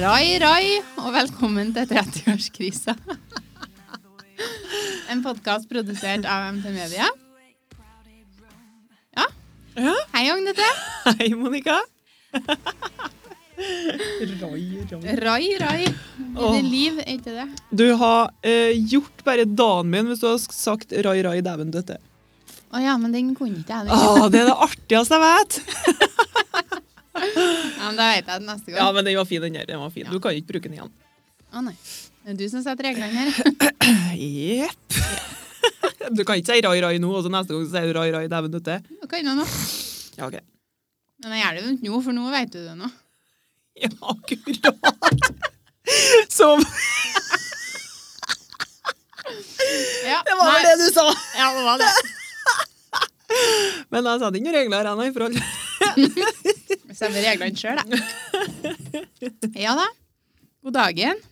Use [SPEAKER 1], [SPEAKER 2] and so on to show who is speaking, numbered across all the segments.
[SPEAKER 1] Rai Rai, og velkommen til 30-årskrisa. En podkast produsert av MT Media. Ja.
[SPEAKER 2] Ja.
[SPEAKER 1] Hei, Agnete.
[SPEAKER 2] Hei, Monica. Rai, rai.
[SPEAKER 1] Rai Rai. Er
[SPEAKER 2] Åh.
[SPEAKER 1] det liv, er ikke det?
[SPEAKER 2] Du har eh, gjort bare dagen min hvis du har sagt rai, rai, dæven døtte.
[SPEAKER 1] Å ja, men den kunne ikke jeg. den.
[SPEAKER 2] Å, det er det artigste jeg vet!
[SPEAKER 1] Ja, men Da vet jeg det neste
[SPEAKER 2] Ja,
[SPEAKER 1] gang.
[SPEAKER 2] men den var fin, den der. Den var fin. Du kan ikke bruke den igjen.
[SPEAKER 1] Å nei. Det er du som setter reglene her.
[SPEAKER 2] Jepp. Du kan ikke si rai, rai nå, og så neste gang så sier du rai, rai, dæven døtte.
[SPEAKER 1] Du kan nå.
[SPEAKER 2] Ja, ok.
[SPEAKER 1] Men jeg gjør det jo ikke nå, for nå vet du det nå.
[SPEAKER 2] Ja, akkurat. Som
[SPEAKER 1] Ja,
[SPEAKER 2] Det
[SPEAKER 1] nei.
[SPEAKER 2] var vel det du sa!
[SPEAKER 1] Ja, det var det.
[SPEAKER 2] Men jeg satte ikke noen regler her, nei, i forhold.
[SPEAKER 1] Stemmer reglene sjøl, da. Ja da. God dagen.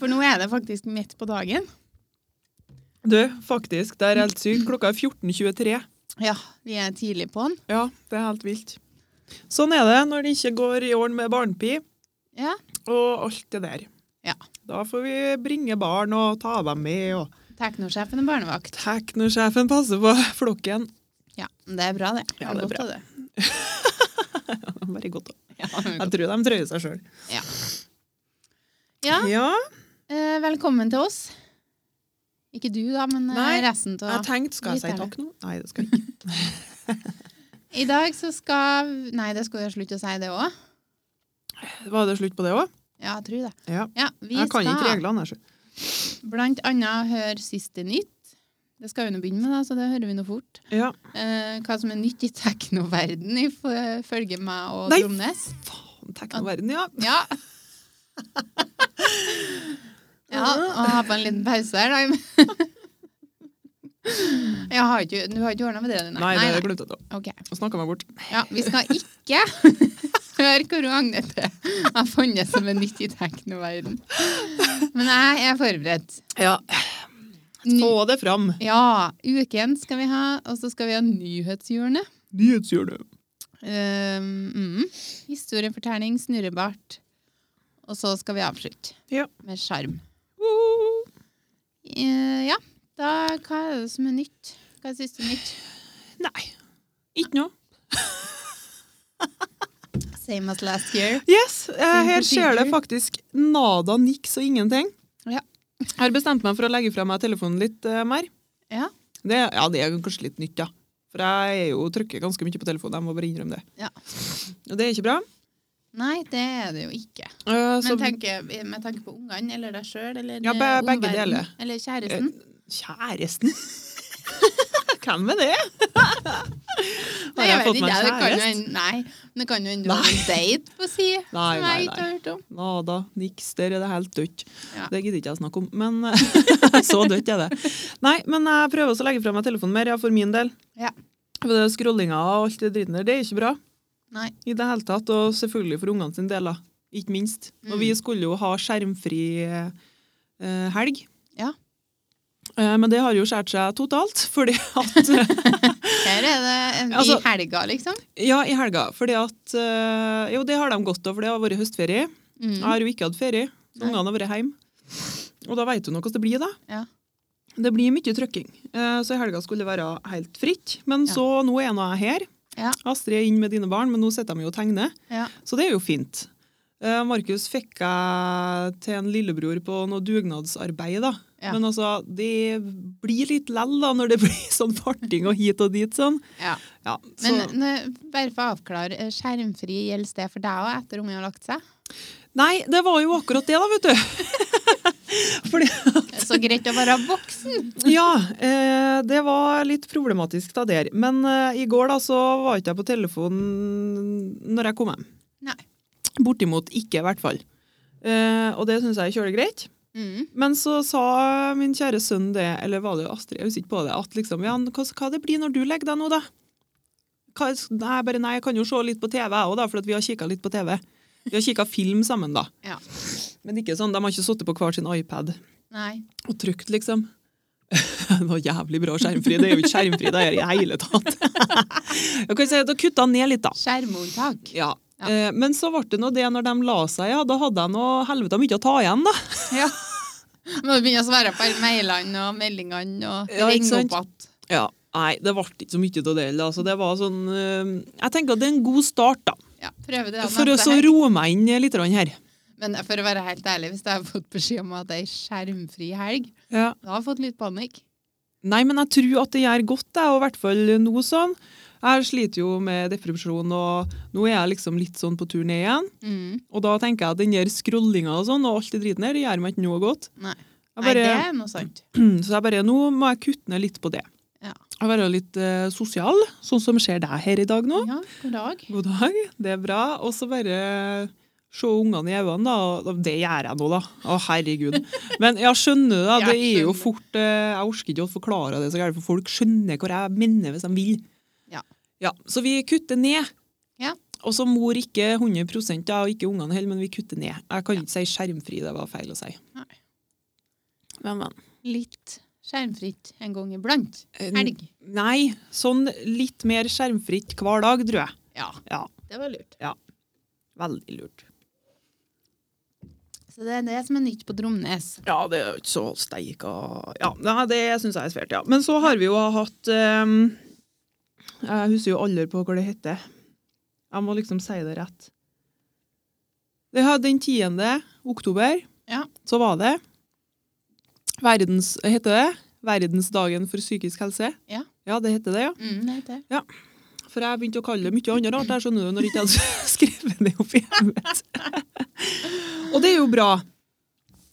[SPEAKER 1] For nå er det faktisk midt på dagen.
[SPEAKER 2] Du, faktisk, det er helt sykt. Klokka er 14.23.
[SPEAKER 1] Ja, vi er tidlig på'n.
[SPEAKER 2] Ja, det er helt vilt. Sånn er det når det ikke går i åren med barnepi
[SPEAKER 1] Ja.
[SPEAKER 2] og alt det der.
[SPEAKER 1] Ja.
[SPEAKER 2] Da får vi bringe barn og ta dem med, og
[SPEAKER 1] Teknosjefen er barnevakt.
[SPEAKER 2] teknosjefen passer på flokken.
[SPEAKER 1] Ja, men det er bra, det.
[SPEAKER 2] Ja, det er
[SPEAKER 1] godt
[SPEAKER 2] bra.
[SPEAKER 1] av det.
[SPEAKER 2] Bare godt. da.
[SPEAKER 1] Ja, det er
[SPEAKER 2] Jeg
[SPEAKER 1] godt.
[SPEAKER 2] tror de trøyer seg sjøl.
[SPEAKER 1] ja
[SPEAKER 2] Ja,
[SPEAKER 1] eh, velkommen til oss. Ikke du, da, men eh,
[SPEAKER 2] Nei,
[SPEAKER 1] resten
[SPEAKER 2] jeg
[SPEAKER 1] av
[SPEAKER 2] tenkte, skal jeg si
[SPEAKER 1] Litt ærlig.
[SPEAKER 2] takk nå? Nei, det skal jeg ikke.
[SPEAKER 1] I dag så skal Nei, det skulle jeg slutte å si, det òg.
[SPEAKER 2] Var det slutt på det òg?
[SPEAKER 1] Ja, jeg tror det.
[SPEAKER 2] Ja.
[SPEAKER 1] Ja, vi
[SPEAKER 2] Jeg kan
[SPEAKER 1] skal
[SPEAKER 2] ikke reglene. jeg skjønner.
[SPEAKER 1] blant annet høre Siste nytt. Det skal vi nå begynne med, da, så det hører vi nå fort.
[SPEAKER 2] Ja.
[SPEAKER 1] Eh, hva som er nytt i teknoverden ifølge meg og
[SPEAKER 2] Nei.
[SPEAKER 1] Tromnes.
[SPEAKER 2] Faen, teknoverden, ja.
[SPEAKER 1] Ja. ja, og ha på en liten pause her, da. Jeg har ikke, du har ikke ordna med det? du,
[SPEAKER 2] Nei, det glemte jeg. da.
[SPEAKER 1] Ok.
[SPEAKER 2] Nå snakka meg bort.
[SPEAKER 1] Ja, vi skal ikke høre hvor Agnete har funnet som er nytt i teknoverden. Men jeg er forberedt.
[SPEAKER 2] Ja. Få
[SPEAKER 1] Ny
[SPEAKER 2] det fram.
[SPEAKER 1] ja, uken skal vi ha, og så skal vi ha nyhetshjørnet.
[SPEAKER 2] Nyhetshjørnet.
[SPEAKER 1] Um, mm. Historiefortelling, snurrebart. Og så skal vi avslutte
[SPEAKER 2] Ja.
[SPEAKER 1] med sjarm.
[SPEAKER 2] Uh.
[SPEAKER 1] Eh, ja, da hva er det som er nytt? Hva er siste nytt?
[SPEAKER 2] Nei. Ikke noe.
[SPEAKER 1] Same as last year.
[SPEAKER 2] Yes, eh,
[SPEAKER 1] Same
[SPEAKER 2] her skjer det
[SPEAKER 1] procedure.
[SPEAKER 2] faktisk nada, niks og ingenting.
[SPEAKER 1] Ja.
[SPEAKER 2] Jeg har bestemt meg for å legge fra meg telefonen litt eh, mer.
[SPEAKER 1] Ja.
[SPEAKER 2] Det, ja, det er kanskje litt nytt, ja. For jeg er jo trykker ganske mye på telefonen, jeg må bare innrømme det.
[SPEAKER 1] Ja.
[SPEAKER 2] Og det er ikke bra.
[SPEAKER 1] Nei, det er det jo ikke.
[SPEAKER 2] Eh, så
[SPEAKER 1] Men tenke, med tanke på ungene eller deg sjøl eller
[SPEAKER 2] Ja, be-
[SPEAKER 1] eh,
[SPEAKER 2] begge
[SPEAKER 1] omverdenen,
[SPEAKER 2] deler. Eh,
[SPEAKER 1] Eller kjæresten.
[SPEAKER 2] Kjæresten! Hvem er det?
[SPEAKER 1] Nei, jeg vet ikke, det kan jo hende- Nei, men det kan jo hende du har en date på si
[SPEAKER 2] Nei,
[SPEAKER 1] som
[SPEAKER 2] nei,
[SPEAKER 1] jeg ikke har hørt om.
[SPEAKER 2] Nada, niks, der er det helt dødt.
[SPEAKER 1] Ja.
[SPEAKER 2] Det gidder ikke jeg snakke om, men så dødt er det. Nei, men jeg prøver også å legge fra meg telefonen mer, ja, for min del.
[SPEAKER 1] Ja.
[SPEAKER 2] For det Scrollinga og alt det dritten der, det er ikke bra
[SPEAKER 1] Nei.
[SPEAKER 2] i det hele tatt. Og selvfølgelig for ungene sin del, da. Ikke minst. Og
[SPEAKER 1] Mm.
[SPEAKER 2] vi skulle jo ha skjermfri eh, helg.
[SPEAKER 1] Ja.
[SPEAKER 2] Eh, men det har jo skåret seg totalt, fordi at
[SPEAKER 1] Her er det en,
[SPEAKER 2] Altså-
[SPEAKER 1] i helga, liksom.
[SPEAKER 2] Ja, i helga. Fordi at eh, Jo, det har de godt av, for det har vært høstferie.
[SPEAKER 1] Mm.
[SPEAKER 2] Jeg har jo ikke hatt ferie. Så
[SPEAKER 1] Nei.
[SPEAKER 2] Ungene har vært hjemme. Og da veit du nå hvordan det blir, da.
[SPEAKER 1] Ja.
[SPEAKER 2] Det blir mye trykking. Eh, Så i helga skulle det være helt fritt. Men
[SPEAKER 1] Ja.
[SPEAKER 2] så nå er nå jeg her.
[SPEAKER 1] Ja.
[SPEAKER 2] Astrid er inn med dine barn, men nå sitter de jo og tegner.
[SPEAKER 1] Ja.
[SPEAKER 2] Så det er jo fint. Eh, Markus fikk jeg til en lillebror på noe dugnadsarbeid, da.
[SPEAKER 1] Ja.
[SPEAKER 2] Men altså, det blir litt lell da, når det blir sånn farting og hit og dit sånn.
[SPEAKER 1] ja.
[SPEAKER 2] Ja, så,
[SPEAKER 1] Men nø- bare for å avklare, eh, skjermfri gjelder det for deg òg etter ungen har lagt seg?
[SPEAKER 2] Nei, det var jo akkurat det, da, vet du. Fordi
[SPEAKER 1] Eh, Så greit å være voksen!
[SPEAKER 2] Ja, eh, det var litt problematisk da der. Men eh, i går da så var ikke jeg på telefonen når jeg kom hjem.
[SPEAKER 1] Nei.
[SPEAKER 2] Bortimot ikke, i hvert fall. Eh, og det syns jeg er kjølig greit.
[SPEAKER 1] Mm.
[SPEAKER 2] Men så sa min kjære sønn det, eller var det jo Astrid, jeg husker ikke på det, at liksom, ja, hva, hva det blir når du legger deg nå, da? Hva, nei, jeg bare, nei, jeg kan jo se litt på TV, jeg òg, da, for at vi har kikka litt på TV. Vi har kikka film sammen, da.
[SPEAKER 1] Ja.
[SPEAKER 2] Men ikke sånn, de har ikke sittet på hver sin iPad
[SPEAKER 1] Nei.
[SPEAKER 2] og trygt, liksom. Det var jævlig bra skjermfri. Det er jo ikke skjermfri det er i hele tatt. Jeg kan si at Da kutta han ned litt, da.
[SPEAKER 1] Skjermunntak.
[SPEAKER 2] Ja,
[SPEAKER 1] Ja.
[SPEAKER 2] Eh, men så ble det nå det når de la seg, ja. Da hadde jeg nå helvete mye å ta igjen, da.
[SPEAKER 1] Ja. Må begynne å svare på alle mailene og meldingene og
[SPEAKER 2] Ja, ikke
[SPEAKER 1] ringe
[SPEAKER 2] sant?
[SPEAKER 1] opp igjen.
[SPEAKER 2] Ja, Nei, det ble ikke så mye av det. heller, Altså, det var sånn eh, Jeg tenker at det er en god start, da.
[SPEAKER 1] Ja, prøve det. da,
[SPEAKER 2] For å
[SPEAKER 1] neste
[SPEAKER 2] så
[SPEAKER 1] helg.
[SPEAKER 2] roe meg inn litt grann her.
[SPEAKER 1] Men eh, for å være helt ærlig, hvis jeg har fått beskjed om at det er ei skjermfri helg,
[SPEAKER 2] Ja.
[SPEAKER 1] da har jeg fått litt panikk.
[SPEAKER 2] Nei, men jeg tror at det gjør godt, jeg, og i hvert fall nå sånn. Jeg sliter jo med depresjon, og nå er jeg liksom litt sånn på tur ned igjen.
[SPEAKER 1] Mm.
[SPEAKER 2] Og da tenker jeg at den der scrollinga og sånn, og alt det driten der, det gjør meg ikke noe godt.
[SPEAKER 1] Nei. Nei,
[SPEAKER 2] Jeg bare,
[SPEAKER 1] det er noe sant.
[SPEAKER 2] Så jeg bare, nå må jeg kutte ned litt på det.
[SPEAKER 1] Ja.
[SPEAKER 2] Og være litt eh, sosial, sånn som skjer deg her i dag nå.
[SPEAKER 1] Ja, god dag.
[SPEAKER 2] God dag, det er bra. Og så bare se ungene i øynene, da. og Det gjør jeg nå, da. Å, herregud. Men jeg skjønner det. da. Det
[SPEAKER 1] Jeg
[SPEAKER 2] er jo
[SPEAKER 1] skjønner.
[SPEAKER 2] fort eh, Jeg orker ikke å forklare det så gærent, for folk skjønner hvor jeg mener hvis de vil.
[SPEAKER 1] Ja.
[SPEAKER 2] Ja, Så vi kutter ned.
[SPEAKER 1] Ja.
[SPEAKER 2] Og så mor ikke 100 da, og ikke ungene heller, men vi kutter ned. Jeg kan ikke si skjermfri, det var feil å si.
[SPEAKER 1] Nei.
[SPEAKER 2] Men, men.
[SPEAKER 1] Litt skjermfritt en gang iblant.
[SPEAKER 2] Eh,
[SPEAKER 1] Helg.
[SPEAKER 2] Nei, sånn litt mer skjermfritt hver dag, tror jeg.
[SPEAKER 1] Ja,
[SPEAKER 2] Ja,
[SPEAKER 1] det var lurt.
[SPEAKER 2] veldig lurt.
[SPEAKER 1] Så det er det som er nytt på Dromnes.
[SPEAKER 2] Ja, det er jo ikke så steika Ja, nei, det syns jeg er svært, ja. Men så har vi jo hatt ehm, Jeg husker jo aldri på hva det heter. Jeg må liksom si det rett. Det har den 10. oktober
[SPEAKER 1] Ja.
[SPEAKER 2] så var det verdens, Heter det verdensdagen for psykisk helse?
[SPEAKER 1] Ja.
[SPEAKER 2] ja, det heter det, ja.
[SPEAKER 1] Mm, det er det.
[SPEAKER 2] For jeg begynte å kalle det mye annet rart, jeg skjønner du, når jeg ikke hadde skrevet det opp i hjemmet. Og det er jo bra.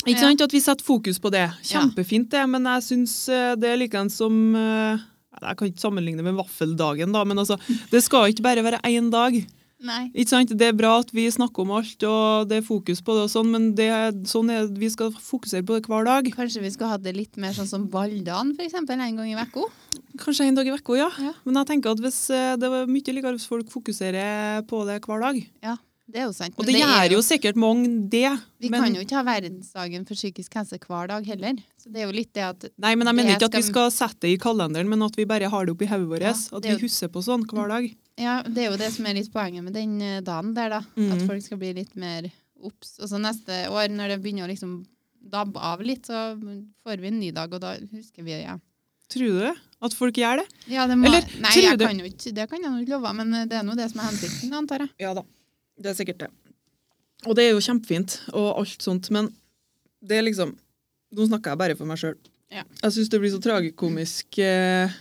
[SPEAKER 2] Ikke
[SPEAKER 1] Ja.
[SPEAKER 2] sant at vi setter fokus på det. Kjempefint det, men jeg syns det er likeens som eh, Jeg kan ikke sammenligne med vaffeldagen, da, men altså, det skal ikke bare være én dag.
[SPEAKER 1] Nei.
[SPEAKER 2] Ikke sant? Det er bra at vi snakker om alt, og det er fokus på det og sånn, men det, er- sånn er, vi skal fokusere på det hver dag.
[SPEAKER 1] Kanskje vi skulle hatt det litt mer sånn som balldagen, for eksempel, en gang i vekko.
[SPEAKER 2] Kanskje en dag i uka, ja.
[SPEAKER 1] Ja.
[SPEAKER 2] Men jeg tenker at hvis eh, det er mye likere hvis folk fokuserer på det hver dag.
[SPEAKER 1] Det er jo sant.
[SPEAKER 2] Og
[SPEAKER 1] men
[SPEAKER 2] det,
[SPEAKER 1] er
[SPEAKER 2] gjør jo sikkert mange det.
[SPEAKER 1] Vi
[SPEAKER 2] men,
[SPEAKER 1] kan jo ikke ha verdensdagen for psykisk helse hver dag heller. Så det er jo litt det at
[SPEAKER 2] Nei, men jeg mener
[SPEAKER 1] Det
[SPEAKER 2] ikke at vi
[SPEAKER 1] skal-
[SPEAKER 2] skal sette det i kalenderen, men at vi bare har det oppi hodet vårt.
[SPEAKER 1] Ja,
[SPEAKER 2] at
[SPEAKER 1] det er
[SPEAKER 2] vi
[SPEAKER 1] jo-
[SPEAKER 2] husker på sånn hver dag.
[SPEAKER 1] Ja, det er jo det som er litt poenget med den eh, dagen der, da. At
[SPEAKER 2] Mhm.
[SPEAKER 1] folk skal bli litt mer obs. Og så neste år, når det begynner å liksom dabbe av litt, så får vi en ny dag, og da husker vi det. Ja.
[SPEAKER 2] Tror du det? At folk gjør det?
[SPEAKER 1] Ja, det må,
[SPEAKER 2] Eller,
[SPEAKER 1] nei,
[SPEAKER 2] tror
[SPEAKER 1] jeg
[SPEAKER 2] du-
[SPEAKER 1] kan jo ikke, det kan jeg jo ikke love, men eh, det er nå det som er hensikten, antar jeg.
[SPEAKER 2] Ja da. Det er sikkert det. Og det er jo kjempefint og alt sånt, men det er liksom Nå snakker jeg bare for meg sjøl.
[SPEAKER 1] Ja.
[SPEAKER 2] Jeg syns det blir så tragikomisk eh,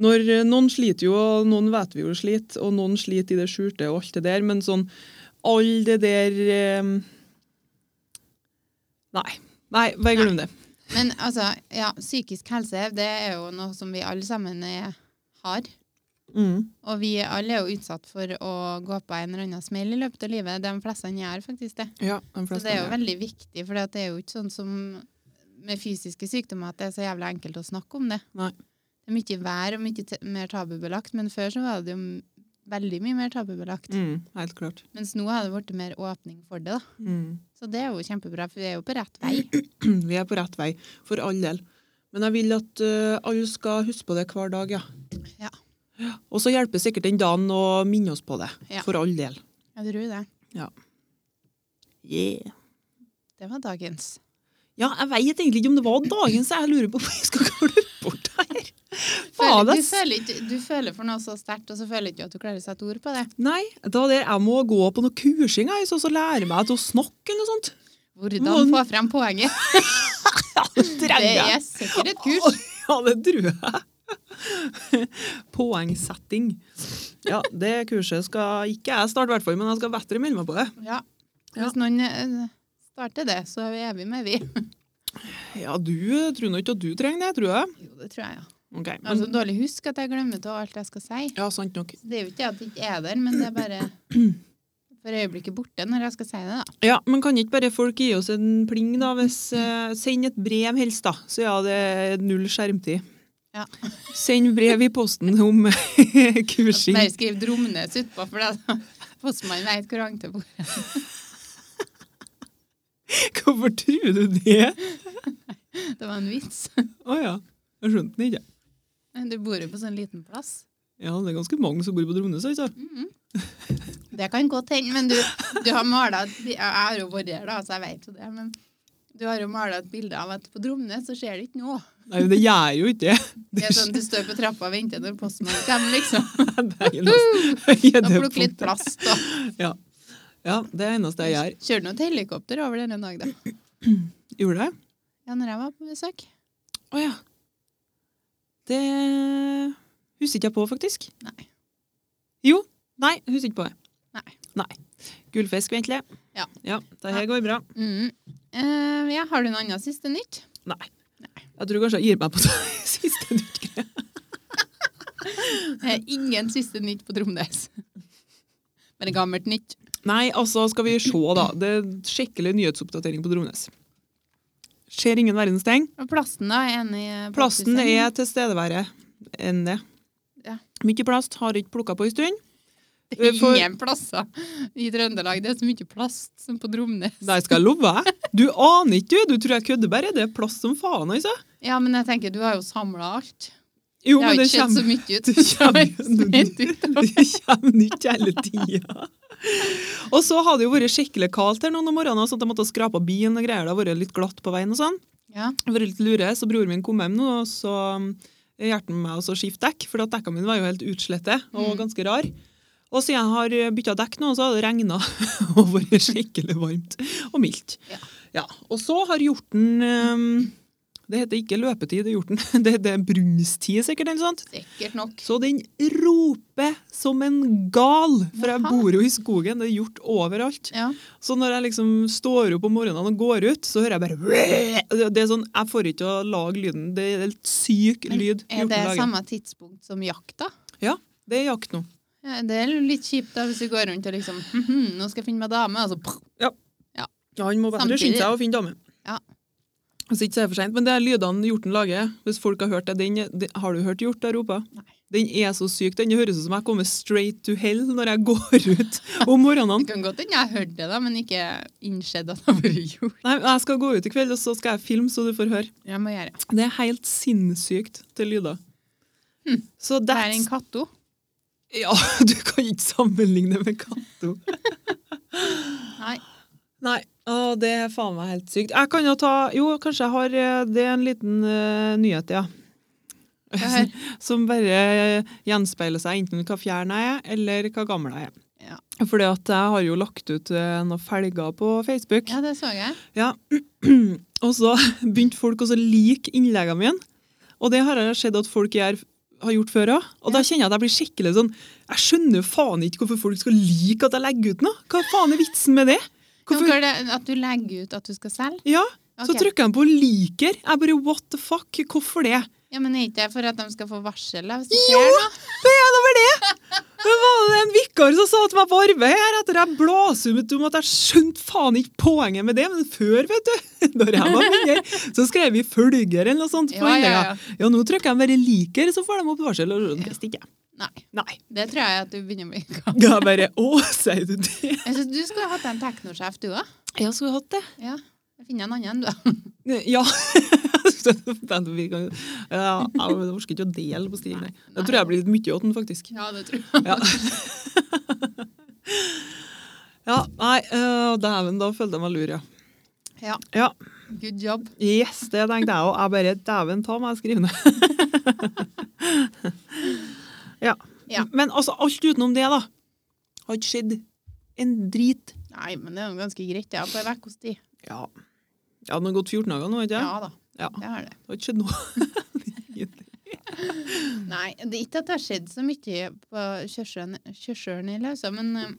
[SPEAKER 2] når eh, noen sliter jo, og noen vet vi jo sliter, og noen sliter i det skjulte og alt det der, men sånn all det der eh, Nei. Nei, bare glem det.
[SPEAKER 1] Men altså, ja, psykisk helse, det er jo noe som vi alle sammen er, har.
[SPEAKER 2] Mm.
[SPEAKER 1] Og vi alle er jo utsatt for å gå på en eller annen smell i løpet av livet. De fleste gjør faktisk det.
[SPEAKER 2] Ja, de
[SPEAKER 1] Så
[SPEAKER 2] fleste
[SPEAKER 1] det er jo
[SPEAKER 2] er det.
[SPEAKER 1] veldig viktig, for det er jo ikke sånn som med fysiske sykdommer at det er så jævlig enkelt å snakke om det.
[SPEAKER 2] Nei.
[SPEAKER 1] Det er mye vær og mye t mer tabubelagt, men før så var det jo m- veldig mye mer tabubelagt.
[SPEAKER 2] Mm, helt klart. Mm.
[SPEAKER 1] Mens nå har det blitt mer åpning for det, da. Så det er jo kjempebra, for vi er jo på rett vei.
[SPEAKER 2] Vi er på rett vei, for all del. Men jeg vil at eh, alle skal huske på det hver dag, ja.
[SPEAKER 1] Ja.
[SPEAKER 2] Ja, Og så hjelper sikkert den dagen å minne oss på det,
[SPEAKER 1] Ja.
[SPEAKER 2] for all del.
[SPEAKER 1] Jeg tror det. Det var dagens.
[SPEAKER 2] Ja, jeg vet egentlig ikke om det var dagen, så jeg lurer på hvor jeg skal klare bort her.
[SPEAKER 1] Føler,
[SPEAKER 2] Faen,
[SPEAKER 1] du,
[SPEAKER 2] ass.
[SPEAKER 1] føler ikke, du føler for noe så sterkt, og så føler ikke du at du klarer å sette ord på det.
[SPEAKER 2] Nei, da der, jeg må gå på noe kursing, jeg, så, så lærer meg til å snakke eller noe sånt.
[SPEAKER 1] Hvordan få frem poenget?
[SPEAKER 2] Ja, det
[SPEAKER 1] Det
[SPEAKER 2] trenger jeg.
[SPEAKER 1] er sikkert et kurs.
[SPEAKER 2] Ja, det tror jeg. Poengsetting. Ja, det kurset skal ikke jeg starte, i hvert fall, men jeg skal bedre melde meg på det.
[SPEAKER 1] Ja. Hvis noen eh, starter det, så er vi evig med vi.
[SPEAKER 2] Ja, du eh, tror nå ikke at du trenger det, tror jeg.
[SPEAKER 1] Jo, det tror jeg, ja.
[SPEAKER 2] Ok,
[SPEAKER 1] Jeg har så
[SPEAKER 2] men,
[SPEAKER 1] dårlig husk at jeg glemmer til alt jeg skal si.
[SPEAKER 2] ja, sant nok.
[SPEAKER 1] Så det er jo ikke det at det ikke er der, men det er bare for øyeblikket borte når jeg skal si det, da.
[SPEAKER 2] Ja, men kan ikke bare folk gi oss en pling, da? Hvis, eh, send et brev helst, da. Så ja, det er null skjermtid.
[SPEAKER 1] Ja.
[SPEAKER 2] Send brev i posten om kursing.
[SPEAKER 1] Bare skriv Dromnes utpå, for da postmannen vet hvor han til bor.
[SPEAKER 2] Hvorfor tror du det?
[SPEAKER 1] Det var en vits.
[SPEAKER 2] Å ja. Jeg skjønte den ikke.
[SPEAKER 1] Men Du bor jo på sånn liten plass.
[SPEAKER 2] Ja, det er ganske mange som bor på Dromnes, altså.
[SPEAKER 1] Det kan godt hende, men du, du har mala et bi- Jeg har jo vært der, da, så jeg vet jo det. Men du har jo mala et bilde av at på Dromnes så skjer det ikke noe.
[SPEAKER 2] Nei, men det gjør jeg jo ikke det.
[SPEAKER 1] Det er sånn Du står på trappa og venter når postmannen kommer, liksom.
[SPEAKER 2] Det
[SPEAKER 1] Og
[SPEAKER 2] er eneste- Ja, det er
[SPEAKER 1] plukker litt
[SPEAKER 2] punktet.
[SPEAKER 1] plast. Og.
[SPEAKER 2] Ja. ja, det er eneste jeg gjør.
[SPEAKER 1] Kjørte nå et helikopter over der en dag, da.
[SPEAKER 2] Gjorde jeg?
[SPEAKER 1] Ja, når jeg var på besøk.
[SPEAKER 2] Å ja. Det husker ikke jeg på, faktisk.
[SPEAKER 1] Nei.
[SPEAKER 2] Jo. Nei, husker ikke på det.
[SPEAKER 1] Nei.
[SPEAKER 2] Gullfisk, ventelig.
[SPEAKER 1] Ja.
[SPEAKER 2] ja det her går bra.
[SPEAKER 1] Mm. Eh, ja, har du noe annet siste nytt?
[SPEAKER 2] Nei. Jeg tror kanskje jeg gir meg på det siste dukkgreia.
[SPEAKER 1] Eh, ingen siste nytt på Tromnes. Bare gammelt nytt.
[SPEAKER 2] Nei, altså, skal vi se, da. Det er skikkelig nyhetsoppdatering på Drones. Skjer ingen verdens ting.
[SPEAKER 1] Og plasten, da? Er enig i
[SPEAKER 2] Plasten
[SPEAKER 1] plasthuset?
[SPEAKER 2] er tilstedeværende enn det.
[SPEAKER 1] Ja.
[SPEAKER 2] Mye plast har ikke plukka på en stund.
[SPEAKER 1] Det er
[SPEAKER 2] for-
[SPEAKER 1] ingen plasser i Trøndelag. Det er så mye plast som på Dromnes.
[SPEAKER 2] Det skal jeg love deg. Du aner ikke, du. Du tror jeg kødder bare. Det er plast som faen, altså.
[SPEAKER 1] Ja, men jeg tenker, du har jo samla alt.
[SPEAKER 2] Jo,
[SPEAKER 1] Det har
[SPEAKER 2] men
[SPEAKER 1] jo
[SPEAKER 2] det
[SPEAKER 1] ikke sett så
[SPEAKER 2] kommer,
[SPEAKER 1] mye ut.
[SPEAKER 2] det kommer-
[SPEAKER 1] Smitt ut av-
[SPEAKER 2] det kommer nytt hele tida. Og så har det jo vært skikkelig kaldt her noen om morgenen, så jeg måtte skrape av bilen og greier. Det har vært litt glatt på veien og sånn.
[SPEAKER 1] Ja.
[SPEAKER 2] Jeg har vært litt lure, så broren min kom hjem nå, og så hjertet meg også å skifte dekk, for at dekka mine var jo helt utslette og
[SPEAKER 1] Mm.
[SPEAKER 2] ganske rar. Og siden jeg har bytta dekk nå, så har det regna og vært skikkelig varmt og mildt.
[SPEAKER 1] Ja.
[SPEAKER 2] Og så har hjorten ehm, Det heter ikke løpetid, det er hjorten. Det heter brunsttid, sikkert. eller noe sånt.
[SPEAKER 1] Sikkert nok.
[SPEAKER 2] Så den roper som en gal, for jeg
[SPEAKER 1] Jaha.
[SPEAKER 2] bor jo i skogen. Det er hjort overalt.
[SPEAKER 1] Ja.
[SPEAKER 2] Så når jeg liksom står opp om morgenen og går ut, så hører jeg bare Det er sånn, Jeg får ikke å lage lyden. Det er helt syk
[SPEAKER 1] Men
[SPEAKER 2] lyd.
[SPEAKER 1] Er
[SPEAKER 2] hjorten
[SPEAKER 1] det
[SPEAKER 2] lager.
[SPEAKER 1] samme tidspunkt som jakta?
[SPEAKER 2] Det er jakt nå.
[SPEAKER 1] Ja, det er jo litt kjipt da, hvis du går rundt og liksom «Mhm, Nå skal jeg finne meg dame, og så pff,
[SPEAKER 2] Ja, Han må bare
[SPEAKER 1] Samtidig.
[SPEAKER 2] skynde seg å finne dame.
[SPEAKER 1] Ja.
[SPEAKER 2] Hvis ikke så er det for sent. Men det er lydene hjorten lager. Hvis folk har hørt det, den, den, Har du hørt hjort da rope?
[SPEAKER 1] Nei.
[SPEAKER 2] Den er så syk. Den høres ut som jeg kommer straight to hell når jeg går ut om morgenen.
[SPEAKER 1] Det kan godt hende jeg har hørt det, da, men ikke innsett at det har vært gjort.
[SPEAKER 2] Nei, Jeg skal gå ut i kveld, og så skal jeg filme, så du får høre.
[SPEAKER 1] Jeg må gjøre det.
[SPEAKER 2] Det er helt sinnssykt til lyder.
[SPEAKER 1] Hm.
[SPEAKER 2] Så
[SPEAKER 1] Det er
[SPEAKER 2] that's
[SPEAKER 1] en katto.
[SPEAKER 2] Ja, du kan ikke sammenligne med Cato.
[SPEAKER 1] Nei.
[SPEAKER 2] Nei, å, det er faen meg helt sykt. Jeg kan jo ta Jo, kanskje jeg har eh, Det er en liten eh, nyhet, ja.
[SPEAKER 1] Få høre.
[SPEAKER 2] Som bare eh, gjenspeiler seg enten hva fjern jeg er, eller hva gammel jeg er.
[SPEAKER 1] Ja.
[SPEAKER 2] Fordi at jeg har jo lagt ut eh, noen felger på Facebook.
[SPEAKER 1] Ja, det så jeg.
[SPEAKER 2] Ja. og så begynte folk også å like innleggene mine. Og det har jeg sett at folk gjør, har gjort før òg. Og da kjenner jeg at jeg blir skikkelig sånn Jeg skjønner jo faen ikke hvorfor folk skal like at jeg legger ut noe! Hva faen er vitsen med det?
[SPEAKER 1] Hvorfor
[SPEAKER 2] Hvorfor?
[SPEAKER 1] er det at du legger ut at du skal selge?
[SPEAKER 2] Ja,
[SPEAKER 1] Ok.
[SPEAKER 2] Så trykker de på 'liker'. Jeg bare what the fuck? Hvorfor det?
[SPEAKER 1] Ja, men er ikke det for at de skal få varsel? da, Hvis det skjer noe?
[SPEAKER 2] Det er da vel det! Det var det en vikar som sa til meg på arbeid her etter jeg blaser ut om at jeg skjønte faen ikke poenget med det, men før, vet du, når jeg var mindre, så skrev vi 'følger' eller noe sånt på
[SPEAKER 1] Ja, ja,
[SPEAKER 2] innlegga.
[SPEAKER 1] ja.
[SPEAKER 2] Ja, nå trykker jeg bare 'liker', så får de opp varsel. Og sånn. det stikker jeg.
[SPEAKER 1] Nei.
[SPEAKER 2] Nei.
[SPEAKER 1] Det tror jeg at du begynner å bli gammel.
[SPEAKER 2] Da bare 'å, sier du det?'
[SPEAKER 1] Jeg synes du skulle hatt en teknosjef, du òg.
[SPEAKER 2] Jeg skulle hatt det.
[SPEAKER 1] Ja. Jeg finner en annen, du.
[SPEAKER 2] Ja. Vi kan- ja, jeg orker ikke å dele på stilen. Da tror jeg jeg blir litt mye åt den, faktisk.
[SPEAKER 1] Ja, det tror jeg.
[SPEAKER 2] Ja. Ja, nei, øh, dæven, da følte jeg meg lur, ja.
[SPEAKER 1] Ja.
[SPEAKER 2] Ja.
[SPEAKER 1] Good job.
[SPEAKER 2] Yes, det tenkte jeg òg. Jeg bare Dæven ta meg skrivende. ja.
[SPEAKER 1] Ja.
[SPEAKER 2] Men altså, alt utenom det, da, har ikke skjedd en drit.
[SPEAKER 1] Nei, men det er jo ganske greit, ja. På en ukes tid.
[SPEAKER 2] Ja. Ja, Den har gått 14 dager nå, ikke
[SPEAKER 1] Ja
[SPEAKER 2] sant?
[SPEAKER 1] da.
[SPEAKER 2] Ja.
[SPEAKER 1] Det har det.
[SPEAKER 2] Det har ikke skjedd noe.
[SPEAKER 1] Nei, det er ikke at det har skjedd så mye på kjørselen, kjørselen i Lausa, men eh,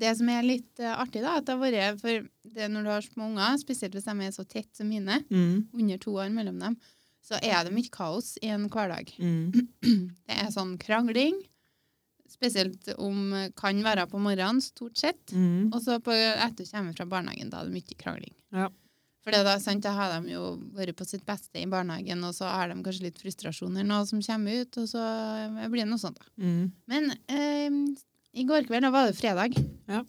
[SPEAKER 1] det som er litt eh, artig, da, at det har vært for det når du har små unger, spesielt hvis de er så tett som mine,
[SPEAKER 2] Mm,
[SPEAKER 1] under to år mellom dem, så er det mye kaos i en hverdag.
[SPEAKER 2] mm,
[SPEAKER 1] Det er sånn krangling, spesielt om eh, kan være på morgenen, stort sett.
[SPEAKER 2] mm.
[SPEAKER 1] Og så på, etter jeg kommer fra barnehagen, da er det mye krangling.
[SPEAKER 2] Ja.
[SPEAKER 1] For det da, sant, da har de jo vært på sitt beste i barnehagen, og så har de kanskje litt frustrasjoner nå som kommer ut, og så eh, blir det noe sånt da.
[SPEAKER 2] Mm.
[SPEAKER 1] Men eh, i går kveld, da var det fredag.
[SPEAKER 2] Ja.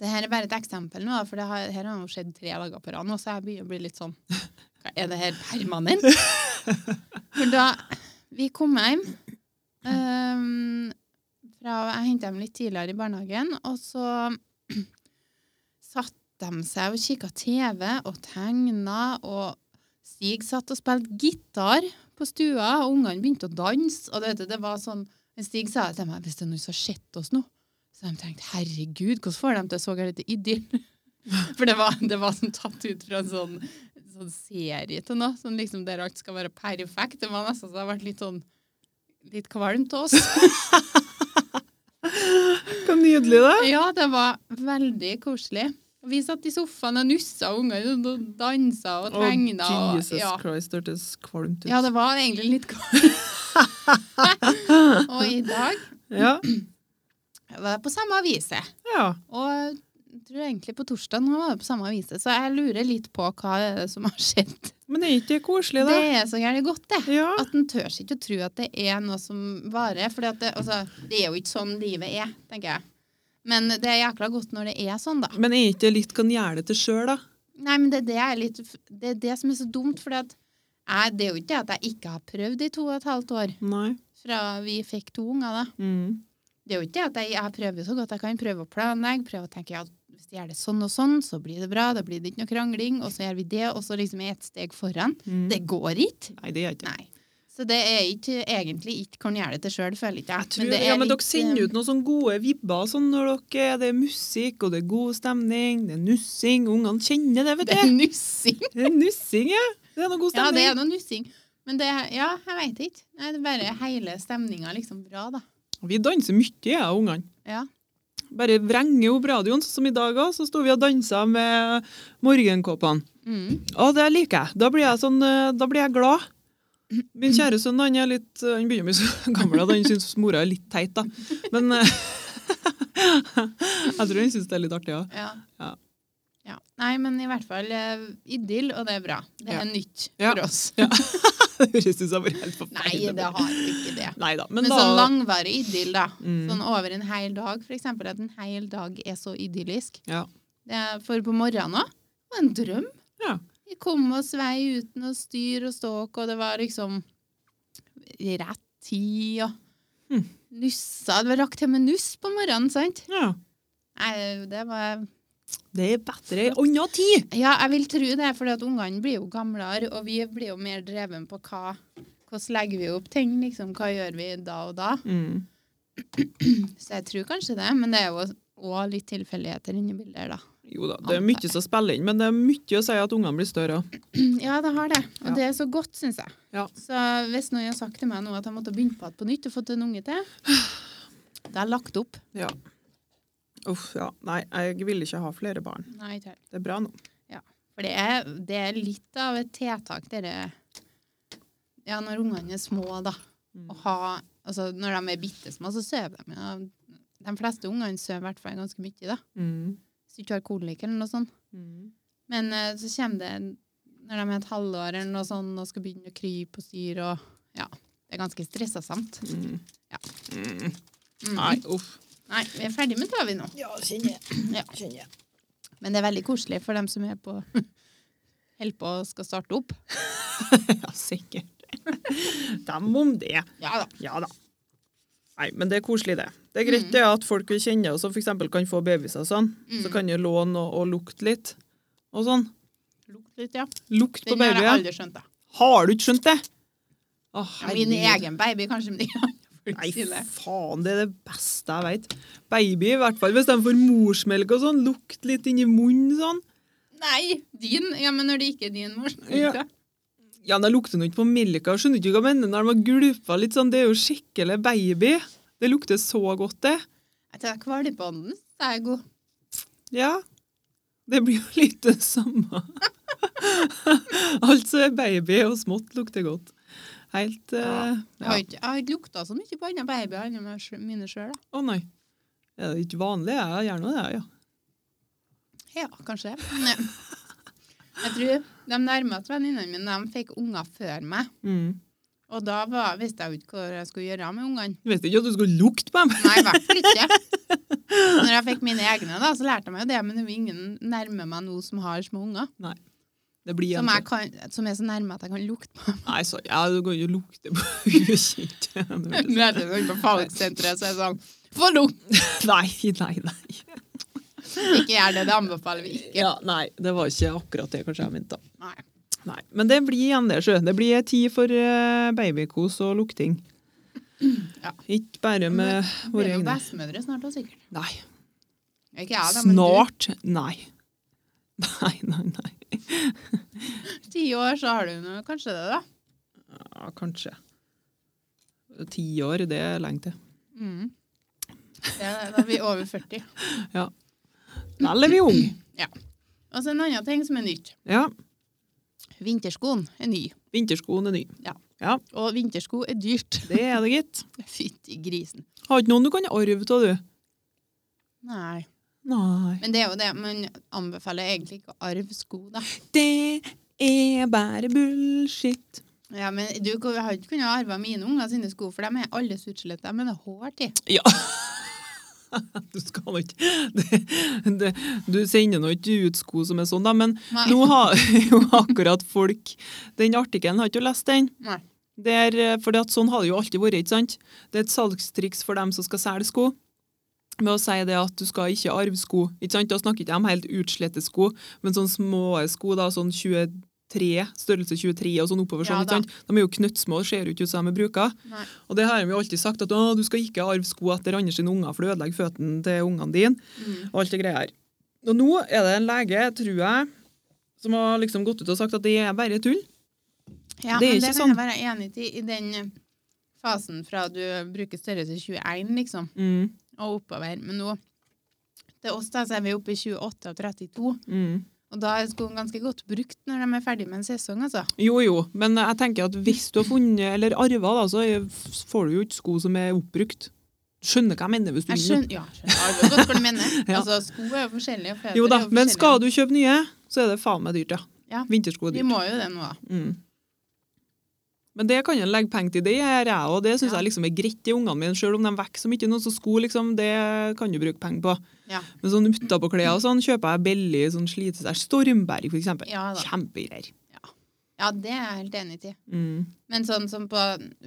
[SPEAKER 1] Det her er bare et eksempel nå, da, for det har, her har jo skjedd tre dager på rad nå, så jeg begynner å bli litt sånn hva, Er det her permanent? For da vi kom hjem eh, fra Jeg henta dem litt tidligere i barnehagen, og så satt de seg og kikka TV og tegna, og Stig satt og spilte gitar på stua, og ungene begynte å danse, og det, det var sånn men Stig sa til meg hvis det er noen som har sett oss nå, så har de tenkt herregud, hvordan får de til å så gærent idyll? For det var, det var sånn tatt ut fra en sånn, sånn serie til noe, sånn liksom der alt skal være perfekt. Det var nesten så det har vært litt sånn litt kvalmt av oss.
[SPEAKER 2] Hvor nydelig, da.
[SPEAKER 1] Ja, det var veldig koselig. Vi satt i sofaen og nussa og ungene og dansa og
[SPEAKER 2] Å,
[SPEAKER 1] tegna. Og,
[SPEAKER 2] Jesus
[SPEAKER 1] ja.
[SPEAKER 2] Christ, det hørtes kvalmt ut.
[SPEAKER 1] ja, det var egentlig litt kvalmt. og i dag
[SPEAKER 2] Ja.
[SPEAKER 1] var jeg på samme avise.
[SPEAKER 2] ja.
[SPEAKER 1] Og jeg tror egentlig på torsdag nå var det på samme avise, så jeg lurer litt på hva er det som har skjedd.
[SPEAKER 2] Men er ikke det koselig,
[SPEAKER 1] Det
[SPEAKER 2] da?
[SPEAKER 1] er så gjerne godt, det.
[SPEAKER 2] Ja.
[SPEAKER 1] At en tør ikke å tro at det er noe som varer. For det, altså, det er jo ikke sånn livet er, tenker jeg. Men det er jækla godt når det er sånn, da.
[SPEAKER 2] Men er ikke det litt kan gjøre det til sjøl, da?
[SPEAKER 1] Nei, men det er det, jeg er litt, det, er det som er så dumt, for jeg, det er jo ikke det at jeg ikke har prøvd i to og et halvt år
[SPEAKER 2] Nei.
[SPEAKER 1] fra vi fikk to unger, da.
[SPEAKER 2] Mm.
[SPEAKER 1] Det er jo ikke det at jeg, jeg prøver jo så godt jeg kan. Prøve å planlegge, prøve å tenke ja, hvis jeg gjør det sånn og sånn, så blir det bra. Da blir det ikke noe krangling, og så gjør vi det, og så liksom er jeg et steg foran.
[SPEAKER 2] Mm.
[SPEAKER 1] Det går ikke.
[SPEAKER 2] Nei, det er ikke det.
[SPEAKER 1] Nei. Så det er ikke egentlig ikke kan gjøre det til sjøl, føler ikke jeg.
[SPEAKER 2] Jeg tror, ja, men dere
[SPEAKER 1] eh,
[SPEAKER 2] sender ut eh, noen sånne gode vibber og sånn når dere Det er musikk, og det er god stemning, det er nussing. Ungene kjenner det, vet
[SPEAKER 1] eh, Det er
[SPEAKER 2] du.
[SPEAKER 1] nussing.
[SPEAKER 2] Det er nussing, ja. Det er noe god
[SPEAKER 1] Ja, det
[SPEAKER 2] stemning.
[SPEAKER 1] er noe nussing. Men det Ja, jeg veit ikke. Nei, det er bare hele stemninga liksom bra, da.
[SPEAKER 2] Vi danser mye, jeg og ungene.
[SPEAKER 1] Ja.
[SPEAKER 2] Bare vrenger opp radioen, sånn som i dag òg. Så sto vi og dansa med morgenkåpene.
[SPEAKER 1] Mm.
[SPEAKER 2] Å, det liker jeg. Da blir jeg, sånn, eh, da blir jeg glad. Min kjære sønn han er litt, eh, han begynner å bli så gammel at han syns mora er litt teit. da. Men eh, jeg tror han syns det er litt artig òg.
[SPEAKER 1] Ja.
[SPEAKER 2] Ja.
[SPEAKER 1] Ja. Nei, men i hvert fall eh, idyll, og det er bra. Det er
[SPEAKER 2] Ja.
[SPEAKER 1] nytt
[SPEAKER 2] Ja.
[SPEAKER 1] for oss.
[SPEAKER 2] Det høres ut som bare helt
[SPEAKER 1] Nei,
[SPEAKER 2] forferdelig.
[SPEAKER 1] det har ikke det.
[SPEAKER 2] Nei da. Men,
[SPEAKER 1] Men,
[SPEAKER 2] da
[SPEAKER 1] sånn langvarig idyll, da.
[SPEAKER 2] Mm.
[SPEAKER 1] Sånn over en hel dag, for eksempel. At en hel dag er så idyllisk.
[SPEAKER 2] Ja.
[SPEAKER 1] Det er- for på morgenen òg var en drøm.
[SPEAKER 2] Ja.
[SPEAKER 1] Vi kom oss vei uten å styre og ståk, og det var liksom rett tid og
[SPEAKER 2] Mm.
[SPEAKER 1] Nussa. Det var rakk til med nuss på morgenen, sant?
[SPEAKER 2] ja.
[SPEAKER 1] Nei, det var
[SPEAKER 2] Det er bedre ei anna tid!
[SPEAKER 1] Ja, jeg vil tro det, for ungene blir jo gamlere, og vi blir jo mer dreven på hva hvordan legger vi opp ting, liksom. Hva gjør vi da og da?
[SPEAKER 2] Mm.
[SPEAKER 1] Så jeg tror kanskje det, men det er jo òg litt tilfeldigheter inni bildet her, da.
[SPEAKER 2] Jo da, det er mye som spiller inn, men det er mye å si at ungene blir større. også.
[SPEAKER 1] Mm, Ja, det har det. Og
[SPEAKER 2] Ja.
[SPEAKER 1] det er så godt, syns jeg.
[SPEAKER 2] Ja.
[SPEAKER 1] Så hvis noen har sagt til meg nå at jeg måtte begynne på igjen på nytt og fått en unge til, da har jeg lagt opp.
[SPEAKER 2] Ja. Uff, ja. Nei, jeg vil ikke ha flere barn.
[SPEAKER 1] Nei, ikke helt.
[SPEAKER 2] Det er bra nå.
[SPEAKER 1] For det er, det er litt av et tiltak, dere Ja, når ungene er små, da. Å ha Altså, når de er bitte små, så sover de. Ja. De fleste ungene sover i hvert fall ganske mye, da.
[SPEAKER 2] Mm.
[SPEAKER 1] Hvis du ikke har kolikk eller noe sånt.
[SPEAKER 2] Mm.
[SPEAKER 1] Men eh, så kommer det en- når de er et halvår eller noe sånn, og skal begynne å krype og styre og Ja. Det er ganske stressasamt.
[SPEAKER 2] Mm.
[SPEAKER 1] Ja.
[SPEAKER 2] Mm.
[SPEAKER 1] Mm.
[SPEAKER 2] Nei, uff.
[SPEAKER 1] Nei, vi er ferdig med Tavi nå.
[SPEAKER 2] Ja, kjenner
[SPEAKER 1] Ja.
[SPEAKER 2] jeg. Kjenner jeg.
[SPEAKER 1] Men det er veldig koselig for dem som er på holder på og skal starte opp.
[SPEAKER 2] Ja, sikkert. Dem om det.
[SPEAKER 1] Ja da.
[SPEAKER 2] Ja da. Nei, men det er koselig, det. Det er greit det at folk vi kjenner, og som f.eks. kan få babyer og sånn, så kan jo låne og, og lukte litt. Og sånn.
[SPEAKER 1] Lukt litt, ja.
[SPEAKER 2] Lukt på
[SPEAKER 1] Den har jeg
[SPEAKER 2] babyer.
[SPEAKER 1] aldri skjønt, da.
[SPEAKER 2] Har du ikke skjønt det? Å,
[SPEAKER 1] Ja, Min
[SPEAKER 2] herregud.
[SPEAKER 1] egen baby, kanskje. Men de andre
[SPEAKER 2] Nei,
[SPEAKER 1] folk sine.
[SPEAKER 2] faen, det er det beste jeg veit. Baby, i hvert fall hvis de får morsmelk og sånn. Lukt litt inni munnen sånn.
[SPEAKER 1] Nei! Din? Ja, men når det ikke er din mor.
[SPEAKER 2] Ja. Ja, men det lukter nå ikke på melka. Skjønner ikke hva jeg mener når de har gulpa litt sånn. Det er jo skikkelig baby. Det lukter så godt, det.
[SPEAKER 1] Jeg tar kvalpeånden, så er jeg god.
[SPEAKER 2] Ja. Det blir jo litt det samme. Alt som er baby og smått, lukter godt. Helt eh,
[SPEAKER 1] Jeg
[SPEAKER 2] ja.
[SPEAKER 1] har ikke, jeg har ikke lukta så mye på andre babyer enn meg sj- mine sjøl, da.
[SPEAKER 2] Å nei. Det er jo ikke vanlig. Jeg gjør nå det, ja.
[SPEAKER 1] Ja, kanskje. Men eh, jeg tror de nærmeste venninnene mine de fikk unger før meg.
[SPEAKER 2] Mm.
[SPEAKER 1] Og da var, visste jeg jo ikke hva jeg skulle gjøre med ungene.
[SPEAKER 2] Du vet ikke at du skal lukte på dem?
[SPEAKER 1] Nei, i hvert fall ikke. Når jeg fikk mine egne, da, så lærte jeg meg jo det. Men det er jo ingen nærme meg nå som har små unger.
[SPEAKER 2] Det blir
[SPEAKER 1] Som, jeg
[SPEAKER 2] jenter.
[SPEAKER 1] kan, som er så nærme at jeg kan lukte på.
[SPEAKER 2] Nei, så, ja, du kan jo lukte på ukjente.
[SPEAKER 1] Møter noen på fagsenteret, så er det sånn for lung!
[SPEAKER 2] Nei, nei, nei.
[SPEAKER 1] Ikke gjør det, det anbefaler vi ikke.
[SPEAKER 2] Ja, nei, det var ikke akkurat det kanskje jeg mente. da.
[SPEAKER 1] Nei.
[SPEAKER 2] Nei, Men det blir igjen det, sjø. Det blir ei tid for eh, babykos og lukting.
[SPEAKER 1] Ja.
[SPEAKER 2] Ikke bare
[SPEAKER 1] Men
[SPEAKER 2] med
[SPEAKER 1] Vi
[SPEAKER 2] våre
[SPEAKER 1] blir jo
[SPEAKER 2] egne.
[SPEAKER 1] bestemødre snart da, sikkert.
[SPEAKER 2] Nei.
[SPEAKER 1] Ikke jeg, da, men
[SPEAKER 2] Snart? Nei. Nei, nei, nei.
[SPEAKER 1] du. Ti år, så har du noe, kanskje det, da.
[SPEAKER 2] Ja, kanskje. Ti år, det er lenge til.
[SPEAKER 1] Mm. Det, da er vi over 40.
[SPEAKER 2] Da er vi unge.
[SPEAKER 1] Og så Altså, en annen ting som er nytt.
[SPEAKER 2] Ja.
[SPEAKER 1] Vinterskoen er ny.
[SPEAKER 2] Vinterskoen er ny.
[SPEAKER 1] Og vintersko er dyrt.
[SPEAKER 2] Det er det, gitt.
[SPEAKER 1] Fytti grisen.
[SPEAKER 2] Har ikke noen du kan arve av, du?
[SPEAKER 1] Nei.
[SPEAKER 2] Nei.
[SPEAKER 1] Men det er jo det, man anbefaler egentlig ikke å arve sko, da.
[SPEAKER 2] Det er bare bullshit.
[SPEAKER 1] Ja, men du jeg har ikke kunnet arve mine unger sine sko, for de er alle utslett. De er det hår til.
[SPEAKER 2] Ja. Du skal nå ikke det, det, Du sender nå ikke ut sko som er sånn, da, men
[SPEAKER 1] Nei.
[SPEAKER 2] nå har jo akkurat folk Den artikkelen, har ikke du lest den?
[SPEAKER 1] Nei.
[SPEAKER 2] Der, fordi at sånn har det jo alltid vært, ikke sant? Det er et salgstriks for dem som skal selge sko, med å si det at du skal ikke arve sko, ikke sant? Da snakker ikke de helt utslette sko, men sånne små sko da, sånn 23, størrelse 23 og sånn
[SPEAKER 1] Ja
[SPEAKER 2] oppover
[SPEAKER 1] da.
[SPEAKER 2] sånn, ikke sant? De er jo knøttsmå og ser jo ikke ut som de er bruka.
[SPEAKER 1] Nei.
[SPEAKER 2] Og det har de jo alltid sagt, at å, du skal ikke arve sko etter andre sine unger, for du ødelegger føttene til ungene dine,
[SPEAKER 1] Mm.
[SPEAKER 2] og alt det greia her. Og nå er det en lege, tror jeg, som har liksom gått ut og sagt at det er bare tull.
[SPEAKER 1] Ja,
[SPEAKER 2] Det er
[SPEAKER 1] men
[SPEAKER 2] ikke
[SPEAKER 1] det kan
[SPEAKER 2] sånn.
[SPEAKER 1] jeg være enig i i den fasen fra du bruker størrelse 21, liksom,
[SPEAKER 2] Mm,
[SPEAKER 1] og oppover. Men nå til oss, da, så er vi oppe i 28 og 32.
[SPEAKER 2] mm.
[SPEAKER 1] Og da er skoen ganske godt brukt når de er ferdig med en sesong, altså.
[SPEAKER 2] Jo, jo, men jeg tenker at hvis du har funnet, eller arva, da, så er- får du jo ikke sko som er oppbrukt. Skjønner hva jeg mener hvis du
[SPEAKER 1] Jeg
[SPEAKER 2] vil.
[SPEAKER 1] skjønner, ja, skjønner arve godt hva du mener.
[SPEAKER 2] Ja.
[SPEAKER 1] Altså, sko er jo forskjellige. og føtter
[SPEAKER 2] Jo
[SPEAKER 1] er
[SPEAKER 2] da,
[SPEAKER 1] jo
[SPEAKER 2] men
[SPEAKER 1] forskjellige.
[SPEAKER 2] skal du kjøpe nye, så er det faen meg dyrt, ja.
[SPEAKER 1] Ja.
[SPEAKER 2] Vintersko er
[SPEAKER 1] Vi
[SPEAKER 2] dyrt.
[SPEAKER 1] må jo det nå, da.
[SPEAKER 2] Mm. Men det kan en legge penger til. Det gjør jeg òg. Det syns
[SPEAKER 1] Ja.
[SPEAKER 2] jeg liksom er greit til ungene mine. Selv om de vokser så mye nå, så sko liksom, det kan du bruke penger på.
[SPEAKER 1] Ja.
[SPEAKER 2] Men sånn utapåklær og sånn kjøper jeg billig sånn slitestær. Stormberg, for eksempel.
[SPEAKER 1] Ja da.
[SPEAKER 2] Kjempegreier.
[SPEAKER 1] Ja, det er jeg helt enig i.
[SPEAKER 2] Mm.
[SPEAKER 1] Men sånn som på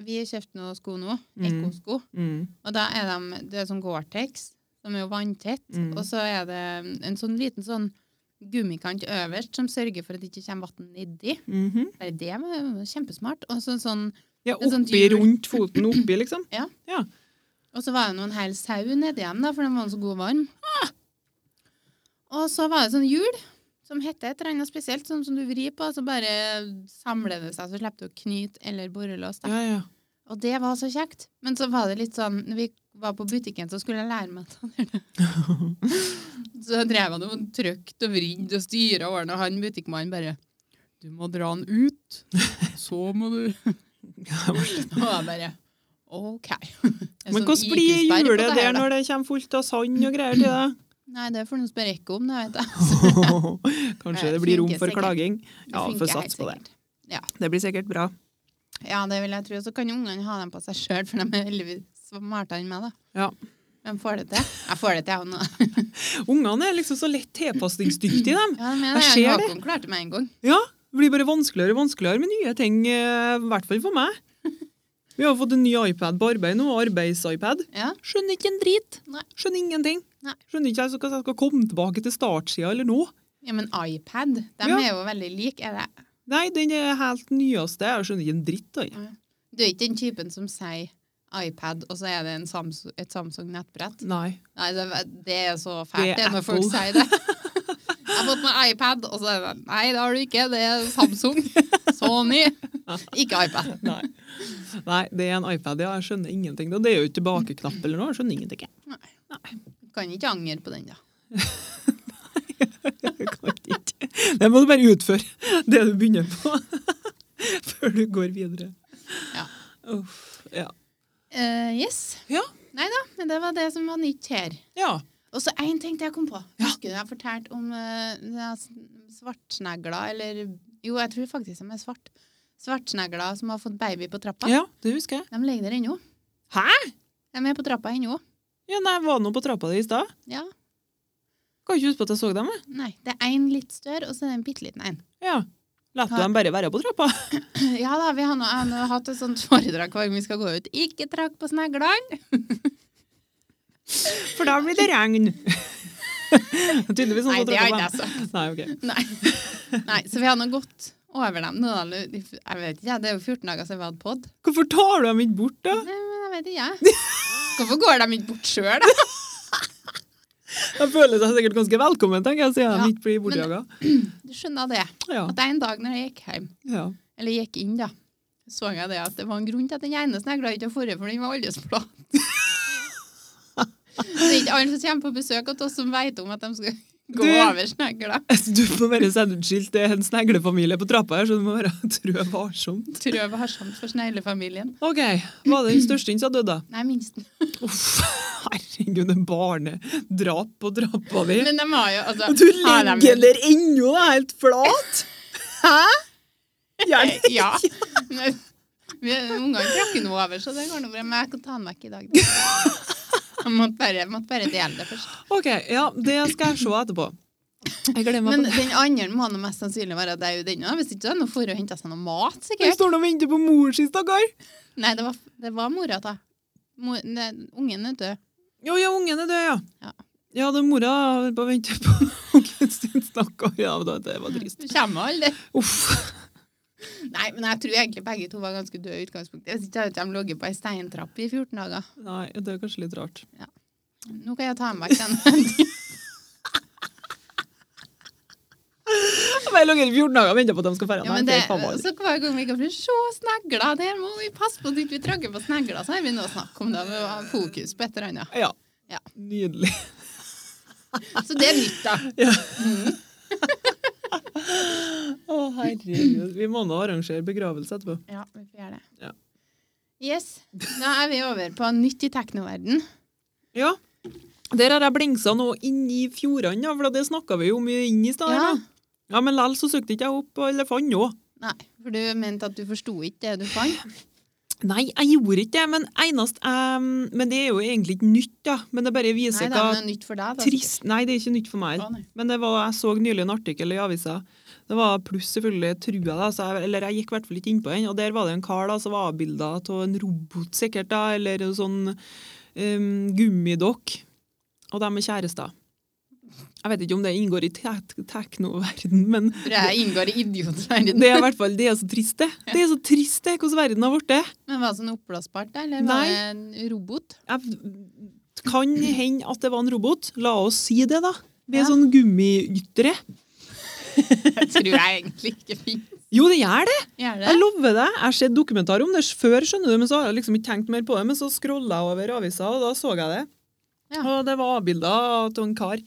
[SPEAKER 1] Vi kjøpte noen sko nå,
[SPEAKER 2] Mm.
[SPEAKER 1] Ekko-sko.
[SPEAKER 2] Mm.
[SPEAKER 1] Og da er de det er sånn Gore-Tex, som er jo vanntett.
[SPEAKER 2] Mm.
[SPEAKER 1] Og så er det en sånn liten sånn gummikant øverst som sørger for at det ikke kommer vann nedi.
[SPEAKER 2] Mhm.
[SPEAKER 1] Bare det var jo kjempesmart. Og så sånn,
[SPEAKER 2] Ja,
[SPEAKER 1] Det er sånn
[SPEAKER 2] oppi
[SPEAKER 1] dyr-
[SPEAKER 2] rundt foten, oppi, liksom.
[SPEAKER 1] og så var det noen hel sau nedi dem, da, for den var så god og varm. Ah! Og så var det sånn hjul som heter et eller annet spesielt, sånn som du vrir på, og så bare samler det seg, så slipper du å knyte eller borrelås. da.
[SPEAKER 2] Ja, ja.
[SPEAKER 1] Og det var så kjekt. Men så var det litt sånn Når vi var på butikken, så skulle jeg lære meg å ta det. Så drev han og trykte og vridde og styra årene, og han butikkmannen bare Du må dra den ut, så må du Og jeg bare OK. En
[SPEAKER 2] Men
[SPEAKER 1] sånn
[SPEAKER 2] hvordan blir
[SPEAKER 1] IQ-sperre på
[SPEAKER 2] hjulet der
[SPEAKER 1] her, da.
[SPEAKER 2] når det kommer fullt av sand og greier til det?
[SPEAKER 1] Nei, det får du spørre ikke om, det vet jeg.
[SPEAKER 2] Kanskje det blir rom
[SPEAKER 1] Funker
[SPEAKER 2] for
[SPEAKER 1] sikkert.
[SPEAKER 2] klaging?
[SPEAKER 1] Det
[SPEAKER 2] Ja,
[SPEAKER 1] funker
[SPEAKER 2] får
[SPEAKER 1] helt
[SPEAKER 2] satse på det.
[SPEAKER 1] sikkert.
[SPEAKER 2] Det blir sikkert bra.
[SPEAKER 1] Ja, det vil jeg tro. Så kan jo ungene ha dem på seg sjøl, for de er heldigvis smartere enn meg, da.
[SPEAKER 2] Ja.
[SPEAKER 1] De får det til. Jeg får det til, jeg òg.
[SPEAKER 2] Ungene er liksom så lett tilpasningsdyktige, dem.
[SPEAKER 1] Ja, men
[SPEAKER 2] Jeg
[SPEAKER 1] jeg,
[SPEAKER 2] ser
[SPEAKER 1] jeg,
[SPEAKER 2] det.
[SPEAKER 1] Håkon klarte meg en gang.
[SPEAKER 2] Ja, det blir bare vanskeligere og vanskeligere med nye ting, eh, i hvert fall for meg. Vi har fått en ny iPad på arbeid nå, arbeids-iPad.
[SPEAKER 1] Ja.
[SPEAKER 2] Skjønner ikke en drit.
[SPEAKER 1] Nei.
[SPEAKER 2] Skjønner ingenting.
[SPEAKER 1] Nei.
[SPEAKER 2] Skjønner ikke altså, hva jeg skal komme tilbake til startsida eller nå.
[SPEAKER 1] Ja, men iPad, de
[SPEAKER 2] Ja.
[SPEAKER 1] er jo veldig like. Er det?
[SPEAKER 2] Nei, den er helt nyeste. Jeg skjønner ikke en dritt. Da.
[SPEAKER 1] Du er ikke den typen som sier iPad, og så er det en Samsung, et Samsung-nettbrett.
[SPEAKER 2] Nei.
[SPEAKER 1] Nei, det, det er så
[SPEAKER 2] Det er
[SPEAKER 1] fælt det når folk
[SPEAKER 2] Apple.
[SPEAKER 1] sier det. Jeg har fått meg iPad, og så er det Nei, det har du ikke. Det er Samsung. Sony. Ikke iPad.
[SPEAKER 2] Nei. Nei, det er en iPad, ja. Jeg skjønner ingenting. Da. Det er jo ikke tilbakeknapp eller noe. Jeg skjønner ingenting. jeg.
[SPEAKER 1] Du kan ikke angre på den, da.
[SPEAKER 2] Jeg kan ikke. Det må du bare utføre, det du begynner på, før du går videre.
[SPEAKER 1] Ja.
[SPEAKER 2] Uff, ja.
[SPEAKER 1] Eh, yes.
[SPEAKER 2] Ja.
[SPEAKER 1] Nei da, men det var det som var nytt her.
[SPEAKER 2] ja.
[SPEAKER 1] Og så én ting til jeg kom på.
[SPEAKER 2] Ja.
[SPEAKER 1] Husker du jeg fortalte om eh, det er s- svartsnegler, eller Jo, jeg tror faktisk de er svart. Svartsnegler som har fått baby på trappa.
[SPEAKER 2] ja, det husker jeg.
[SPEAKER 1] De ligger der ennå.
[SPEAKER 2] Hæ?
[SPEAKER 1] De er på trappa ennå.
[SPEAKER 2] Ja, nei, jeg var nå på trappa di i stad.
[SPEAKER 1] Ja.
[SPEAKER 2] Kan ikke huske på at jeg så dem. jeg.
[SPEAKER 1] Nei, det er én litt større, og så er det en bitte liten en.
[SPEAKER 2] Ja. La
[SPEAKER 1] Hæ?
[SPEAKER 2] dem bare være på trappa.
[SPEAKER 1] Ja da, vi har nå jeg har nå hatt et sånt foredrag hver gang vi skal gå ut. Ikke trakk på sneglene!
[SPEAKER 2] For da blir det regn. Tydeligvis noen
[SPEAKER 1] Nei,
[SPEAKER 2] som
[SPEAKER 1] det har
[SPEAKER 2] tråkker på
[SPEAKER 1] ikke jeg altså.
[SPEAKER 2] meg.
[SPEAKER 1] sagt.
[SPEAKER 2] Nei, ok.
[SPEAKER 1] Nei. Nei, så vi har nå gått over dem. Nå, da. jeg vet ikke, det er jo 14 dager siden vi hadde pod.
[SPEAKER 2] Hvorfor tar du dem ikke bort, da?
[SPEAKER 1] Nei, men jeg vet ikke, jeg. Hvorfor går de ikke bort sjøl, da?
[SPEAKER 2] De føler seg sikkert ganske velkommen, tenker jeg, siden
[SPEAKER 1] Ja,
[SPEAKER 2] de ikke blir bortjaga.
[SPEAKER 1] Du skjønner det.
[SPEAKER 2] Ja,
[SPEAKER 1] At det er en dag når jeg gikk hjem,
[SPEAKER 2] ja.
[SPEAKER 1] eller gikk inn, da, så jeg det at det var en grunn til at den ene snegla ikke har forrige, for den var aldri så flat. Det er ikke alle som kommer på besøk hos oss som vet om at de skal gå
[SPEAKER 2] Du-
[SPEAKER 1] over snegla.
[SPEAKER 2] Altså, Du må være sende ut skilt. Det er en sneglefamilie på trappa her, så du må være trø varsom.
[SPEAKER 1] Tror jeg var sånn for sneglefamilien.
[SPEAKER 2] OK. Var det den største som døde, da?
[SPEAKER 1] Nei, minsten.
[SPEAKER 2] Uff, herregud, en barnedrap på trappa di.
[SPEAKER 1] Men de har jo altså,
[SPEAKER 2] Og du
[SPEAKER 1] har de-
[SPEAKER 2] ligger der ennå, da, helt flat! Hæ? Hjelp!
[SPEAKER 1] Ja. Men vi- Ungene trakk noe over, så det går nå bra. Men jeg kan ta den vekk i dag. Jeg måtte bare, jeg måtte bare dele det først.
[SPEAKER 2] OK, ja, det skal jeg se etterpå. Jeg glemmer
[SPEAKER 1] Men
[SPEAKER 2] at
[SPEAKER 1] den andre må nå mest sannsynlig være deg, den òg. Hvis ikke så er det noe for å hente seg noe mat,
[SPEAKER 2] Hun
[SPEAKER 1] sikkert.
[SPEAKER 2] står nå og venter på mor si, stakkar.
[SPEAKER 1] Nei, det var, det var mora, da. Mor, ne, ungen er død.
[SPEAKER 2] Jo, ja, ungen er død, ja.
[SPEAKER 1] Ja.
[SPEAKER 2] Ja, det er mora bare venter på ungen sin, stakkar. Ja, da, det var trist.
[SPEAKER 1] Det Kommer aldri.
[SPEAKER 2] Uff.
[SPEAKER 1] Nei, men jeg tror egentlig begge to var ganske døde i utgangspunktet. Hvis ikke hadde de ligget på ei steintrapp i 14 dager.
[SPEAKER 2] Nei, det er kanskje litt rart.
[SPEAKER 1] Nå kan jeg ta den vekk, den.
[SPEAKER 2] Jeg har ligget i 14 dager og venter på at de skal dra.
[SPEAKER 1] Ja, men det, så hver gang vi går for se snegler, der må vi passe på at vi ikke tråkker på snegler, så har vi noe å snakke om det, vi må ha fokus på et eller annet.
[SPEAKER 2] Ja.
[SPEAKER 1] Ja.
[SPEAKER 2] Nydelig.
[SPEAKER 1] Så det er nytt, da.
[SPEAKER 2] Ja. Å, herregud. Vi må nå arrangere begravelse etterpå.
[SPEAKER 1] Ja, vi får gjøre det.
[SPEAKER 2] Ja.
[SPEAKER 1] Yes, da er vi over på nytt i teknoverden.
[SPEAKER 2] Ja. Der har jeg blingsa nå inni fjordene, ja, for det snakka vi jo om inn i stad.
[SPEAKER 1] Ja.
[SPEAKER 2] her, da. ja, men likevel så søkte ikke jeg opp elefant nå.
[SPEAKER 1] Nei, for du mente at du forsto ikke det du fant.
[SPEAKER 2] Nei, jeg gjorde ikke det, men enest em, Men det er jo egentlig ikke nytt, da. Men det bare
[SPEAKER 1] Nei
[SPEAKER 2] viser
[SPEAKER 1] da,
[SPEAKER 2] hva
[SPEAKER 1] men det er nytt for deg, da.
[SPEAKER 2] trist Nei, det er ikke nytt for meg.
[SPEAKER 1] Å, nei.
[SPEAKER 2] Men det var, jeg så nylig en artikkel i avisa. Det var pluss selvfølgelig trua, da, så jeg, eller jeg gikk i hvert fall ikke innpå den. Og der var det en kar da, som var avbilda av en robot, sikkert, da, eller en sånn em, gummidokk. Og de er kjærester. Jeg vet ikke om det inngår i te- teknoverden, men
[SPEAKER 1] For jeg inngår i idiotverdenen.
[SPEAKER 2] det er i hvert fall det er så trist, det. Det er så trist, det, hvordan verden har blitt.
[SPEAKER 1] Men var det sånn oppblåsbart, da, eller var
[SPEAKER 2] Nei.
[SPEAKER 1] det en robot?
[SPEAKER 2] Jeg kan hende at det var en robot. La oss si det, da. Det er
[SPEAKER 1] Ja.
[SPEAKER 2] sånn gummiytre.
[SPEAKER 1] Jeg tror jeg egentlig ikke fikk
[SPEAKER 2] Jo, det gjør det!
[SPEAKER 1] gjøre det.
[SPEAKER 2] Jeg lover deg. Jeg har sett dokumentar om det før, skjønner du, men så har jeg liksom ikke tenkt mer på det. Men så scrolla jeg over avisa, og da så jeg det.
[SPEAKER 1] Ja.
[SPEAKER 2] Og det var avbilda av en kar,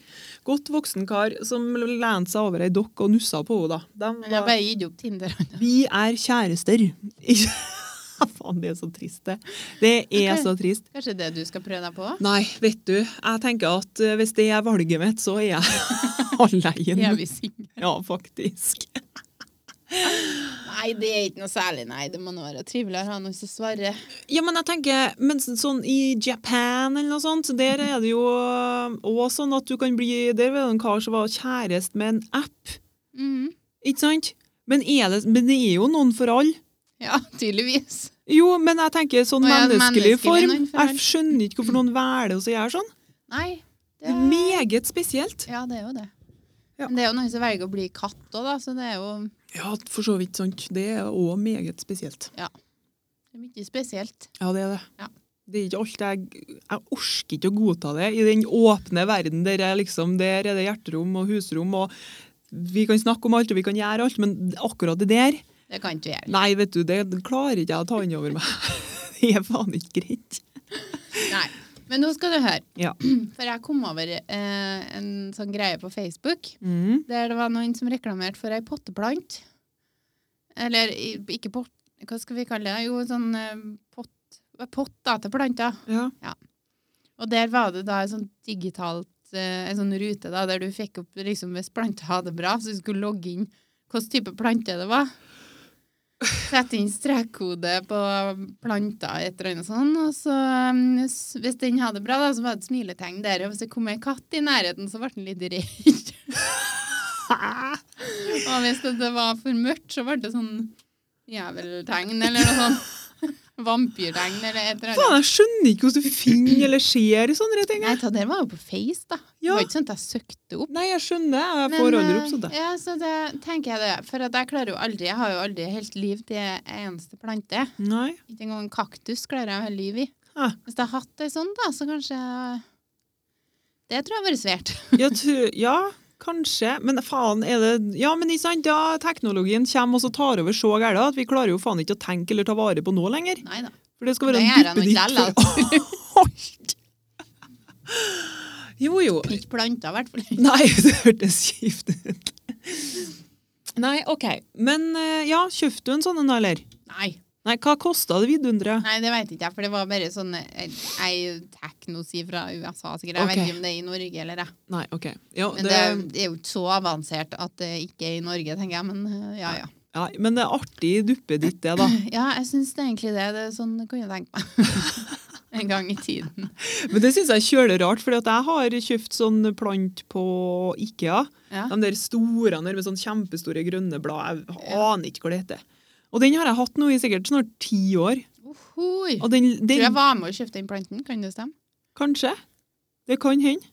[SPEAKER 2] godt voksen kar, som lente seg over ei dokk og nussa på henne. da. De
[SPEAKER 1] Men jeg
[SPEAKER 2] var,
[SPEAKER 1] bare gitt opp Tinder.
[SPEAKER 2] vi er kjærester. Faen, det er så trist, det. Det er
[SPEAKER 1] Ok.
[SPEAKER 2] så trist.
[SPEAKER 1] Kanskje det du skal prøve deg på?
[SPEAKER 2] Nei, vet du, jeg tenker at eh, hvis det er valget mitt, så er jeg
[SPEAKER 1] Er
[SPEAKER 2] alene.
[SPEAKER 1] vi single?
[SPEAKER 2] Ja, faktisk.
[SPEAKER 1] Nei, det er ikke noe særlig, nei. Det må nå være triveligere å ha noen som svarer.
[SPEAKER 2] Ja, men jeg tenker, men så- sånn i Japan eller noe sånt, der er det jo også sånn at du kan bli, der var det en kar som var kjærest med en app,
[SPEAKER 1] Mhm.
[SPEAKER 2] ikke sant? Men, er det, men det er jo noen for alle.
[SPEAKER 1] Ja, tydeligvis.
[SPEAKER 2] Jo, men jeg tenker sånn
[SPEAKER 1] Å ja,
[SPEAKER 2] menneskelig
[SPEAKER 1] menneskelig
[SPEAKER 2] form.
[SPEAKER 1] noen for alle.
[SPEAKER 2] Jeg skjønner ikke hvorfor noen velger å gjøre sånn.
[SPEAKER 1] Nei.
[SPEAKER 2] Det er meget spesielt.
[SPEAKER 1] Ja, det er jo det.
[SPEAKER 2] Ja.
[SPEAKER 1] Men det er jo noen som velger å bli katt òg, da, så det er jo
[SPEAKER 2] Ja, for så vidt sant. Det er også meget spesielt.
[SPEAKER 1] det er mye spesielt.
[SPEAKER 2] Ja, det er det.
[SPEAKER 1] Ja.
[SPEAKER 2] Det er ikke alt jeg, jeg orker ikke å godta det i den åpne verden der, jeg liksom, der er det hjerterom og husrom. og Vi kan snakke om alt og vi kan gjøre alt, men akkurat det der
[SPEAKER 1] Det kan ikke vi gjøre.
[SPEAKER 2] Nei, vet du, det klarer ikke jeg å ta inn over meg. Det er faen ikke greit.
[SPEAKER 1] Nei. Men nå skal du høre.
[SPEAKER 2] Ja.
[SPEAKER 1] For jeg kom over eh, en sånn greie på Facebook
[SPEAKER 2] Mm.
[SPEAKER 1] der det var noen som reklamerte for ei potteplant. Eller i- ikke pott... Hva skal vi kalle det? Jo, sånn eh, pott, pott da, til planter.
[SPEAKER 2] Ja.
[SPEAKER 1] Og der var det da en sånn digitalt eh, en sånn rute da, der du fikk opp liksom, hvis planta hadde det bra, så du skulle logge inn hvilken type plante det var. Sette inn strekkode på planta, et eller annet sånn. Og så, mm, s- hvis den hadde det bra, da, så var det et smiletegn der. Og hvis det kom en katt i nærheten, så ble den litt redd. og hvis det det var for mørkt, så ble det sånn jæveltegn eller noe sånt. Vampyrregn eller et eller annet.
[SPEAKER 2] Faen, jeg skjønner ikke hvordan du finner eller ser i sånne ting.
[SPEAKER 1] Nei, det der var jo på Face, da. Det
[SPEAKER 2] Ja.
[SPEAKER 1] var ikke sånn at jeg søkte opp.
[SPEAKER 2] Nei, jeg skjønner. Jeg
[SPEAKER 1] Men,
[SPEAKER 2] får aldri
[SPEAKER 1] eh,
[SPEAKER 2] opp sånn, sånt. jeg.
[SPEAKER 1] Ja, så det tenker jeg det. For at jeg klarer jo aldri, jeg har jo aldri helt liv til en eneste plante.
[SPEAKER 2] Nei.
[SPEAKER 1] Ikke engang en kaktus klarer jeg å holde liv i.
[SPEAKER 2] Ah.
[SPEAKER 1] Hvis jeg hadde hatt ei sånn, da, så kanskje jeg- Det tror jeg hadde vært svært.
[SPEAKER 2] Jeg tror, ja, kanskje. Men faen, er det Ja, men ikke sant, ja, teknologien kommer og så tar over så gærent at vi klarer jo faen ikke å tenke eller ta vare på noe lenger.
[SPEAKER 1] Nei da.
[SPEAKER 2] For det skal være
[SPEAKER 1] Det
[SPEAKER 2] en
[SPEAKER 1] gjør jeg nå ikke
[SPEAKER 2] duppeditt
[SPEAKER 1] lell,
[SPEAKER 2] for alt. Jo, jo.
[SPEAKER 1] Ikke planter, i hvert fall.
[SPEAKER 2] Nei, det hørtes kjipt ut. Nei, OK. Men eh, ja, kjøpte du en sånn en, eller?
[SPEAKER 1] Nei.
[SPEAKER 2] Nei, hva kosta det vidunderet?
[SPEAKER 1] Nei, det veit ikke jeg, for det var bare sånn ei ei teknosi fra USA, sikkert. Jeg vet
[SPEAKER 2] Ok.
[SPEAKER 1] ikke om det er i Norge eller det.
[SPEAKER 2] Nei, OK. Ja,
[SPEAKER 1] Men
[SPEAKER 2] det,
[SPEAKER 1] det, det er jo ikke så avansert at det ikke er i Norge, tenker jeg. Men øh, ja, ja.
[SPEAKER 2] ja, men det er artig duppeditt, det, da.
[SPEAKER 1] Ja, jeg syns egentlig det. Det er sånn kunne jeg tenke meg. en gang i tiden.
[SPEAKER 2] Men det syns jeg er kjølig rart, for jeg har kjøpt sånn plant på Ikea.
[SPEAKER 1] Ja.
[SPEAKER 2] De der store der med sånn kjempestore grønne blad. Jeg aner ikke hva det heter. Og den har jeg hatt nå i sikkert snart ti år.
[SPEAKER 1] Ohoi.
[SPEAKER 2] Og den,
[SPEAKER 1] Tror
[SPEAKER 2] den
[SPEAKER 1] jeg var med å kjøpe den planten, kan det stemme?
[SPEAKER 2] Kanskje. Det kan hende.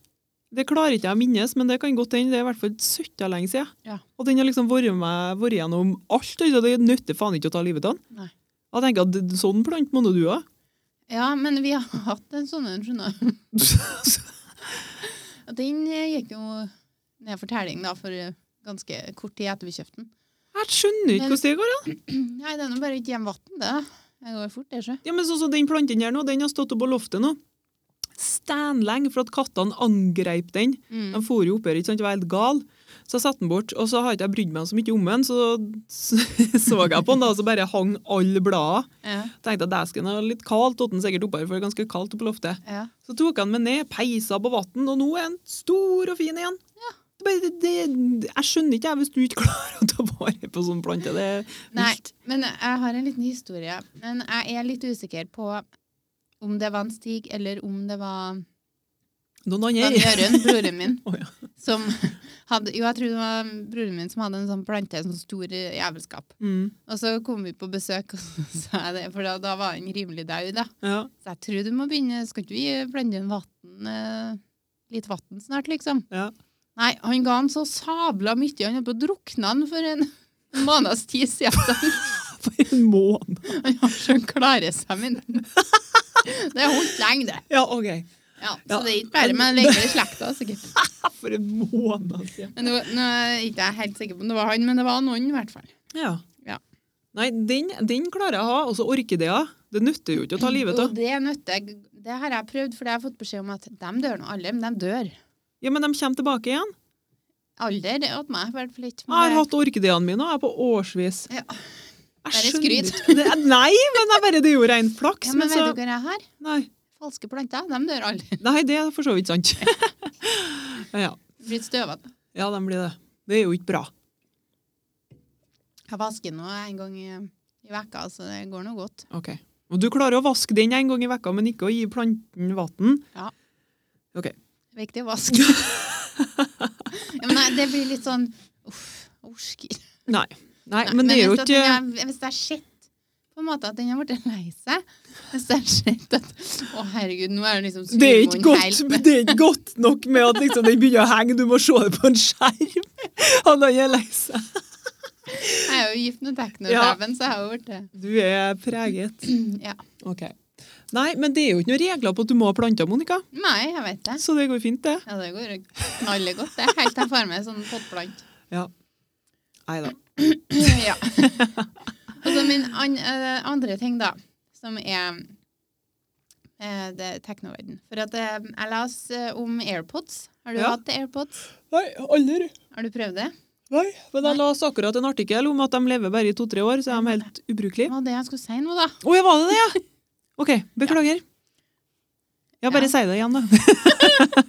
[SPEAKER 2] Det klarer ikke jeg å minnes, men det kan godt hende. Det er i hvert fall søtta lenge siden.
[SPEAKER 1] Ja.
[SPEAKER 2] Og den har liksom vært med vært gjennom alt. altså. Det nytter faen ikke å ta livet av den.
[SPEAKER 1] Nei.
[SPEAKER 2] Jeg tenker at d- sånn plant må nå du ha.
[SPEAKER 1] Ja, men vi har hatt en sånn en, skjønner du. Og Den eh, gikk jo ned for telling da, for eh, ganske kort tid etter vi kjøpte den.
[SPEAKER 2] Jeg skjønner ikke
[SPEAKER 1] Men-
[SPEAKER 2] hvordan det går. Ja.
[SPEAKER 1] Nei, den er bare ikke hjemme vann, det. Det går fort, det, sjø.
[SPEAKER 2] Ja, men sånn som Den planten her nå, den har stått oppe på loftet nå. Stanlenge for at kattene angreip den.
[SPEAKER 1] Mm.
[SPEAKER 2] De for jo opp her, ikke sant, jeg var helt gal. Så jeg satte den bort, og så har ikke jeg brydd meg så mye om den, så så jeg på den da, og så bare hang alle bladene.
[SPEAKER 1] Ja,
[SPEAKER 2] Tenkte at det skulle være litt kaldt, og den sikkert oppe her, for det er ganske kaldt oppe på loftet.
[SPEAKER 1] ja.
[SPEAKER 2] Så tok han meg ned, peisa på vann, og nå er han stor og fin igjen. Det, er bare- det, det, jeg skjønner ikke jeg, hvis du ikke klarer å ta vare på sånn plante. Det er
[SPEAKER 1] Nei,
[SPEAKER 2] vilt.
[SPEAKER 1] men jeg har en liten historie. Men jeg er litt usikker på om det var en Stig, eller om det var
[SPEAKER 2] Noen
[SPEAKER 1] Dan
[SPEAKER 2] andre
[SPEAKER 1] Jørund, broren min,
[SPEAKER 2] Å, ja.
[SPEAKER 1] som hadde Jo, jeg tror det var broren min som hadde en sånn plante, en sånn stor eh, jævelskap.
[SPEAKER 2] Mm,
[SPEAKER 1] Og så kom vi på besøk, og så sa jeg det, for da, da var han rimelig daud, da.
[SPEAKER 2] ja.
[SPEAKER 1] Så jeg tror du må begynne Skal ikke vi blande inn vann eh, Litt vann snart, liksom?
[SPEAKER 2] Ja.
[SPEAKER 1] Nei, han ga han så sabla mye. Han holdt på å drukne han for en en måneds tid siden.
[SPEAKER 2] For en måned.
[SPEAKER 1] Han har så klare seg, men Det holdt lenge, det.
[SPEAKER 2] Ja, OK.
[SPEAKER 1] Ja, så
[SPEAKER 2] Ja.
[SPEAKER 1] det er ikke bare med leker i slekta, sikkert.
[SPEAKER 2] For en måned siden.
[SPEAKER 1] Men nå, nå er jeg ikke jeg helt sikker på om det var han, men det var noen i hvert fall.
[SPEAKER 2] Ja.
[SPEAKER 1] Ja.
[SPEAKER 2] Nei, den, den klarer jeg å ha, og så orkideer. Det nytter jo ikke å ta livet
[SPEAKER 1] Og
[SPEAKER 2] av.
[SPEAKER 1] det nøtte jeg, det har jeg prøvd, for det har jeg fått beskjed om at de dør nå alle, men de dør.
[SPEAKER 2] Ja, men de kommer tilbake igjen.
[SPEAKER 1] Alder det er åt meg, i hvert fall ikke.
[SPEAKER 2] Jeg har hatt orkideene mine og jeg er på årsvis.
[SPEAKER 1] Ja.
[SPEAKER 2] Jeg
[SPEAKER 1] Bare
[SPEAKER 2] skjønner
[SPEAKER 1] skryt.
[SPEAKER 2] ikke- Det er- Nei, men jeg bare, det er jo ren flaks.
[SPEAKER 1] ja,
[SPEAKER 2] men
[SPEAKER 1] men vet
[SPEAKER 2] så,
[SPEAKER 1] du hva jeg har?
[SPEAKER 2] nei,
[SPEAKER 1] Falske planter, de dør aldri.
[SPEAKER 2] nei, det er for så vidt sant. ja,
[SPEAKER 1] Blir støvete.
[SPEAKER 2] ja, de blir det. Det er jo ikke bra.
[SPEAKER 1] Jeg vasker nå en gang i, i vekka, så det går nå godt.
[SPEAKER 2] Ok. Og du klarer å vaske den en gang i vekka, men ikke å gi planten vann.
[SPEAKER 1] Viktig å vaske. ja, men nei, det blir litt sånn uff, orsker.
[SPEAKER 2] Nei. Nei,
[SPEAKER 1] Nei,
[SPEAKER 2] men, det er jo
[SPEAKER 1] hvis at
[SPEAKER 2] ikke...
[SPEAKER 1] den er- Hvis det er sett på en måte at den har blitt lei seg Hvis det er sett at Å, herregud, nå er det liksom
[SPEAKER 2] Det er, ikke
[SPEAKER 1] skurvogn helt
[SPEAKER 2] godt,
[SPEAKER 1] med-
[SPEAKER 2] det er ikke godt nok med at liksom, den begynner å henge, du må se det på en skjerm. Han er lei seg.
[SPEAKER 1] Jeg er jo gift med
[SPEAKER 2] Ja.
[SPEAKER 1] teknodæven, så jeg har jo blitt det.
[SPEAKER 2] Du er preget.
[SPEAKER 1] Ja.
[SPEAKER 2] Ok. Nei, men det er jo ikke noen regler på at du må ha planter, Monica.
[SPEAKER 1] Nei, jeg vet det.
[SPEAKER 2] Så det går fint, det.
[SPEAKER 1] Ja, det går jo knallig godt. Det er helt til jeg får meg sånn pottplant.
[SPEAKER 2] Nei da.
[SPEAKER 1] Ja. Og så min an eh, andre ting, da, som er eh, det teknoverden. For at eh, jeg leste om AirPods. Har du
[SPEAKER 2] Ja.
[SPEAKER 1] hatt AirPods?
[SPEAKER 2] Nei, aldri.
[SPEAKER 1] Har du prøvd det?
[SPEAKER 2] Nei. Men
[SPEAKER 1] Nei.
[SPEAKER 2] jeg leste akkurat en artikkel om at de lever bare i to-tre år, så er de helt ubrukelige.
[SPEAKER 1] Hva var det jeg skulle si nå, da?
[SPEAKER 2] Å, ja, var det det, ja? OK, beklager. Ja, bare
[SPEAKER 1] Ja.
[SPEAKER 2] si det igjen, da.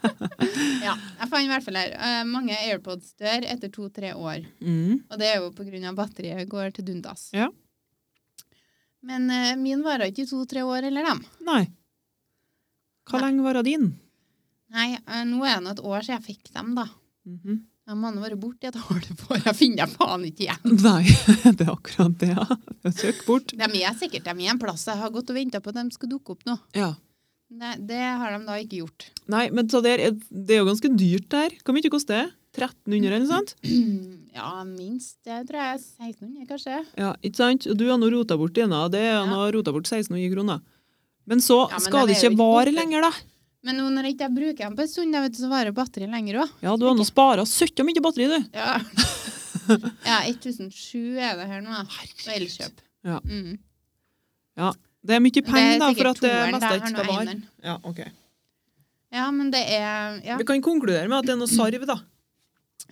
[SPEAKER 1] Ja, jeg fant i hvert fall her. eh, mange AirPods dør etter to-tre år.
[SPEAKER 2] Mm.
[SPEAKER 1] Og det er jo på grunn av batteriet går til dundas.
[SPEAKER 2] Ja.
[SPEAKER 1] Men eh, min varer ikke i to-tre år heller, dem.
[SPEAKER 2] Nei. Hva
[SPEAKER 1] Nei.
[SPEAKER 2] lenge varer din?
[SPEAKER 1] Nei, eh, nå er det nå et år siden jeg fikk dem, da.
[SPEAKER 2] Mhm.
[SPEAKER 1] Jeg Jeg må nå være borte i et halvt år, jeg finner deg faen ikke igjen.
[SPEAKER 2] Nei, det er akkurat det, ja. Søk bort.
[SPEAKER 1] De er sikkert de er en plass. Jeg har gått og venta på at de skal dukke opp nå.
[SPEAKER 2] Ja.
[SPEAKER 1] Nei, det har de da ikke gjort.
[SPEAKER 2] Nei, men så der, er- det er jo ganske dyrt der. Hvor mye koster det? 1300 eller
[SPEAKER 1] Mm.
[SPEAKER 2] noe sånt?
[SPEAKER 1] Ja, minst. Det tror jeg er 1600, kanskje.
[SPEAKER 2] Ja, ikke sant? Og du har nå rota bort dine, og det er
[SPEAKER 1] Ja.
[SPEAKER 2] nå rota bort 1600 kroner. Men så
[SPEAKER 1] Ja, men
[SPEAKER 2] skal
[SPEAKER 1] de er jo
[SPEAKER 2] det ikke
[SPEAKER 1] ikke
[SPEAKER 2] vare
[SPEAKER 1] borte.
[SPEAKER 2] lenger, da.
[SPEAKER 1] Men nå når jeg ikke bruker dem på en stund, da vet du, så varer batteriet lenger òg.
[SPEAKER 2] Ja, du har nå spara søkka mye batteri, du.
[SPEAKER 1] Ja. ja, 1007 er det her nå, da. Og Elkjøp.
[SPEAKER 2] Ja.
[SPEAKER 1] Mm.
[SPEAKER 2] Det er mye
[SPEAKER 1] Men det er
[SPEAKER 2] penger, da, for
[SPEAKER 1] sikkert
[SPEAKER 2] at eh, det
[SPEAKER 1] toeren, da.
[SPEAKER 2] meste
[SPEAKER 1] Jeg
[SPEAKER 2] ikke
[SPEAKER 1] har
[SPEAKER 2] skal
[SPEAKER 1] nå
[SPEAKER 2] vare.
[SPEAKER 1] eneren.
[SPEAKER 2] Ja, ok.
[SPEAKER 1] Ja, men det er ja.
[SPEAKER 2] Vi kan konkludere med at det er noe sarv, da.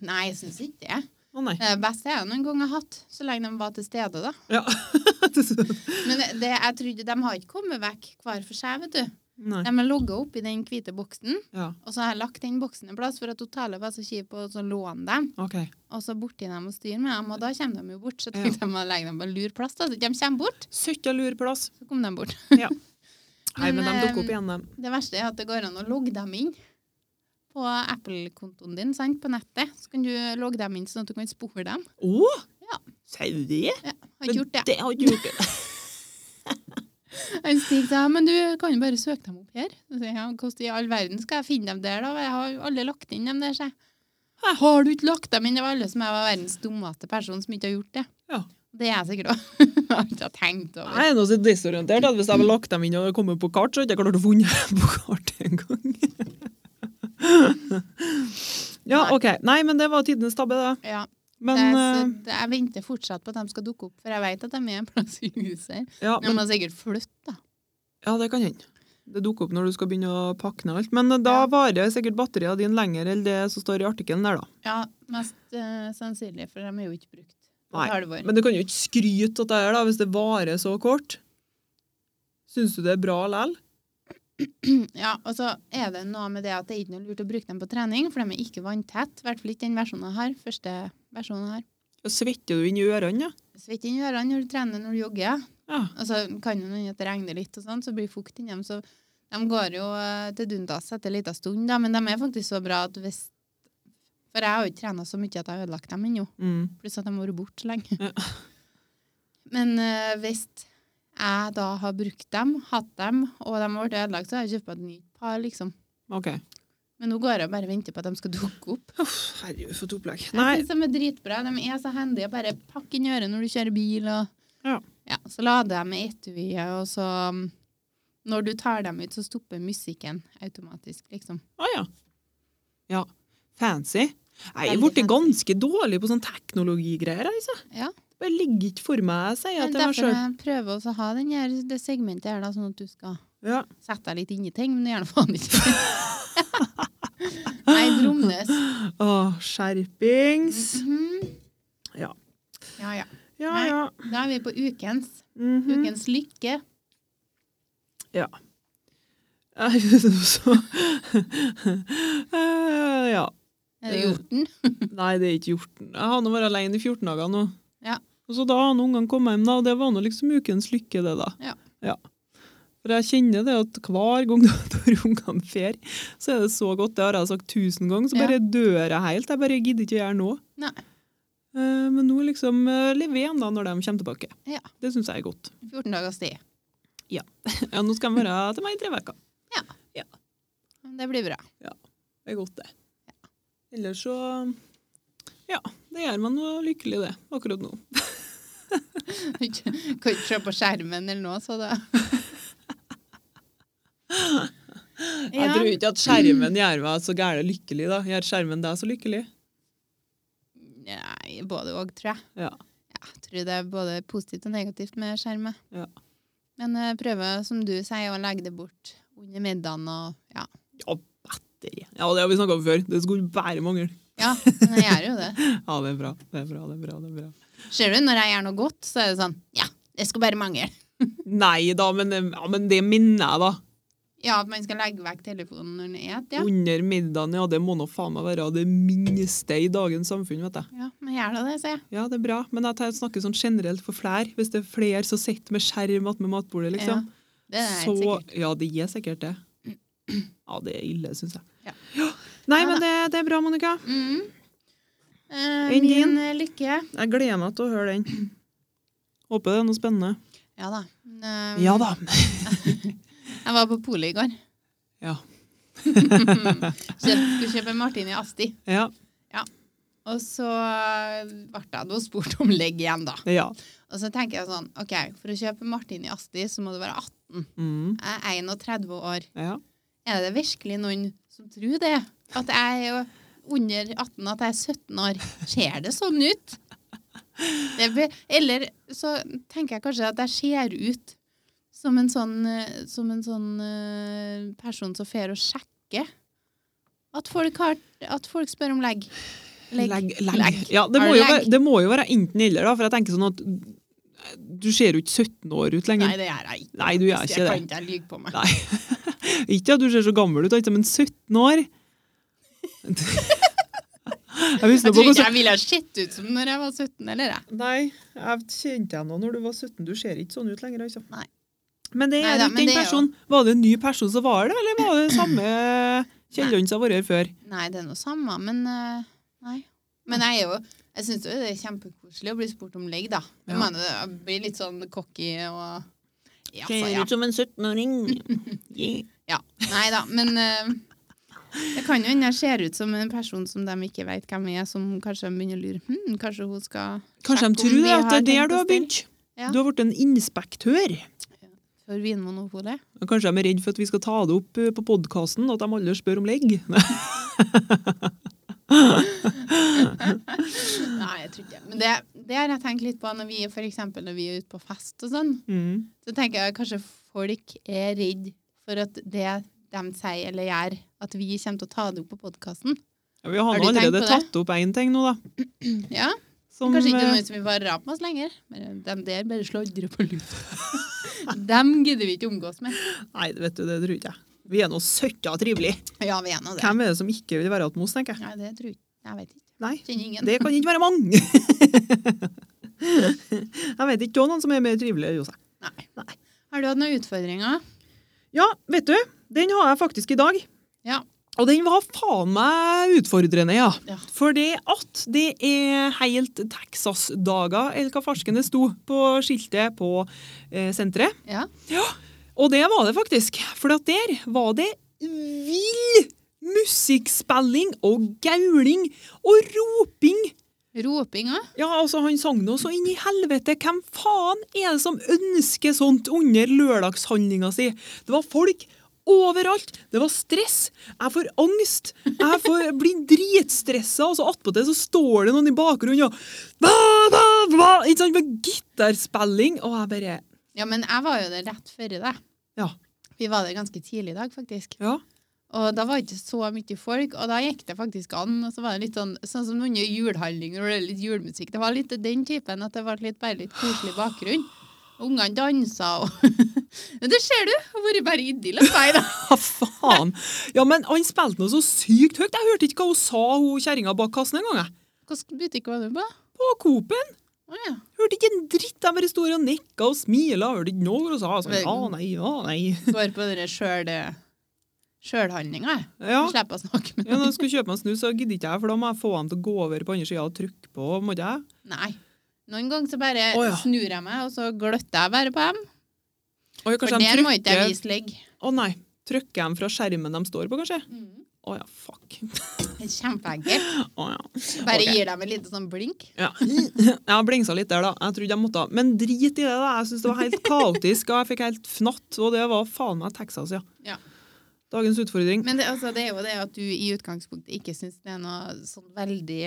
[SPEAKER 1] Nei, jeg syns ikke det.
[SPEAKER 2] Å nei.
[SPEAKER 1] Det beste jeg noen gang har hatt, så lenge de var til stede, da.
[SPEAKER 2] Ja.
[SPEAKER 1] Men det, det, jeg trodde de har ikke kommet vekk hver for seg, vet du.
[SPEAKER 2] nei.
[SPEAKER 1] De er logga opp i den hvite boksen,
[SPEAKER 2] Ja,
[SPEAKER 1] og så har jeg lagt den boksen en plass, for at hotellet var så kjip, og så låne dem.
[SPEAKER 2] ok.
[SPEAKER 1] Og så borti dem og styre med dem, og da kommer de jo bort. Så tenkte jeg å legge dem på en lur plass, da. Så ikke de kommer bort.
[SPEAKER 2] Søkka lur plass.
[SPEAKER 1] Så kom de bort.
[SPEAKER 2] Nei, men
[SPEAKER 1] Men,
[SPEAKER 2] de dukker opp
[SPEAKER 1] eh,
[SPEAKER 2] igjen, dem.
[SPEAKER 1] Det verste er at det går an å logge dem inn på Apple-kontoen din sant? på nettet. Så kan du logge dem inn sånn at du kan spore dem.
[SPEAKER 2] Å!
[SPEAKER 1] Ja.
[SPEAKER 2] Sier du det?
[SPEAKER 1] Har ikke gjort det.
[SPEAKER 2] har ikke gjort det.
[SPEAKER 1] Han Stig sa men du kan jo bare søke dem opp her. Så sier jeg, «Ja, Hvordan i all verden skal jeg finne dem der, da? Jeg har jo alle lagt inn dem der, sier jeg. «Hæ, Har du ikke lagt dem inn? Det var alle som jeg var verdens dummeste person som ikke har gjort det.
[SPEAKER 2] Ja.
[SPEAKER 1] Det er jeg sikkert òg. Jeg har ikke tenkt over
[SPEAKER 2] Nei, nå er jeg desorientert. at Hvis jeg hadde lagt dem inn og kommet på kart, så hadde jeg ikke klart å funne dem på kart engang. ja,
[SPEAKER 1] Nei.
[SPEAKER 2] OK. Nei, men det var tidenes tabbe, det.
[SPEAKER 1] Ja, det,
[SPEAKER 2] Men, eh,
[SPEAKER 1] er- så det, jeg venter fortsatt på at de skal dukke opp, for jeg vet at de er en plass i huset her.
[SPEAKER 2] eh, ja,
[SPEAKER 1] De
[SPEAKER 2] men
[SPEAKER 1] må sikkert flytte, da.
[SPEAKER 2] ja, det kan hende. Det dukker opp når du skal begynne å pakke ned alt. Men eh,
[SPEAKER 1] Ja.
[SPEAKER 2] da varer sikkert batteriene dine lenger enn det som står i artikkelen der, da.
[SPEAKER 1] Ja, mest eh, sannsynlig, for de er jo ikke brukt. på
[SPEAKER 2] Nei,
[SPEAKER 1] et halvår.
[SPEAKER 2] Men du kan jo ikke skryte av det her, da, hvis det varer så kort. Syns du det er bra likevel?
[SPEAKER 1] Ja, og så er det noe med det at det er ikke noe lurt å bruke dem på trening, for de er ikke vanntett. I hvert fall ikke den versjonen jeg har. Første versjonen jeg har.
[SPEAKER 2] Ja, Svetter du inn i ørene, ja?
[SPEAKER 1] Svett inn i ørene når du trener når du jogger.
[SPEAKER 2] ja?
[SPEAKER 1] Og så kan jo noen at det regner litt, og sånn, så blir fukt inni dem. Så de går jo eh, til dundas etter en liten stund, da, men de er faktisk så bra at hvis For jeg har jo ikke trena så mye at jeg har ødelagt dem ennå.
[SPEAKER 2] Mm.
[SPEAKER 1] Pluss at de har vært borte så lenge.
[SPEAKER 2] Ja.
[SPEAKER 1] Men eh, hvis jeg da har brukt dem, hatt dem, og de har blitt ødelagt, så har jeg kjøpt meg et nytt par, liksom.
[SPEAKER 2] OK.
[SPEAKER 1] Men nå går jeg og bare og venter på at de skal dukke opp.
[SPEAKER 2] Uff, herregud, for et opplegg.
[SPEAKER 1] Jeg
[SPEAKER 2] Nei,
[SPEAKER 1] synes de er dritbra. De er så handige. Bare pakk inn i øret når du kjører bil. Og...
[SPEAKER 2] Ja.
[SPEAKER 1] så lader jeg med etuiet, og så um, Når du tar dem ut, så stopper musikken automatisk, liksom.
[SPEAKER 2] Å ja. Ja. Fancy. Nei, jeg
[SPEAKER 1] Veldig
[SPEAKER 2] er blitt
[SPEAKER 1] fancy.
[SPEAKER 2] ganske dårlig på sånn teknologigreier. Altså.
[SPEAKER 1] Ja.
[SPEAKER 2] Det bare ligger ikke for meg, jeg sier jeg
[SPEAKER 1] Men
[SPEAKER 2] til meg
[SPEAKER 1] derfor
[SPEAKER 2] sjøl.
[SPEAKER 1] jeg prøver også å ha den her, det segmentet her, da, sånn at du skal
[SPEAKER 2] Ja.
[SPEAKER 1] sette deg litt inn i ting, men gjerne faen ikke. Nei, Dromnes.
[SPEAKER 2] Å, skjerpings.
[SPEAKER 1] Mhm.
[SPEAKER 2] Ja.
[SPEAKER 1] ja, ja.
[SPEAKER 2] Ja,
[SPEAKER 1] Nei.
[SPEAKER 2] ja.
[SPEAKER 1] Da er vi på ukens.
[SPEAKER 2] Mhm.
[SPEAKER 1] Ukens lykke.
[SPEAKER 2] Nei, så Eh, Ja.
[SPEAKER 1] Er det hjorten?
[SPEAKER 2] Nei, det er ikke hjorten. Jeg har nå vært alene i 14 dager nå.
[SPEAKER 1] Ja.
[SPEAKER 2] Og så da har nå ungene kommet hjem, da, og det var nå liksom ukens lykke, det, da.
[SPEAKER 1] Ja.
[SPEAKER 2] For jeg kjenner det at hver gang når ungene fer, så er det så godt. Det har jeg sagt tusen ganger, så
[SPEAKER 1] Ja.
[SPEAKER 2] bare dør jeg helt. Jeg bare gidder ikke å gjøre noe.
[SPEAKER 1] Nei.
[SPEAKER 2] Eh, Men nå liksom eh, lever igjen da når de kommer tilbake.
[SPEAKER 1] Ja.
[SPEAKER 2] Det syns jeg er godt.
[SPEAKER 1] 14 dagers tid.
[SPEAKER 2] Ja, nå skal de være til meg i tre uker.
[SPEAKER 1] Men Det blir bra.
[SPEAKER 2] Det er godt, det. Ellers så Ja, det gjør meg noe lykkelig, det, akkurat nå.
[SPEAKER 1] Kan ikke kan ikke se på skjermen eller noe, så da
[SPEAKER 2] Jeg
[SPEAKER 1] Ja.
[SPEAKER 2] tror ikke at skjermen gjør meg så gære lykkelig, da. Gjør skjermen deg så lykkelig?
[SPEAKER 1] Nei, både òg, tror jeg.
[SPEAKER 2] Ja.
[SPEAKER 1] Ja, Jeg tror det er både positivt og negativt med skjermen.
[SPEAKER 2] Ja.
[SPEAKER 1] Men jeg prøver, som du sier, å legge det bort under middagen og ja.
[SPEAKER 2] Ja, batteri. Ja, det har vi snakka om før. Det skulle bare mangle.
[SPEAKER 1] ja, men jeg gjør jo det.
[SPEAKER 2] Ja, det er bra. Det er bra, det er bra. det er bra.
[SPEAKER 1] Ser du, når jeg gjør noe godt, så er det sånn Ja, det skal bare mangle.
[SPEAKER 2] Nei da, men, ja, men det minner jeg, da.
[SPEAKER 1] Ja, at man skal legge vekk telefonen når man spiser, ja.
[SPEAKER 2] Under middagen, ja, det må nå faen meg være det minste i dagens samfunn, vet jeg.
[SPEAKER 1] Ja, men gjør da det, sier jeg.
[SPEAKER 2] Ja, det er bra, men jeg tar- snakker sånn generelt for flere. Hvis det er flere som sitter med skjerm attmed matbordet, liksom.
[SPEAKER 1] Ja, det er helt
[SPEAKER 2] så,
[SPEAKER 1] sikkert.
[SPEAKER 2] Ja, det er sikkert det. Ja, det er ille, syns jeg.
[SPEAKER 1] Ja.
[SPEAKER 2] Nei,
[SPEAKER 1] Ja,
[SPEAKER 2] men det, det er bra, Monica.
[SPEAKER 1] Mhm. Eh,
[SPEAKER 2] Enn din?
[SPEAKER 1] min eh, lykke.
[SPEAKER 2] Jeg gleder meg til å høre den. Håper det er noe spennende.
[SPEAKER 1] Ja da. Eh,
[SPEAKER 2] Ja da.
[SPEAKER 1] Jeg var på polet i går.
[SPEAKER 2] Ja.
[SPEAKER 1] Kjøpt- Skulle kjøpe en martini asti.
[SPEAKER 2] Ja.
[SPEAKER 1] Og så ble jeg nå spurt om legg igjen, da.
[SPEAKER 2] ja.
[SPEAKER 1] Og så tenker jeg sånn, ok, for å kjøpe martini asti, så må du være 18.
[SPEAKER 2] Mm.
[SPEAKER 1] Jeg er 31 år.
[SPEAKER 2] ja.
[SPEAKER 1] Er det virkelig noen som tror det? At jeg er jo under 18, at jeg er 17 år. Ser det sånn ut? Det be, eller så tenker jeg kanskje at jeg ser ut som en sånn, eh, som en sånn eh, person som fer og sjekker at folk, har, at folk spør om legg.
[SPEAKER 2] Legg. legg.
[SPEAKER 1] Legg.
[SPEAKER 2] Ja, det
[SPEAKER 1] Har
[SPEAKER 2] må,
[SPEAKER 1] du
[SPEAKER 2] jo
[SPEAKER 1] legg?
[SPEAKER 2] være, det må jo være enten eller, da, for jeg tenker sånn at du ser jo ikke 17 år ut lenger.
[SPEAKER 1] Nei, det gjør jeg ikke.
[SPEAKER 2] Nei, du gjør
[SPEAKER 1] Hvis
[SPEAKER 2] ikke
[SPEAKER 1] jeg
[SPEAKER 2] det.
[SPEAKER 1] kan ikke jeg lyver på meg.
[SPEAKER 2] Nei. Ikke at du ser så gammel ut, altså, men 17 år Jeg husker
[SPEAKER 1] Jeg tror
[SPEAKER 2] på
[SPEAKER 1] ikke
[SPEAKER 2] hvordan
[SPEAKER 1] jeg ville ha sett ut som når jeg var 17, eller jeg.
[SPEAKER 2] Nei, jeg kjente deg nå når du var 17. Du ser ikke sånn ut lenger, altså.
[SPEAKER 1] Nei.
[SPEAKER 2] Men det er
[SPEAKER 1] Neida,
[SPEAKER 2] ikke
[SPEAKER 1] men det
[SPEAKER 2] den
[SPEAKER 1] er jo-
[SPEAKER 2] personen. Var det en ny person som var det, eller var det samme Kjelland som har vært her før?
[SPEAKER 1] Nei, det er noe samme, men eh, nei. Men jeg er jo Jeg syns jo det er kjempekoselig å bli spurt om legg, da. Jeg
[SPEAKER 2] Ja.
[SPEAKER 1] mener, jeg blir litt sånn cocky og Ja, så ja.
[SPEAKER 2] ut som en 17-åring. Yeah.
[SPEAKER 1] ja. Nei da, men eh, det kan jo hende jeg ser ut som en person som de ikke vet hvem er, som kanskje de begynner å lure hm, Kanskje hun skal sjekke
[SPEAKER 2] Kanskje de
[SPEAKER 1] om
[SPEAKER 2] tror
[SPEAKER 1] vi
[SPEAKER 2] det at det er
[SPEAKER 1] tenkt
[SPEAKER 2] der du
[SPEAKER 1] å
[SPEAKER 2] har
[SPEAKER 1] stille
[SPEAKER 2] begynt.
[SPEAKER 1] Ja.
[SPEAKER 2] Du har blitt en inspektør.
[SPEAKER 1] For Vinmonopolet?
[SPEAKER 2] Og Kanskje de er redd for at vi skal ta det opp eh, på podkasten, at de alle spør om legg.
[SPEAKER 1] Nei, jeg tror ikke det. Men det, det har jeg tenkt litt på når vi, for eksempel, når vi er ute på fest og sånn.
[SPEAKER 2] Mm.
[SPEAKER 1] Så tenker jeg kanskje folk er redd for at det de sier eller gjør, at vi kommer til å ta det opp på podkasten.
[SPEAKER 2] Ja, vi har,
[SPEAKER 1] Har
[SPEAKER 2] nå
[SPEAKER 1] du tenkt på
[SPEAKER 2] allerede
[SPEAKER 1] det?
[SPEAKER 2] tatt opp én ting nå, da.
[SPEAKER 1] Ja,
[SPEAKER 2] Som,
[SPEAKER 1] Kanskje ikke
[SPEAKER 2] eh,
[SPEAKER 1] noen som vil bare rape oss lenger. Men de der bare sladrer på luft. Dem gidder vi ikke omgås med.
[SPEAKER 2] Nei, vet du, det tror ikke jeg. Vi er nå søkka trivelige.
[SPEAKER 1] Ja, vi er nå det.
[SPEAKER 2] Hvem er det som ikke vil være hos oss, tenker jeg.
[SPEAKER 1] Nei, det tror jeg ikke. Jeg vet ikke.
[SPEAKER 2] Nei,
[SPEAKER 1] Kjenner ingen.
[SPEAKER 2] det kan ikke være mange. jeg vet ikke noen som er mer trivelig enn Josef.
[SPEAKER 1] Nei.
[SPEAKER 2] Nei.
[SPEAKER 1] Har du hatt noen utfordringer?
[SPEAKER 2] Ja, vet du, den har jeg faktisk i dag.
[SPEAKER 1] Ja.
[SPEAKER 2] Og den var faen meg utfordrende, ja.
[SPEAKER 1] Ja.
[SPEAKER 2] Fordi at det er helt Texas-dager, eller hva farsken det sto på skiltet på eh, senteret.
[SPEAKER 1] Ja.
[SPEAKER 2] Og det var det faktisk. For at der var det vill musikkspilling og gauling og roping.
[SPEAKER 1] Roping òg?
[SPEAKER 2] Ja, altså Han sang nå så inn i helvete. Hvem faen er det som ønsker sånt under lørdagshandlinga si? Det var folk overalt. Det var stress. Jeg får angst. Jeg får blir dritstressa, og så attpåtil så står det noen i bakgrunnen og ba, ba, ba, Ikke sant? Med gitarspilling. Og jeg bare
[SPEAKER 1] Ja, men jeg var jo der rett før deg.
[SPEAKER 2] Ja.
[SPEAKER 1] Vi var der ganske tidlig i dag, faktisk.
[SPEAKER 2] Ja.
[SPEAKER 1] Og da var det ikke så mye folk, og da gikk det faktisk an. Og så var det litt sånn, sånn som under julehandlinger hvor det er litt julemusikk. Det var litt den typen at det var litt, bare litt koselig bakgrunn. Ungene dansa og Men det ser du! Det har vært bare idyll hos meg, da.
[SPEAKER 2] Hva faen? Ja, men han spilte noe så sykt høyt. Jeg hørte ikke hva hun sa, hun kjerringa bak kassen engang. jeg.
[SPEAKER 1] Hvilken butikk var du på?
[SPEAKER 2] På Coop-en.
[SPEAKER 1] Å ja.
[SPEAKER 2] Hørte ikke en dritt. De bare sto her og nikka og smila. Hørte ikke noe og sa sånn ja, nei, ja, nei.
[SPEAKER 1] Går på den sjøl... eh, Sjølhandlinga, jeg.
[SPEAKER 2] Ja.
[SPEAKER 1] Så Slipper jeg å snakke med
[SPEAKER 2] ja, når jeg skulle kjøpe meg en snus, så gidder ikke jeg, for da må jeg få dem til å gå over på andre sida og trykke på. måtte jeg?
[SPEAKER 1] Nei. Noen ganger så bare
[SPEAKER 2] Å ja.
[SPEAKER 1] snur jeg meg, og så gløtter jeg bare på dem.
[SPEAKER 2] Oi,
[SPEAKER 1] For
[SPEAKER 2] kanskje de
[SPEAKER 1] der må ikke jeg
[SPEAKER 2] trykker
[SPEAKER 1] vise legg.
[SPEAKER 2] Å nei. Trykker de fra skjermen de står på, kanskje?
[SPEAKER 1] Mm.
[SPEAKER 2] Å ja, fuck.
[SPEAKER 1] Det er Kjempeenkelt.
[SPEAKER 2] Å ja.
[SPEAKER 1] Bare
[SPEAKER 2] Ok.
[SPEAKER 1] gir dem et lite sånn blink.
[SPEAKER 2] Ja. Jeg blingsa litt der, da. Jeg trodde jeg måtte. Men drit i det, da. Jeg syns det var helt kaotisk, og jeg fikk helt fnatt. Og det var faen meg Texas, ja.
[SPEAKER 1] Ja.
[SPEAKER 2] Dagens utfordring.
[SPEAKER 1] Men det, altså, det er jo det at du i utgangspunktet ikke syns det er noe sånn veldig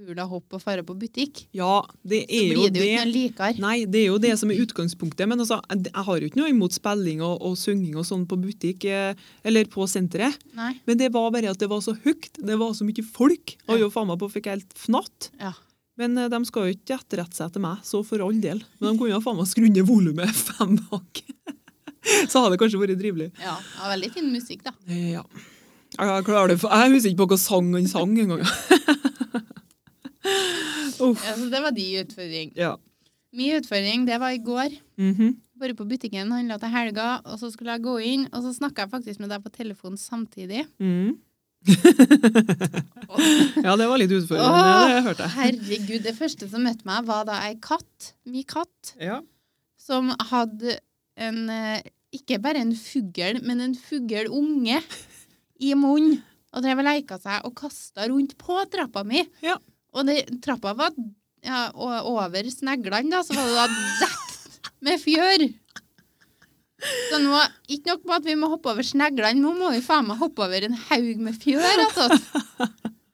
[SPEAKER 1] hula hopp å fare på butikk.
[SPEAKER 2] Ja, det
[SPEAKER 1] Så
[SPEAKER 2] er jo
[SPEAKER 1] blir det jo ikke noe likere.
[SPEAKER 2] Nei, det er jo det som er utgangspunktet. Men altså, jeg jeg har jo ikke noe imot spilling og, og synging og sånn på butikk eh, eller på senteret.
[SPEAKER 1] Nei.
[SPEAKER 2] Men det var bare at det var så høyt. Det var så mye folk. Og jo faen meg på fikk jeg helt fnatt.
[SPEAKER 1] Ja.
[SPEAKER 2] Men eh, de skal jo ikke etterrette seg etter meg, så for all del. Men de kunne jo faen meg skru ned volumet fem hakk. Så hadde det kanskje vært trivelig.
[SPEAKER 1] ja. ja veldig fin musikk, da.
[SPEAKER 2] Eh, Ja. Jeg, klarer det. for- jeg husker ikke på hva sang han sang engang. Uff.
[SPEAKER 1] Ja, så det var de utfordring.
[SPEAKER 2] Ja.
[SPEAKER 1] Min utfordring, det var i går.
[SPEAKER 2] Mhm.
[SPEAKER 1] Bare på butikken, handla til helga, og så skulle jeg gå inn, og så snakka jeg faktisk med deg på telefon samtidig.
[SPEAKER 2] Mhm. Ja, det var litt utfordrende,
[SPEAKER 1] Åh,
[SPEAKER 2] det hørte jeg.
[SPEAKER 1] herregud. Det første som møtte meg, var da ei katt, min katt,
[SPEAKER 2] Ja.
[SPEAKER 1] som hadde en eh, Ikke bare en fugl, men en fuglunge i munnen. Og drev og leika seg og kasta rundt på trappa mi.
[SPEAKER 2] Ja.
[SPEAKER 1] Og det, trappa var ja, o- over sneglene, da, så var det da dekt med fjør. Så nå, ikke nok med at vi må hoppe over sneglene, nå må vi faen meg hoppe over en haug med fjør. Altså.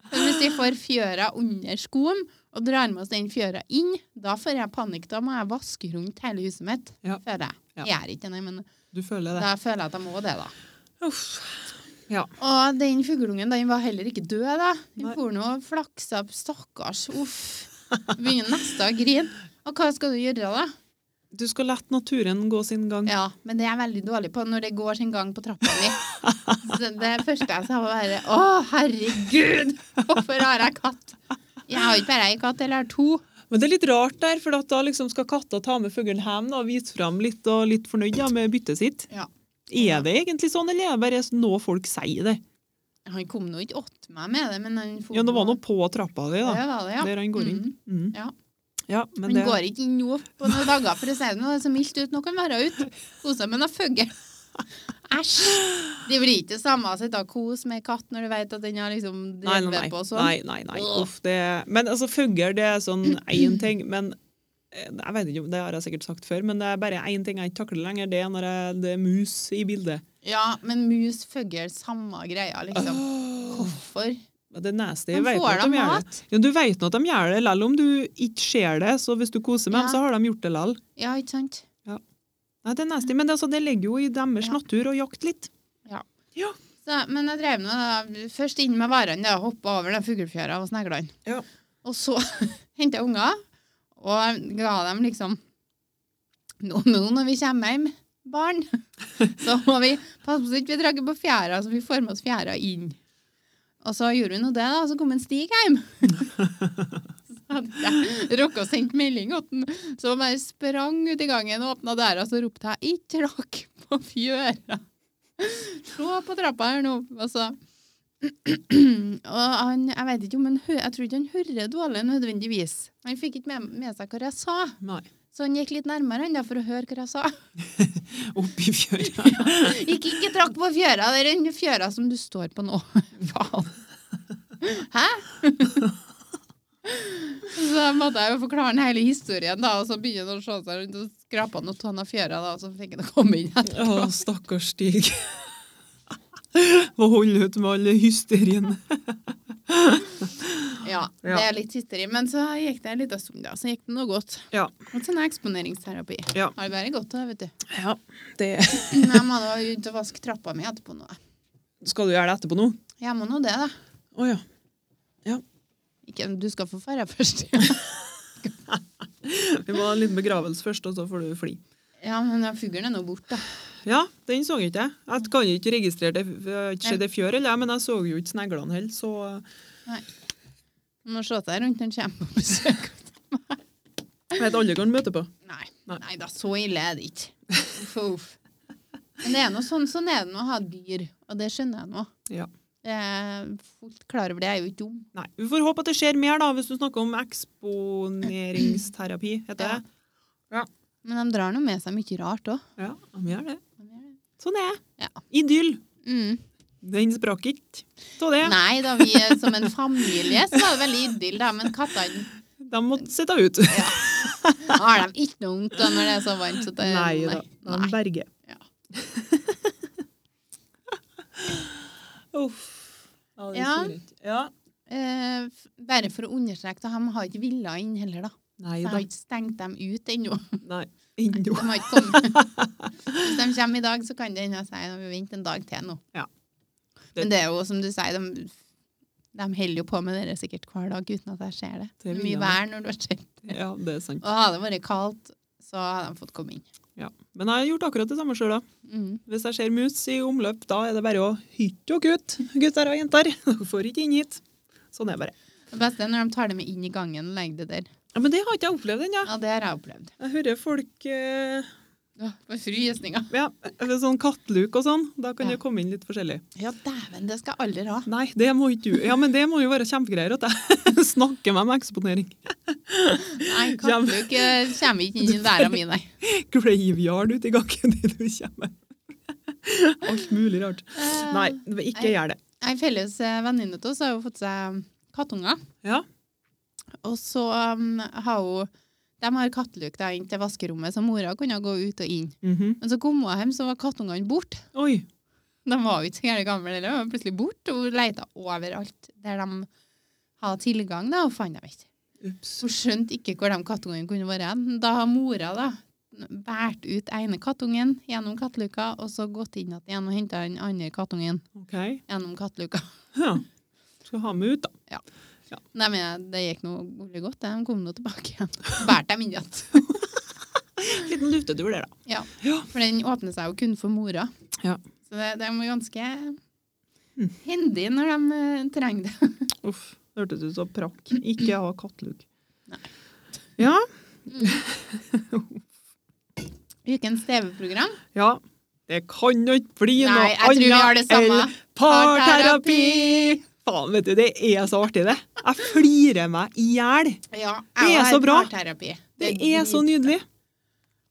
[SPEAKER 1] Men hvis vi får fjøra under skoen og drar med oss den fjøra inn, da får jeg panikk. Da må jeg vaske rundt hele huset mitt,
[SPEAKER 2] Ja.
[SPEAKER 1] føler jeg.
[SPEAKER 2] Ja.
[SPEAKER 1] Jeg gjør ikke det, men
[SPEAKER 2] Du føler det.
[SPEAKER 1] da føler jeg at jeg må det, da.
[SPEAKER 2] Uff.
[SPEAKER 1] Og den fuglungen den var heller ikke død, da. Den
[SPEAKER 2] Nei.
[SPEAKER 1] for nå og flaksa opp, stakkars. Uff. Begynner nesten å grine. Og hva skal du gjøre, da?
[SPEAKER 2] Du skal la naturen gå sin gang.
[SPEAKER 1] Ja, men det er jeg veldig dårlig på når det går sin gang på trappa mi. Så det første jeg sa, var bare Å, herregud! Hvorfor har jeg katt? Jeg har ikke bare ei katt, eller har to.
[SPEAKER 2] Men det er litt rart der, for at da liksom skal katta ta med fuglen hjem da, og vise fram litt og litt fornøyd ja, med byttet sitt.
[SPEAKER 1] Ja.
[SPEAKER 2] Er det egentlig sånn, eller er det bare noe folk sier det?
[SPEAKER 1] Han kom nå ikke åt meg med det, men han for
[SPEAKER 2] Ja, det var noe på trappa di, da.
[SPEAKER 1] Det var det, ja.
[SPEAKER 2] Der han går inn.
[SPEAKER 1] Mhm.
[SPEAKER 2] Mm.
[SPEAKER 1] Ja.
[SPEAKER 2] Ja,
[SPEAKER 1] Han
[SPEAKER 2] men det,
[SPEAKER 1] går ikke inn nå på noen dager, for å si det nå. Det er så mildt ut. Nå kan han være ute. Kose seg med noen fugl. Æsj! Det blir ikke det samme altså, å sitte og kose med en katt når du vet at den har liksom
[SPEAKER 2] nei, nei,
[SPEAKER 1] drevet
[SPEAKER 2] nei.
[SPEAKER 1] på og sånn.
[SPEAKER 2] nei, nei, nei.
[SPEAKER 1] Åh.
[SPEAKER 2] Uff, det, men altså, fugler det er sånn én ting, men eh, jeg vet ikke om det har jeg sikkert sagt før, men det er bare én ting jeg ikke takler lenger, det er når jeg, det er mus i bildet.
[SPEAKER 1] Ja, men mus, fugl, samme greia, liksom.
[SPEAKER 2] Åh.
[SPEAKER 1] Hvorfor?
[SPEAKER 2] Det er nasty. Jeg
[SPEAKER 1] De
[SPEAKER 2] vet
[SPEAKER 1] får
[SPEAKER 2] at
[SPEAKER 1] da
[SPEAKER 2] de gjør det.
[SPEAKER 1] mat.
[SPEAKER 2] Ja, du vet nå at de gjør det, lell om du ikke ser det. Så hvis du koser
[SPEAKER 1] Ja.
[SPEAKER 2] med dem, så har de gjort det lell.
[SPEAKER 1] Ja, ikke sant?
[SPEAKER 2] Nei, det er nasty, men det, altså, det ligger jo i deres
[SPEAKER 1] Ja.
[SPEAKER 2] natur å jakte litt.
[SPEAKER 1] Så, men jeg drev nå da, først inn med varene, da, hoppa over den fuglefjæra og sneglene.
[SPEAKER 2] Ja.
[SPEAKER 1] Og så henta jeg unger og ga dem liksom Nå, nå når vi kommer hjem, barn, så må vi passe på så ikke vi drar på fjæra, så vi får med oss fjæra inn. Og så gjorde vi nå det, da, og så kom en Stig hjem. Så hadde jeg rukket å sende melding til han. Så han bare sprang ut i gangen og åpna døra, så ropte jeg 'ikke tråkk på fjøra'. Se på trappa her nå. altså. Og så og han, jeg vet ikke om han hø- jeg tror ikke han hører dårlig nødvendigvis. Han fikk ikke med, med seg hva jeg sa,
[SPEAKER 2] Nei.
[SPEAKER 1] så han gikk litt nærmere han da for å høre hva jeg sa.
[SPEAKER 2] Oppi fjøra.
[SPEAKER 1] Ikke, ikke trakk på fjøra, det er den fjøra som du står på nå. Faen. Hæ? Så måtte jeg jo forklare den hele historien, da, og så begynner han å se seg rundt og skrape han og ta han av fjøra, da, og så fikk han komme inn igjen.
[SPEAKER 2] Å, stakkars Stig. Må holde ut med all hysterien.
[SPEAKER 1] Ja, det er litt hysteri. Men så gikk det en liten stund, da. Så gikk det noe godt.
[SPEAKER 2] Ja.
[SPEAKER 1] Og sånn er eksponeringsterapi.
[SPEAKER 2] Ja.
[SPEAKER 1] Har det bare godt av, vet du.
[SPEAKER 2] Ja, det
[SPEAKER 1] Men Jeg må da ut og vaske trappa mi etterpå nå. jeg.
[SPEAKER 2] Skal du gjøre det etterpå nå?
[SPEAKER 1] Jeg må nå det, da.
[SPEAKER 2] Å ja.
[SPEAKER 1] Ikke, du skal få ferde først.
[SPEAKER 2] Vi må ha en liten begravelse først, og så får du fly.
[SPEAKER 1] Ja, men den fuglen er nå borte.
[SPEAKER 2] Ja, den så jeg ikke. jeg. Jeg kan ikke registrere det. Jeg har ikke sett det fjør, eller, jeg, men jeg så jo ikke sneglene heller, så
[SPEAKER 1] Man må se seg rundt når den kommer på besøk.
[SPEAKER 2] jeg vet aldri hva han møter på.
[SPEAKER 1] Nei.
[SPEAKER 2] Nei.
[SPEAKER 1] Nei da, så ille er det ikke. Uff, uff. Men det er nå sånn, sånn er det med å ha dyr, og det skjønner jeg nå.
[SPEAKER 2] Ja.
[SPEAKER 1] Jeg er fullt klar over det, jeg er jo ikke dum.
[SPEAKER 2] Nei, Vi får håpe at det skjer mer, da, hvis du snakker om eksponeringsterapi. heter det.
[SPEAKER 1] Men de drar nå med seg mye rart òg.
[SPEAKER 2] Ja, de gjør det. Sånn er det.
[SPEAKER 1] Ja.
[SPEAKER 2] Idyll.
[SPEAKER 1] Mm.
[SPEAKER 2] Den sprakk ikke av det.
[SPEAKER 1] Nei, da vi er som en familie, så var det veldig idyll, da. Men kattene
[SPEAKER 2] De måtte sitte ut.
[SPEAKER 1] har de ikke noe vondt da når det er så varmt. Så det,
[SPEAKER 2] Nei da. De
[SPEAKER 1] Nei.
[SPEAKER 2] berger.
[SPEAKER 1] Ja.
[SPEAKER 2] Uff. Ja, det
[SPEAKER 1] Ja.
[SPEAKER 2] sier jeg ikke. ja.
[SPEAKER 1] Eh, f- bare for å understreke, da, de har ikke villa inn heller, da.
[SPEAKER 2] Nei
[SPEAKER 1] Så jeg
[SPEAKER 2] da.
[SPEAKER 1] har ikke stengt dem ut ennå.
[SPEAKER 2] Nei. Ennå.
[SPEAKER 1] De har ikke kommet. Hvis de kommer i dag, så kan det hende jeg sier at vi venter en dag til nå.
[SPEAKER 2] Ja.
[SPEAKER 1] Men det er jo som du sier, de, de holder jo på med det sikkert hver dag uten at jeg ser det.
[SPEAKER 2] Det vil jeg.
[SPEAKER 1] mye vær når du har sett.
[SPEAKER 2] Ja, det er sant.
[SPEAKER 1] Og hadde det vært kaldt, så hadde de fått komme inn.
[SPEAKER 2] Ja. Men jeg har gjort akkurat det samme sjøl, da.
[SPEAKER 1] Mm.
[SPEAKER 2] Hvis jeg ser mus i omløp, da er det bare å hytte og kutt, gutter og jenter. Dere får ikke inn hit. Sånn er det bare.
[SPEAKER 1] Det beste er når de tar det med inn i gangen og legger det der.
[SPEAKER 2] Ja, men det har ikke jeg opplevd ennå.
[SPEAKER 1] Ja, det har jeg opplevd.
[SPEAKER 2] Jeg hører folk eh,
[SPEAKER 1] Ja, for frysninger.
[SPEAKER 2] Ja, eller sånn katteluk og sånn. Da kan
[SPEAKER 1] Ja.
[SPEAKER 2] det komme inn litt forskjellig.
[SPEAKER 1] Ja, dæven, det skal jeg aldri ha.
[SPEAKER 2] Nei, det må ikke du. Ja, men det må jo være kjempegreier at jeg snakker meg om eksponering.
[SPEAKER 1] Nei, katteluk eh, kommer ikke inn i verden min, nei.
[SPEAKER 2] Graveyard ute i gangen til du kommer. Alt mulig rart.
[SPEAKER 1] Eh,
[SPEAKER 2] Nei, ikke
[SPEAKER 1] nei.
[SPEAKER 2] gjør det.
[SPEAKER 1] Ei felles eh, venninne av oss har jo fått seg kattunger.
[SPEAKER 2] Ja.
[SPEAKER 1] Og så um, har hun De har katteluk da, inn til vaskerommet, så mora kunne gå ut og inn.
[SPEAKER 2] Mhm.
[SPEAKER 1] Men så kom hun hjem, så var kattungene borte.
[SPEAKER 2] Oi.
[SPEAKER 1] De var jo ikke så gærent gamle, de var plutselig borte. og Hun leita overalt der de hadde tilgang, da, og fant dem ikke.
[SPEAKER 2] Ups.
[SPEAKER 1] Hun skjønte ikke hvor de kattungene kunne være. hen. Da har mora da båret ut ene kattungen gjennom katteluka, og så gått inn igjen og henta den andre kattungen
[SPEAKER 2] Ok.
[SPEAKER 1] gjennom katteluka.
[SPEAKER 2] Ja. Skal ha meg ut, da.
[SPEAKER 1] Nei, men jeg- det gikk noe veldig godt. det. De kom nå tilbake igjen. Båret dem inn igjen.
[SPEAKER 2] Liten luftetur der, da.
[SPEAKER 1] Ja.
[SPEAKER 2] Ja.
[SPEAKER 1] For den åpner seg jo kun for mora.
[SPEAKER 2] Ja.
[SPEAKER 1] Så det, de er ganske
[SPEAKER 2] Mm.
[SPEAKER 1] hendige når de eh, trenger det.
[SPEAKER 2] Uff. det Hørtes ut som prakk. Ikke ha katteluk.
[SPEAKER 1] Nei.
[SPEAKER 2] Ja.
[SPEAKER 1] Ukens TV-program.
[SPEAKER 2] Ja. Det kan jo ikke bli noe
[SPEAKER 1] Nei, jeg tror vi har det samme.
[SPEAKER 2] enn parterapi! Faen, vet du, det er så artig, det. Jeg flirer meg i hjel.
[SPEAKER 1] Ja,
[SPEAKER 2] Det er så bra.
[SPEAKER 1] Parterapi.
[SPEAKER 2] Det er så nydelig.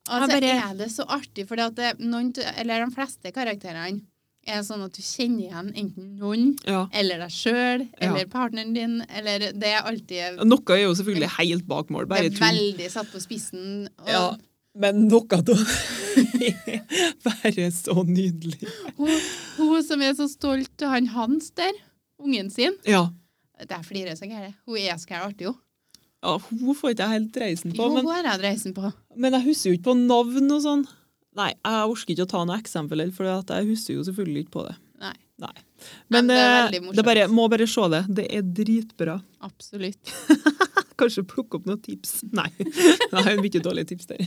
[SPEAKER 1] Altså,
[SPEAKER 2] Jeg bare-
[SPEAKER 1] er det så artig, for de fleste karakterene er sånn at du kjenner igjen enten noen,
[SPEAKER 2] Ja.
[SPEAKER 1] eller deg sjøl,
[SPEAKER 2] Ja.
[SPEAKER 1] eller partneren din, eller Det er alltid
[SPEAKER 2] Noe er jo selvfølgelig helt bak mål,
[SPEAKER 1] det
[SPEAKER 2] bare
[SPEAKER 1] er
[SPEAKER 2] tull.
[SPEAKER 1] veldig satt på spissen. Og
[SPEAKER 2] Ja, men noe av det er bare så nydelig.
[SPEAKER 1] hun, hun som er så stolt av han Hans der, ungen sin
[SPEAKER 2] Ja.
[SPEAKER 1] Der flirer jeg så gærent. Hun er så gæren artig, hun.
[SPEAKER 2] ja, hun får ikke jeg helt reisen på,
[SPEAKER 1] Jo,
[SPEAKER 2] men,
[SPEAKER 1] hun har jeg dreisen på.
[SPEAKER 2] men jeg husker jo ikke på navn og sånn. Nei, jeg orker ikke å ta noe eksempel, heller, for at jeg husker jo selvfølgelig ikke på det.
[SPEAKER 1] Nei.
[SPEAKER 2] Nei.
[SPEAKER 1] Men
[SPEAKER 2] Men,
[SPEAKER 1] det er
[SPEAKER 2] eh,
[SPEAKER 1] veldig
[SPEAKER 2] det,
[SPEAKER 1] morsomt.
[SPEAKER 2] er bare, må bare se det. Det er dritbra.
[SPEAKER 1] Absolutt.
[SPEAKER 2] Kanskje plukke opp noen tips. Nei, Nei mye dårlige tips der.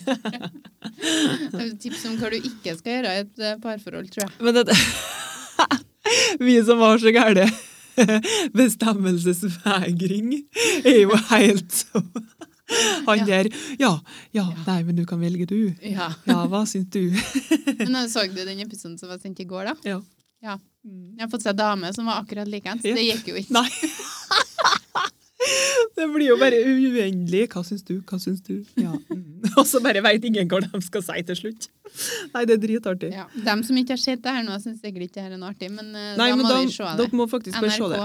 [SPEAKER 1] Tips om hva du ikke skal gjøre i et eh, parforhold, tror jeg.
[SPEAKER 2] Men det, vi som har så gærne bestemmelsesvegring, er jo helt som han
[SPEAKER 1] Ja.
[SPEAKER 2] der. Ja, ja, nei, men du kan velge, du.
[SPEAKER 1] Ja.
[SPEAKER 2] Ja, hva syns du?
[SPEAKER 1] Men eh, så du den episoden som var sendt i går, da?
[SPEAKER 2] Ja.
[SPEAKER 1] Ja. Jeg har fått se dame som var akkurat likeens.
[SPEAKER 2] Ja.
[SPEAKER 1] Det gikk jo ikke.
[SPEAKER 2] Nei. Det blir jo bare uendelig. Hva syns du? Hva syns du? Ja. mm. Og så bare veit ingen hva de skal si til slutt. Nei, det er dritartig.
[SPEAKER 1] Ja. Dem som ikke har sett det her nå, syns sikkert ikke det her er noe artig, men eh,
[SPEAKER 2] Nei,
[SPEAKER 1] da
[SPEAKER 2] men
[SPEAKER 1] må
[SPEAKER 2] da,
[SPEAKER 1] vi se det.
[SPEAKER 2] dere må faktisk bare se det.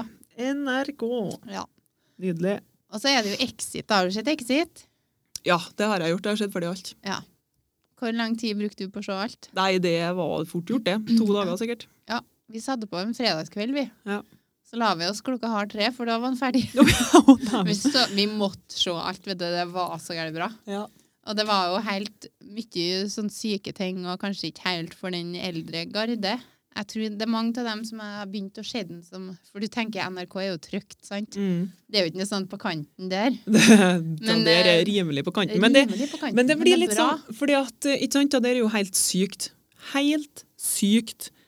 [SPEAKER 1] NRK.
[SPEAKER 2] NRK.
[SPEAKER 1] Ja.
[SPEAKER 2] Nydelig.
[SPEAKER 1] Og så er det jo Exit. da. Har du sett Exit?
[SPEAKER 2] Ja, det har jeg gjort. Jeg har sett ferdig alt.
[SPEAKER 1] Ja. Hvor lang tid brukte du på å se alt?
[SPEAKER 2] Nei, det var fort gjort, det.
[SPEAKER 1] Mm.
[SPEAKER 2] To dager sikkert.
[SPEAKER 1] Vi satte på en fredagskveld, vi.
[SPEAKER 2] Ja.
[SPEAKER 1] Så la vi oss klokka halv tre, for da var den ferdig. Vi, så, vi måtte se alt, vet du. Det var så gærent bra.
[SPEAKER 2] ja.
[SPEAKER 1] Og det var jo helt mye sånn syke ting, og kanskje ikke helt for den eldre garde. Jeg tror det er mange av dem som har begynt å se den som For du tenker NRK er jo trygt, sant?
[SPEAKER 2] Mm.
[SPEAKER 1] Det er jo ikke noe sånt på kanten der.
[SPEAKER 2] Det,
[SPEAKER 1] Men,
[SPEAKER 2] der er
[SPEAKER 1] eh,
[SPEAKER 2] rimelig på kanten. Men det,
[SPEAKER 1] Rimelig på kanten,
[SPEAKER 2] men det blir
[SPEAKER 1] er
[SPEAKER 2] litt
[SPEAKER 1] bra.
[SPEAKER 2] sånn fordi at, eh, ikke sant, ja, Det er jo helt sykt. Helt sykt. Eh,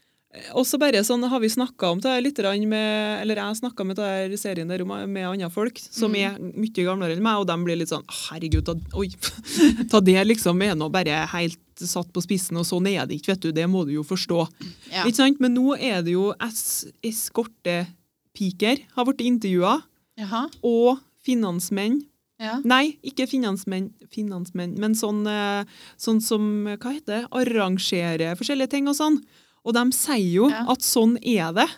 [SPEAKER 2] Og så bare sånn har vi snakka om det her litt grann med Eller jeg snakka med den her serien der om- med andre folk som
[SPEAKER 1] Mm.
[SPEAKER 2] er mye gamlere enn meg, og de blir litt sånn «Å, Herregud, ta, oi. ta det liksom er nå bare helt satt på spissen, og sånn er det ikke, vet du. Det må du jo forstå.
[SPEAKER 1] Ja.
[SPEAKER 2] Ikke sant? Men nå er det jo es- eskortepiker har blitt intervjua,
[SPEAKER 1] Jaha.
[SPEAKER 2] og finansmenn.
[SPEAKER 1] Ja.
[SPEAKER 2] Nei, ikke finansmenn, finansmenn men sånn, eh, sånn som hva heter det, arrangerer forskjellige ting og sånn. Og de sier jo
[SPEAKER 1] Ja.
[SPEAKER 2] at sånn er det.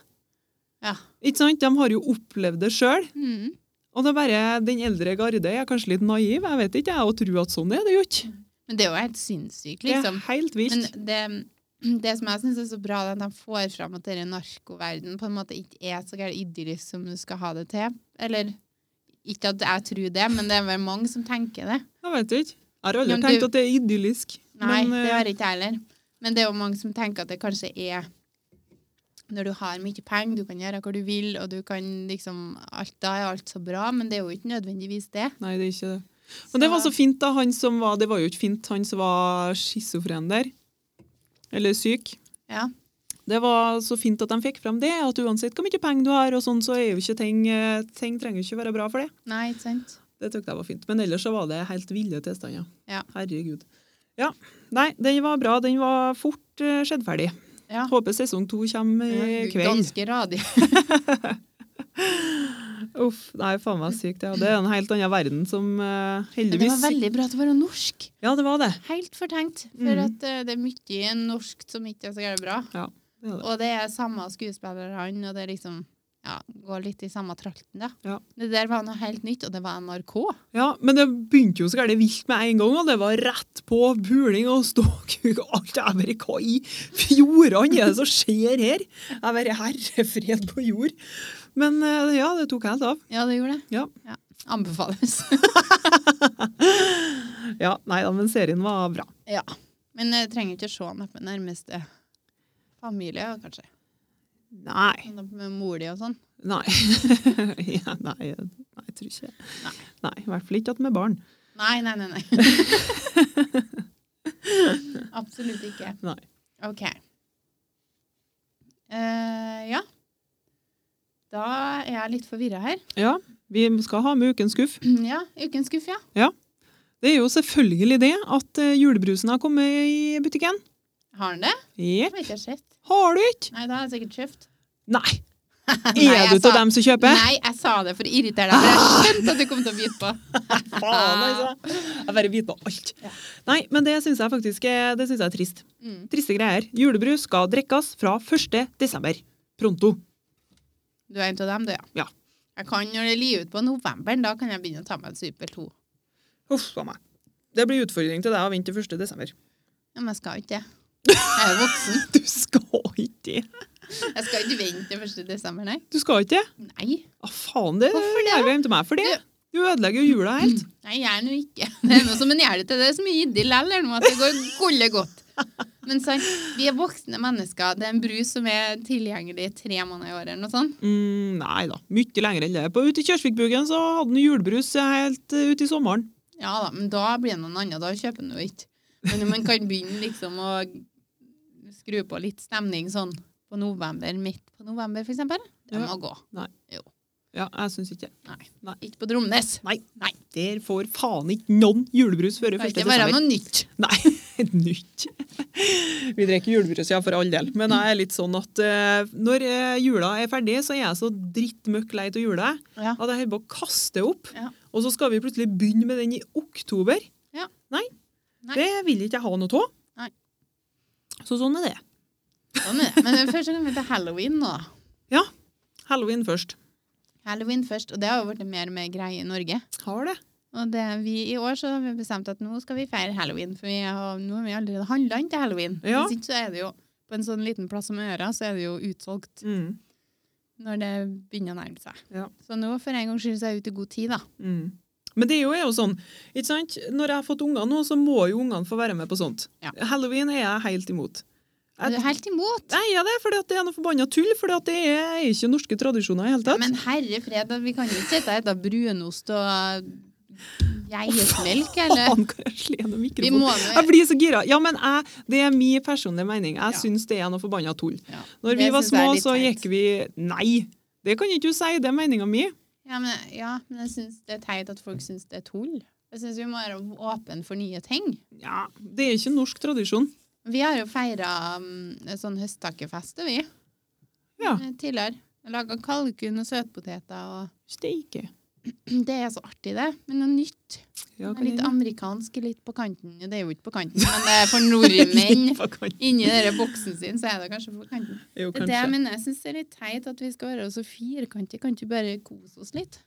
[SPEAKER 1] ja.
[SPEAKER 2] Ikke sant? De har jo opplevd det sjøl.
[SPEAKER 1] Mm.
[SPEAKER 2] Og det er bare den eldre garde er kanskje litt naiv, jeg vet ikke, jeg, og tror at sånn er det jo ikke.
[SPEAKER 1] Men det er jo helt sinnssykt,
[SPEAKER 2] Det er
[SPEAKER 1] liksom.
[SPEAKER 2] helt vilt.
[SPEAKER 1] Men det, det som jeg syns er så bra, det er at de får fram at denne narkoverdenen på en måte ikke er så gærent idyllisk som du skal ha det til. Eller ikke at jeg tror det, men det er vel mange som tenker det.
[SPEAKER 2] Jeg vet ikke. Jeg har aldri
[SPEAKER 1] Men
[SPEAKER 2] tenkt
[SPEAKER 1] du-
[SPEAKER 2] at det er idyllisk.
[SPEAKER 1] Nei,
[SPEAKER 2] men,
[SPEAKER 1] det
[SPEAKER 2] eh,
[SPEAKER 1] har ikke jeg heller. Men det er jo mange som tenker at det kanskje er når du har mye penger, du kan gjøre hva du vil, og du kan liksom alt, Da er alt så bra, men det er jo ikke nødvendigvis det.
[SPEAKER 2] Nei, det er ikke det. Men det var så fint, da. Han som var, det var jo ikke fint, han som var schizofren der. Eller syk.
[SPEAKER 1] Ja.
[SPEAKER 2] Det var så fint at de fikk frem det, at uansett hvor mye penger du har, og sånn, så er jo ikke ting, eh, ting trenger jo ikke være bra for det.
[SPEAKER 1] Nei, ikke sant?
[SPEAKER 2] Det tykte jeg var fint. Men ellers så var det helt ville tilstander.
[SPEAKER 1] Ja.
[SPEAKER 2] Herregud. Nei, den var bra. Den var fort uh, skjedd ferdig.
[SPEAKER 1] Ja.
[SPEAKER 2] Håper sesong to kommer eh, i kveld.
[SPEAKER 1] Ganske radig.
[SPEAKER 2] Uff, nei, faen meg sykt. Ja. Det er en helt annen verden som eh,
[SPEAKER 1] Det var
[SPEAKER 2] heldigvis
[SPEAKER 1] veldig bra at det var norsk.
[SPEAKER 2] Ja, det var det.
[SPEAKER 1] Helt fortenkt. For
[SPEAKER 2] Mhm.
[SPEAKER 1] at eh, det er mye norsk som ikke er så gærent bra.
[SPEAKER 2] det, var det.
[SPEAKER 1] Og det er samme skuespiller han, og det er liksom ja, går litt i samme trakten, da.
[SPEAKER 2] Ja.
[SPEAKER 1] Det der var noe helt nytt, og det var NRK.
[SPEAKER 2] Ja, men det begynte jo så gærent vilt med en gang, og det var rett på puling og ståkuk og alt. Jeg bare, hva i fjordene er det som skjer her? Jeg bare, herre fred på jord. Men eh, ja, det tok helt av.
[SPEAKER 1] Ja, det gjorde det.
[SPEAKER 2] Ja.
[SPEAKER 1] Anbefales.
[SPEAKER 2] Ja, nei da, men serien var bra.
[SPEAKER 1] ja. Men jeg trenger ikke se den på nærmeste familie, kanskje.
[SPEAKER 2] Nei.
[SPEAKER 1] Sånn Med mor di og sånn.
[SPEAKER 2] Nei. ja, nei, eh, nei, jeg tror ikke det.
[SPEAKER 1] Nei.
[SPEAKER 2] Nei, i hvert fall ikke at med barn.
[SPEAKER 1] Nei, nei, nei. nei. Absolutt ikke.
[SPEAKER 2] Nei.
[SPEAKER 1] OK. Eh, ja. Da er jeg litt forvirra her.
[SPEAKER 2] Ja, vi skal ha med ukens skuff.
[SPEAKER 1] ja, Ukens skuff, ja.
[SPEAKER 2] Det er jo selvfølgelig det at eh, julebrusen har kommet i butikken.
[SPEAKER 1] Har han det?
[SPEAKER 2] Jepp.
[SPEAKER 1] Det har ikke jeg sett.
[SPEAKER 2] Har du ikke?
[SPEAKER 1] Nei, da har jeg sikkert kjøpt.
[SPEAKER 2] Nei.
[SPEAKER 1] Nei,
[SPEAKER 2] Er
[SPEAKER 1] jeg
[SPEAKER 2] du til
[SPEAKER 1] sa-
[SPEAKER 2] dem som kjøper?
[SPEAKER 1] Nei, jeg sa det for å irritere deg, for jeg skjønte at du kom til å bite på.
[SPEAKER 2] Faen, altså. Jeg bare biter på alt.
[SPEAKER 1] Ja.
[SPEAKER 2] Nei, men det syns jeg faktisk er, det synes jeg er trist.
[SPEAKER 1] Mm.
[SPEAKER 2] Triste greier. Julebrus skal drikkes fra 1. desember. Pronto.
[SPEAKER 1] Du er en av dem, du,
[SPEAKER 2] Ja.
[SPEAKER 1] Jeg kan når det lier ut på novemberen, da kan jeg begynne å ta meg en Super 2.
[SPEAKER 2] Huff a meg. Det blir utfordring til deg å vente til 1. desember.
[SPEAKER 1] Ja, men jeg skal ikke det. Jeg er voksen.
[SPEAKER 2] Du skal ikke det.
[SPEAKER 1] Jeg skal ikke vente til 1. desember, nei.
[SPEAKER 2] Du skal ikke det?
[SPEAKER 1] Nei,
[SPEAKER 2] Å, faen, det Mm.
[SPEAKER 1] Hvorfor det?
[SPEAKER 2] gjør vi hjem til meg for det. Du ødelegger jo jula helt.
[SPEAKER 1] nei jeg er nå ikke. Det er noe som en gjør det til. Det er så mye idyll heller nå at det går gulle godt. Men sant, vi er voksne mennesker. Det er en brus som er tilgjengelig i tre måneder i året eller noe sånt.
[SPEAKER 2] Mm, nei da. Mye lenger enn det. På, ute i Kjørsvikbugen så hadde han julebrus helt eh, ut i sommeren.
[SPEAKER 1] Ja da, men da blir det noen andre. Da kjøper en jo ikke. Men man kan begynne liksom å skru på litt stemning sånn på november, midt på november for eksempel. Det
[SPEAKER 2] Ja.
[SPEAKER 1] må gå.
[SPEAKER 2] Ja, jeg syns ikke det.
[SPEAKER 1] Ikke på Dromnes.
[SPEAKER 2] Nei. nei. Der får faen ikke noen julebrus før
[SPEAKER 1] Det
[SPEAKER 2] 1.
[SPEAKER 1] kan ikke
[SPEAKER 2] desember.
[SPEAKER 1] være noe nytt.
[SPEAKER 2] Nei, nytt. Vi drikker julebrus, ja, for all del. Men jeg er litt sånn at eh, når eh, jula er ferdig, så er jeg så drittmøkk lei av jula
[SPEAKER 1] Ja.
[SPEAKER 2] at jeg holder på å kaste opp.
[SPEAKER 1] Ja.
[SPEAKER 2] Og så skal vi plutselig begynne med den i oktober.
[SPEAKER 1] Ja.
[SPEAKER 2] Nei,
[SPEAKER 1] Nei.
[SPEAKER 2] det vil ikke jeg ha noe av.
[SPEAKER 1] Nei.
[SPEAKER 2] Så sånn er det.
[SPEAKER 1] Sånn er det. Men først så kan vi til halloween nå. da.
[SPEAKER 2] Halloween først.
[SPEAKER 1] Halloween først, og det har jo blitt mer og mer greie i Norge.
[SPEAKER 2] Har det.
[SPEAKER 1] Og det, vi, I år så har vi bestemt at nå skal vi feire halloween, for vi har, nå har vi allerede handla inn til halloween.
[SPEAKER 2] Ja.
[SPEAKER 1] Hvis ikke så er det jo på en sånn liten plass som Øra, så er det jo utsolgt
[SPEAKER 2] Mm.
[SPEAKER 1] når det begynner å nærme seg.
[SPEAKER 2] Ja.
[SPEAKER 1] Så nå for en gangs skyld så er jeg ute i god tid, da.
[SPEAKER 2] Mm. Men det er jo, er jo sånn, ikke sant? Når jeg har fått unger nå, så må jo ungene få være med på sånt.
[SPEAKER 1] Ja.
[SPEAKER 2] Halloween er jeg helt imot.
[SPEAKER 1] Er du helt imot?
[SPEAKER 2] Nei, ja, det er fordi at det er noe forbanna tull, fordi at det er ikke norske tradisjoner i hele tatt.
[SPEAKER 1] Men herre fred, da, vi kan jo ikke sitte her og spise brunost og geitmelk, eller?
[SPEAKER 2] Faen, kan jeg slå gjennom
[SPEAKER 1] Vi
[SPEAKER 2] mikrofonen?
[SPEAKER 1] må
[SPEAKER 2] Jeg blir så gira. Ja, men jeg, det er min personlige mening. Jeg
[SPEAKER 1] Ja.
[SPEAKER 2] syns det er noe forbanna tull.
[SPEAKER 1] Ja.
[SPEAKER 2] Når vi
[SPEAKER 1] Det
[SPEAKER 2] var
[SPEAKER 1] synes jeg
[SPEAKER 2] små,
[SPEAKER 1] er litt
[SPEAKER 2] så
[SPEAKER 1] teit.
[SPEAKER 2] gikk vi Nei, det kan ikke du si. Det er meninga mi.
[SPEAKER 1] Ja, men, ja, men jeg syns det er teit at folk syns det er tull. Jeg syns vi må være åpne for nye ting.
[SPEAKER 2] Ja, det er ikke norsk tradisjon.
[SPEAKER 1] Vi har jo feira um, en sånn høsttakkefest, vi.
[SPEAKER 2] Ja.
[SPEAKER 1] eh, Tidligere. Laga kalkun og søtpoteter og
[SPEAKER 2] Steike.
[SPEAKER 1] Det er så artig, det. Men noe nytt.
[SPEAKER 2] Ja, kan
[SPEAKER 1] Litt
[SPEAKER 2] jeg-
[SPEAKER 1] amerikansk, litt på kanten. Det er jo ikke på kanten, men det er for nordmenn.
[SPEAKER 2] Litt på kant.
[SPEAKER 1] Inni denne boksen sin så er det kanskje på kanten.
[SPEAKER 2] Jo,
[SPEAKER 1] Det er det jeg
[SPEAKER 2] kanskje.
[SPEAKER 1] mener. Jeg syns det er litt teit at vi skal være så firkantige. Kan ikke bare kose oss litt?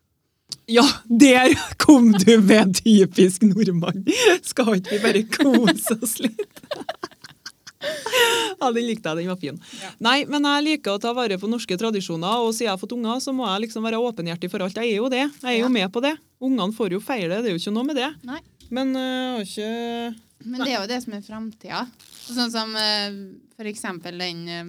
[SPEAKER 2] Ja, der kom du med typisk nordmann! Skal ikke vi bare kose oss litt? Ja, den likte jeg. Den var fin.
[SPEAKER 1] Ja.
[SPEAKER 2] Nei, men jeg liker å ta vare på norske tradisjoner, og siden jeg har fått unger, så må jeg liksom være åpenhjertig for alt. Jeg er jo det. Jeg er
[SPEAKER 1] Ja.
[SPEAKER 2] jo med på det. Ungene får jo feile, det er jo ikke noe med det.
[SPEAKER 1] Nei.
[SPEAKER 2] Men øh, har ikke
[SPEAKER 1] Men det er jo det som er framtida. Sånn som eh, for eksempel den eh,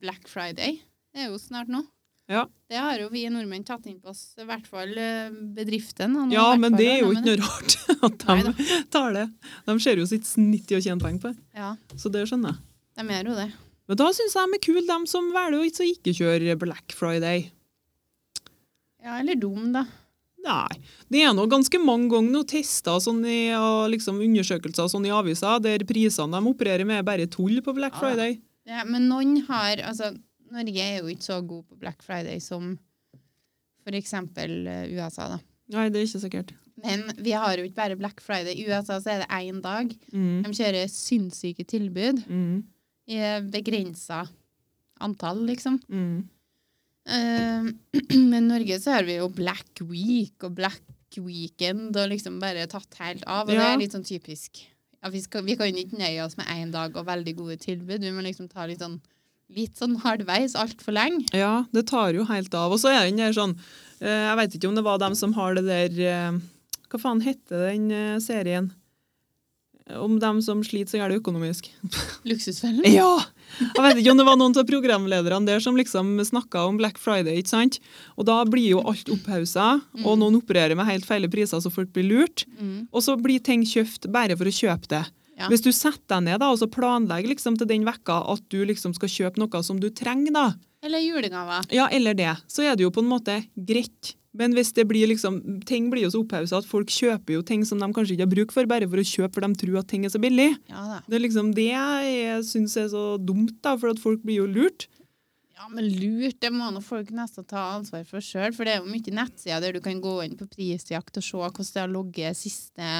[SPEAKER 1] Black Friday. Det er jo snart nå.
[SPEAKER 2] Ja.
[SPEAKER 1] Det har jo vi nordmenn tatt inn på oss, i hvert fall eh, bedriftene. og nå
[SPEAKER 2] Ja,
[SPEAKER 1] i hvert
[SPEAKER 2] men
[SPEAKER 1] fall
[SPEAKER 2] det er jo
[SPEAKER 1] alle,
[SPEAKER 2] ikke noe rart at
[SPEAKER 1] Nei
[SPEAKER 2] de tar det. De ser jo sitt snitt i å tjene penger på det,
[SPEAKER 1] Ja,
[SPEAKER 2] så det skjønner jeg.
[SPEAKER 1] de gjør jo det.
[SPEAKER 2] Men da syns jeg de er kule, de som velger å ikke- så ikke kjøre Black Friday.
[SPEAKER 1] Ja, eller dum, da.
[SPEAKER 2] Nei. Det er nå ganske mange ganger noe tester sånn i, og liksom undersøkelser sånn i aviser der prisene de opererer med, er bare tull på Black
[SPEAKER 1] Ja.
[SPEAKER 2] Friday.
[SPEAKER 1] Ja, men noen har Altså, Norge er jo ikke så god på Black Friday som for eksempel eh, USA, da.
[SPEAKER 2] Nei, det er ikke sikkert.
[SPEAKER 1] Men vi har jo ikke bare Black Friday. I USA så er det én dag.
[SPEAKER 2] Mm.
[SPEAKER 1] De kjører sinnssyke tilbud
[SPEAKER 2] Mm.
[SPEAKER 1] i begrensa antall, liksom.
[SPEAKER 2] Mm.
[SPEAKER 1] Eh, Men i Norge så har vi jo Black Week og Black Weekend og liksom bare tatt helt av. Og det
[SPEAKER 2] Ja.
[SPEAKER 1] er litt sånn typisk. Ja, vi, skal, vi kan jo ikke nøye oss med én dag og veldig gode tilbud. Vi må liksom ta litt sånn, litt sånn halvveis altfor lenge.
[SPEAKER 2] Ja, det tar jo helt av. Og så er den der sånn eh, Jeg vet ikke om det var dem som har det der eh, Hva faen heter den eh, serien? Om dem som sliter så gjør det økonomisk.
[SPEAKER 1] Luksusfellen.
[SPEAKER 2] Ja! Jeg vet ikke om det var noen av programlederne der som liksom snakka om Black Friday. ikke sant? Og da blir jo alt opphausa, og noen opererer med helt feile priser så folk blir lurt.
[SPEAKER 1] Mm.
[SPEAKER 2] Og så blir ting kjøpt bare for å kjøpe det.
[SPEAKER 1] Ja.
[SPEAKER 2] Hvis du setter deg ned da, og så planlegger liksom til den vekka at du liksom skal kjøpe noe som du trenger, da,
[SPEAKER 1] Eller julegaver.
[SPEAKER 2] ja, eller det. Så er det jo på en måte greit. Men hvis det blir liksom, ting blir jo så opphausset at folk kjøper jo ting som de kanskje ikke har bruk for, bare for å kjøpe for de tror at ting er så billig.
[SPEAKER 1] Ja da.
[SPEAKER 2] Det er liksom det jeg syns er så dumt, da, for at folk blir jo lurt.
[SPEAKER 1] Ja, men lurt, det må nå folk nesten ta ansvar for sjøl. For det er jo mye nettsider der du kan gå inn på prisjakt og se hvordan det har ligget siste,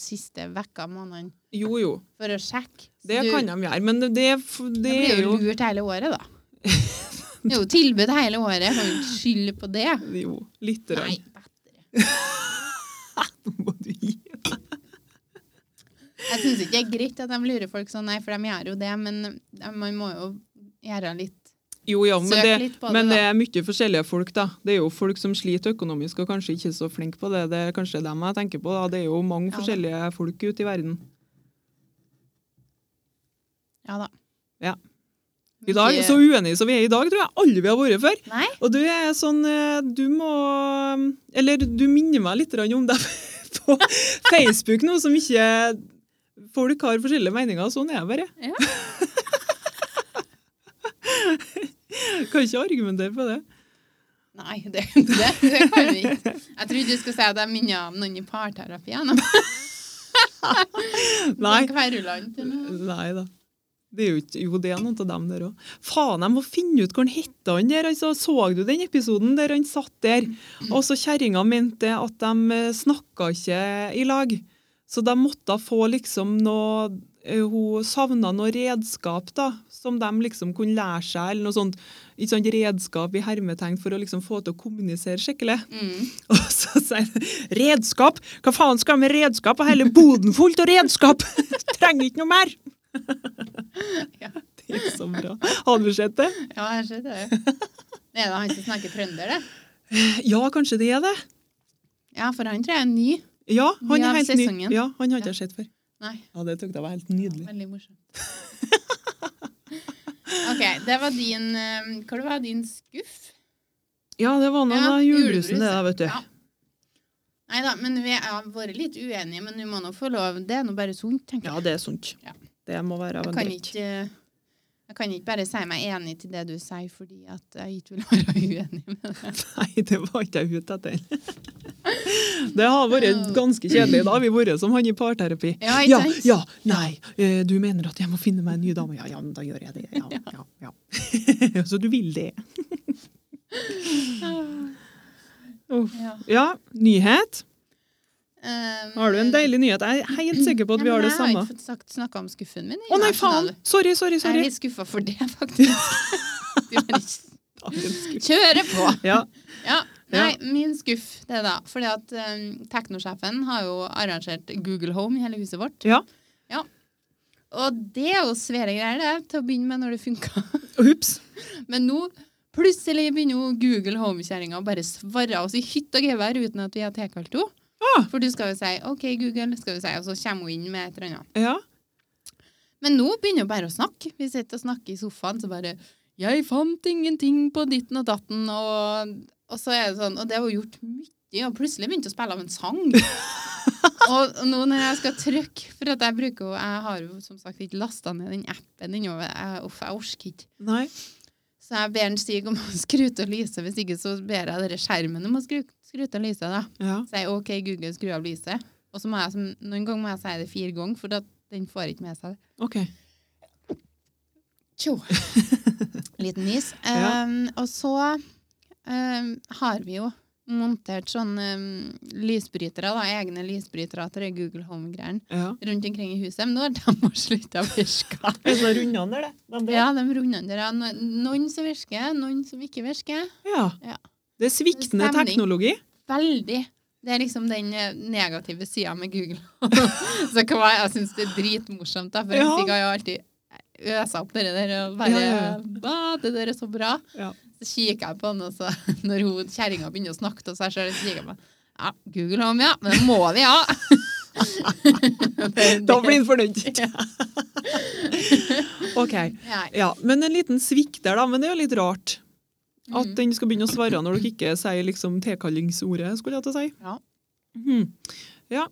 [SPEAKER 1] siste vekka, måneden,
[SPEAKER 2] Jo, jo.
[SPEAKER 1] for å sjekke. Så
[SPEAKER 2] Det
[SPEAKER 1] du-
[SPEAKER 2] kan de gjøre, men det, det, det
[SPEAKER 1] Det
[SPEAKER 2] er
[SPEAKER 1] blir jo
[SPEAKER 2] jo
[SPEAKER 1] lurt hele året, da. Det er jo tilbud hele året. Kan du ikke skylde på det?
[SPEAKER 2] Jo, lite
[SPEAKER 1] Nei,
[SPEAKER 2] grann.
[SPEAKER 1] bedre.
[SPEAKER 2] Nå må du gi
[SPEAKER 1] Jeg syns ikke det er greit at de lurer folk sånn, nei, for de gjør jo det, men eh, man må jo gjøre litt
[SPEAKER 2] Jo, ja, men,
[SPEAKER 1] Søk
[SPEAKER 2] det,
[SPEAKER 1] litt på det,
[SPEAKER 2] men
[SPEAKER 1] da.
[SPEAKER 2] det er mye forskjellige folk, da. Det er jo folk som sliter økonomisk og kanskje ikke er så flinke på det. Det er kanskje dem jeg tenker på. da. Det er jo mange
[SPEAKER 1] Ja, da.
[SPEAKER 2] forskjellige folk ute i verden.
[SPEAKER 1] Ja da.
[SPEAKER 2] Ja. I dag,
[SPEAKER 1] Mye-
[SPEAKER 2] Så uenige som vi er i dag, tror jeg aldri vi har vært før.
[SPEAKER 1] Nei?
[SPEAKER 2] Og du er sånn eh, Du må Eller du minner meg litt grann om deg på Facebook nå, som ikke Folk har forskjellige meninger, og sånn er jeg bare.
[SPEAKER 1] Ja.
[SPEAKER 2] kan ikke argumentere på det.
[SPEAKER 1] Nei, det, det, det kan vi ikke. Jeg trodde du skulle si at jeg minner om noen i parterapi. ja, nå.
[SPEAKER 2] Nei.
[SPEAKER 1] Kverulant, eller?
[SPEAKER 2] Nei da. Det er jo, ikke, jo, det er noen av dem der òg. Faen, jeg må finne ut hvor han het han der. Altså, så du den episoden der han satt der? Og så kjerringa mente at de eh, snakka ikke i lag. Så de måtte få liksom noe eh, Hun savna noe redskap da, som de liksom kunne lære seg, eller noe sånt. Ikke sånt redskap i hermetegn for å liksom få til å kommunisere skikkelig.
[SPEAKER 1] Mm.
[SPEAKER 2] Og så sier han redskap! Hva faen skal jeg med redskap? Og hele boden fullt av redskap! Trenger ikke noe mer!
[SPEAKER 1] Ja.
[SPEAKER 2] Det er så bra. Har du sett det?
[SPEAKER 1] Ja, jeg ser det. Det er da han som snakker trønder, det.
[SPEAKER 2] Ja, kanskje det er det.
[SPEAKER 1] Ja, for han tror jeg er ny.
[SPEAKER 2] Ja, han
[SPEAKER 1] Ny
[SPEAKER 2] er
[SPEAKER 1] av
[SPEAKER 2] helt ny.
[SPEAKER 1] sesongen.
[SPEAKER 2] Ja, han hadde jeg sett før.
[SPEAKER 1] Nei.
[SPEAKER 2] Ja, det tykte jeg var helt nydelig.
[SPEAKER 1] Veldig morsomt. OK, det var din eh, Hva det var din skuff?
[SPEAKER 2] Ja, det var noe
[SPEAKER 1] Ja,
[SPEAKER 2] av julebrusen det der,
[SPEAKER 1] julebruset.
[SPEAKER 2] vet du.
[SPEAKER 1] Ja. Nei da, men vi har vært litt uenige, men vi må nå få lov. Det er nå bare sunt, tenker jeg.
[SPEAKER 2] Ja, det er sunt.
[SPEAKER 1] Ja.
[SPEAKER 2] Det må være av
[SPEAKER 1] Jeg
[SPEAKER 2] en
[SPEAKER 1] kan
[SPEAKER 2] drikk.
[SPEAKER 1] ikke eh, jeg kan ikke bare si meg enig til det du sier, fordi at jeg ikke vil være uenig med det.
[SPEAKER 2] Nei, det var ikke jeg ute etter. Det har vært ganske kjedelig. Da har vi vært som han i parterapi.
[SPEAKER 1] Ja, ikke
[SPEAKER 2] ja,
[SPEAKER 1] sant?
[SPEAKER 2] ja, nei, eh, du mener at jeg må finne meg en ny dame. Ja, ja, men da gjør jeg det. Ja, ja, ja. Så du vil det. Uff.
[SPEAKER 1] Ja.
[SPEAKER 2] Ja, nyhet.
[SPEAKER 1] Um,
[SPEAKER 2] Har du en deilig nyhet? Jeg er helt sikker på at vi har det
[SPEAKER 1] Jeg
[SPEAKER 2] samme.
[SPEAKER 1] har ikke fått sagt- snakket om skuffen min.
[SPEAKER 2] Å nei, faen! Sorry, sorry,
[SPEAKER 1] Jeg er
[SPEAKER 2] sorry.
[SPEAKER 1] litt skuffa for det, faktisk. Du kan ikke kjøre på!
[SPEAKER 2] Ja,
[SPEAKER 1] Ja, nei, min skuff, det er da. Fordi at um, teknosjefen har jo arrangert Google Home i hele huset vårt.
[SPEAKER 2] ja.
[SPEAKER 1] Og det er jo svære greier, det, til å begynne med når det funka.
[SPEAKER 2] Ups.
[SPEAKER 1] Men nå plutselig begynner jo Google Home-kjerringa å bare svare oss i hytt og gevær uten at vi har tilkalt henne.
[SPEAKER 2] Ah.
[SPEAKER 1] For du skal jo si OK, Google, skal du si, og så kommer hun inn med et eller annet.
[SPEAKER 2] Ja.
[SPEAKER 1] Men nå begynner hun bare å snakke. Vi sitter og snakker i sofaen, så bare 'Jeg fant ingenting på ditten og datten', og, og så er det sånn Og det har hun gjort mye, og plutselig begynte hun å spille av en sang. og nå når jeg skal trykke For at jeg bruker jo Jeg har jo som sagt ikke lasta ned den appen ennå. Jeg, uff, jeg orker ikke.
[SPEAKER 2] Nei.
[SPEAKER 1] Så jeg ber en Stig om å skru til lyset, hvis ikke så ber jeg dere skjermen om å skru, skru til lyset, da.
[SPEAKER 2] Ja.
[SPEAKER 1] Sier OK, Google, skru av lyset. Og så må jeg, som- noen ganger må jeg si det fire ganger, for da, den får ikke med seg det.
[SPEAKER 2] OK.
[SPEAKER 1] Tjo! Liten nys.
[SPEAKER 2] Ja.
[SPEAKER 1] Um, og så um, har vi jo montert sånne um, lysbrytere, da, egne lysbrytere til det Google Home-greiene
[SPEAKER 2] Ja.
[SPEAKER 1] rundt omkring i huset. Men nå har de også slutta å virke.
[SPEAKER 2] Rundene der, det.
[SPEAKER 1] ja, de rundene der. ja. No- Noen som virker, noen som ikke virker.
[SPEAKER 2] Ja.
[SPEAKER 1] Ja.
[SPEAKER 2] Det er sviktende
[SPEAKER 1] Stemning.
[SPEAKER 2] teknologi.
[SPEAKER 1] Veldig. Det er liksom den eh, negative sida med Google. så hva, jeg syns det er dritmorsomt, da, for
[SPEAKER 2] Ja.
[SPEAKER 1] jeg har jo alltid øsa opp det der og bare
[SPEAKER 2] Ja, ja, ja.
[SPEAKER 1] «Ba, Det der er så bra.
[SPEAKER 2] Ja.
[SPEAKER 1] Så kikker jeg på den, og så når hun kjerringa begynner å snakke til seg sjøl, så kikker jeg på den. ja, Google Home, ja. Men det må vi ha! Det-
[SPEAKER 2] Da blir han fornøyd.
[SPEAKER 1] Ja.
[SPEAKER 2] OK.
[SPEAKER 1] Nei.
[SPEAKER 2] Ja, men en liten svikt der, da. Men det er jo litt rart. At
[SPEAKER 1] Mm.
[SPEAKER 2] den skal begynne å svare når dere ikke sier liksom tilkallingsordet, skulle jeg til å si.
[SPEAKER 1] Ja.
[SPEAKER 2] Mhm. ja.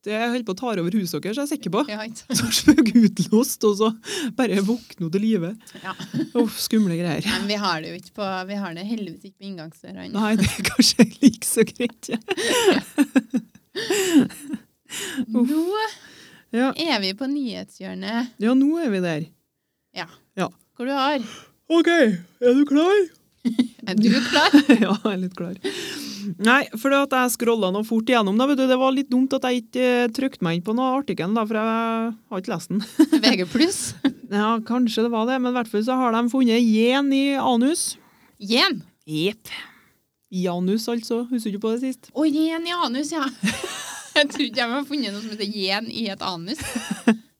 [SPEAKER 2] Det holder på å ta over huset deres, er jeg sikker på.
[SPEAKER 1] Ja, ikke sant?
[SPEAKER 2] Så spøker utlåst, og så bare våkner hun til live.
[SPEAKER 1] Ja.
[SPEAKER 2] Uff, skumle greier.
[SPEAKER 1] Men vi har det jo ikke på Vi har det heldigvis ikke på inngangsdøra ennå.
[SPEAKER 2] Nei, det er kanskje like så greit.
[SPEAKER 1] Nå
[SPEAKER 2] Ja.
[SPEAKER 1] er vi på nyhetshjørnet,
[SPEAKER 2] ja, nå er vi der.
[SPEAKER 1] hvor du har
[SPEAKER 2] OK, er du klar?
[SPEAKER 1] Er du klar?
[SPEAKER 2] ja, jeg er litt klar. Nei, for det at jeg scrolla noe fort igjennom. Da, vet du, det var litt dumt at jeg ikke eh, trykte meg inn på noe artikkelen, da, for jeg har ikke lest den.
[SPEAKER 1] VG
[SPEAKER 2] Ja, kanskje det var det, men i hvert fall så har de funnet gen i anus.
[SPEAKER 1] Igjen!
[SPEAKER 2] Jepp. I anus, altså. Husker du ikke på det sist?
[SPEAKER 1] Å, igjen i anus, ja. Jeg trodde de hadde funnet noe som heter igjen i et anus.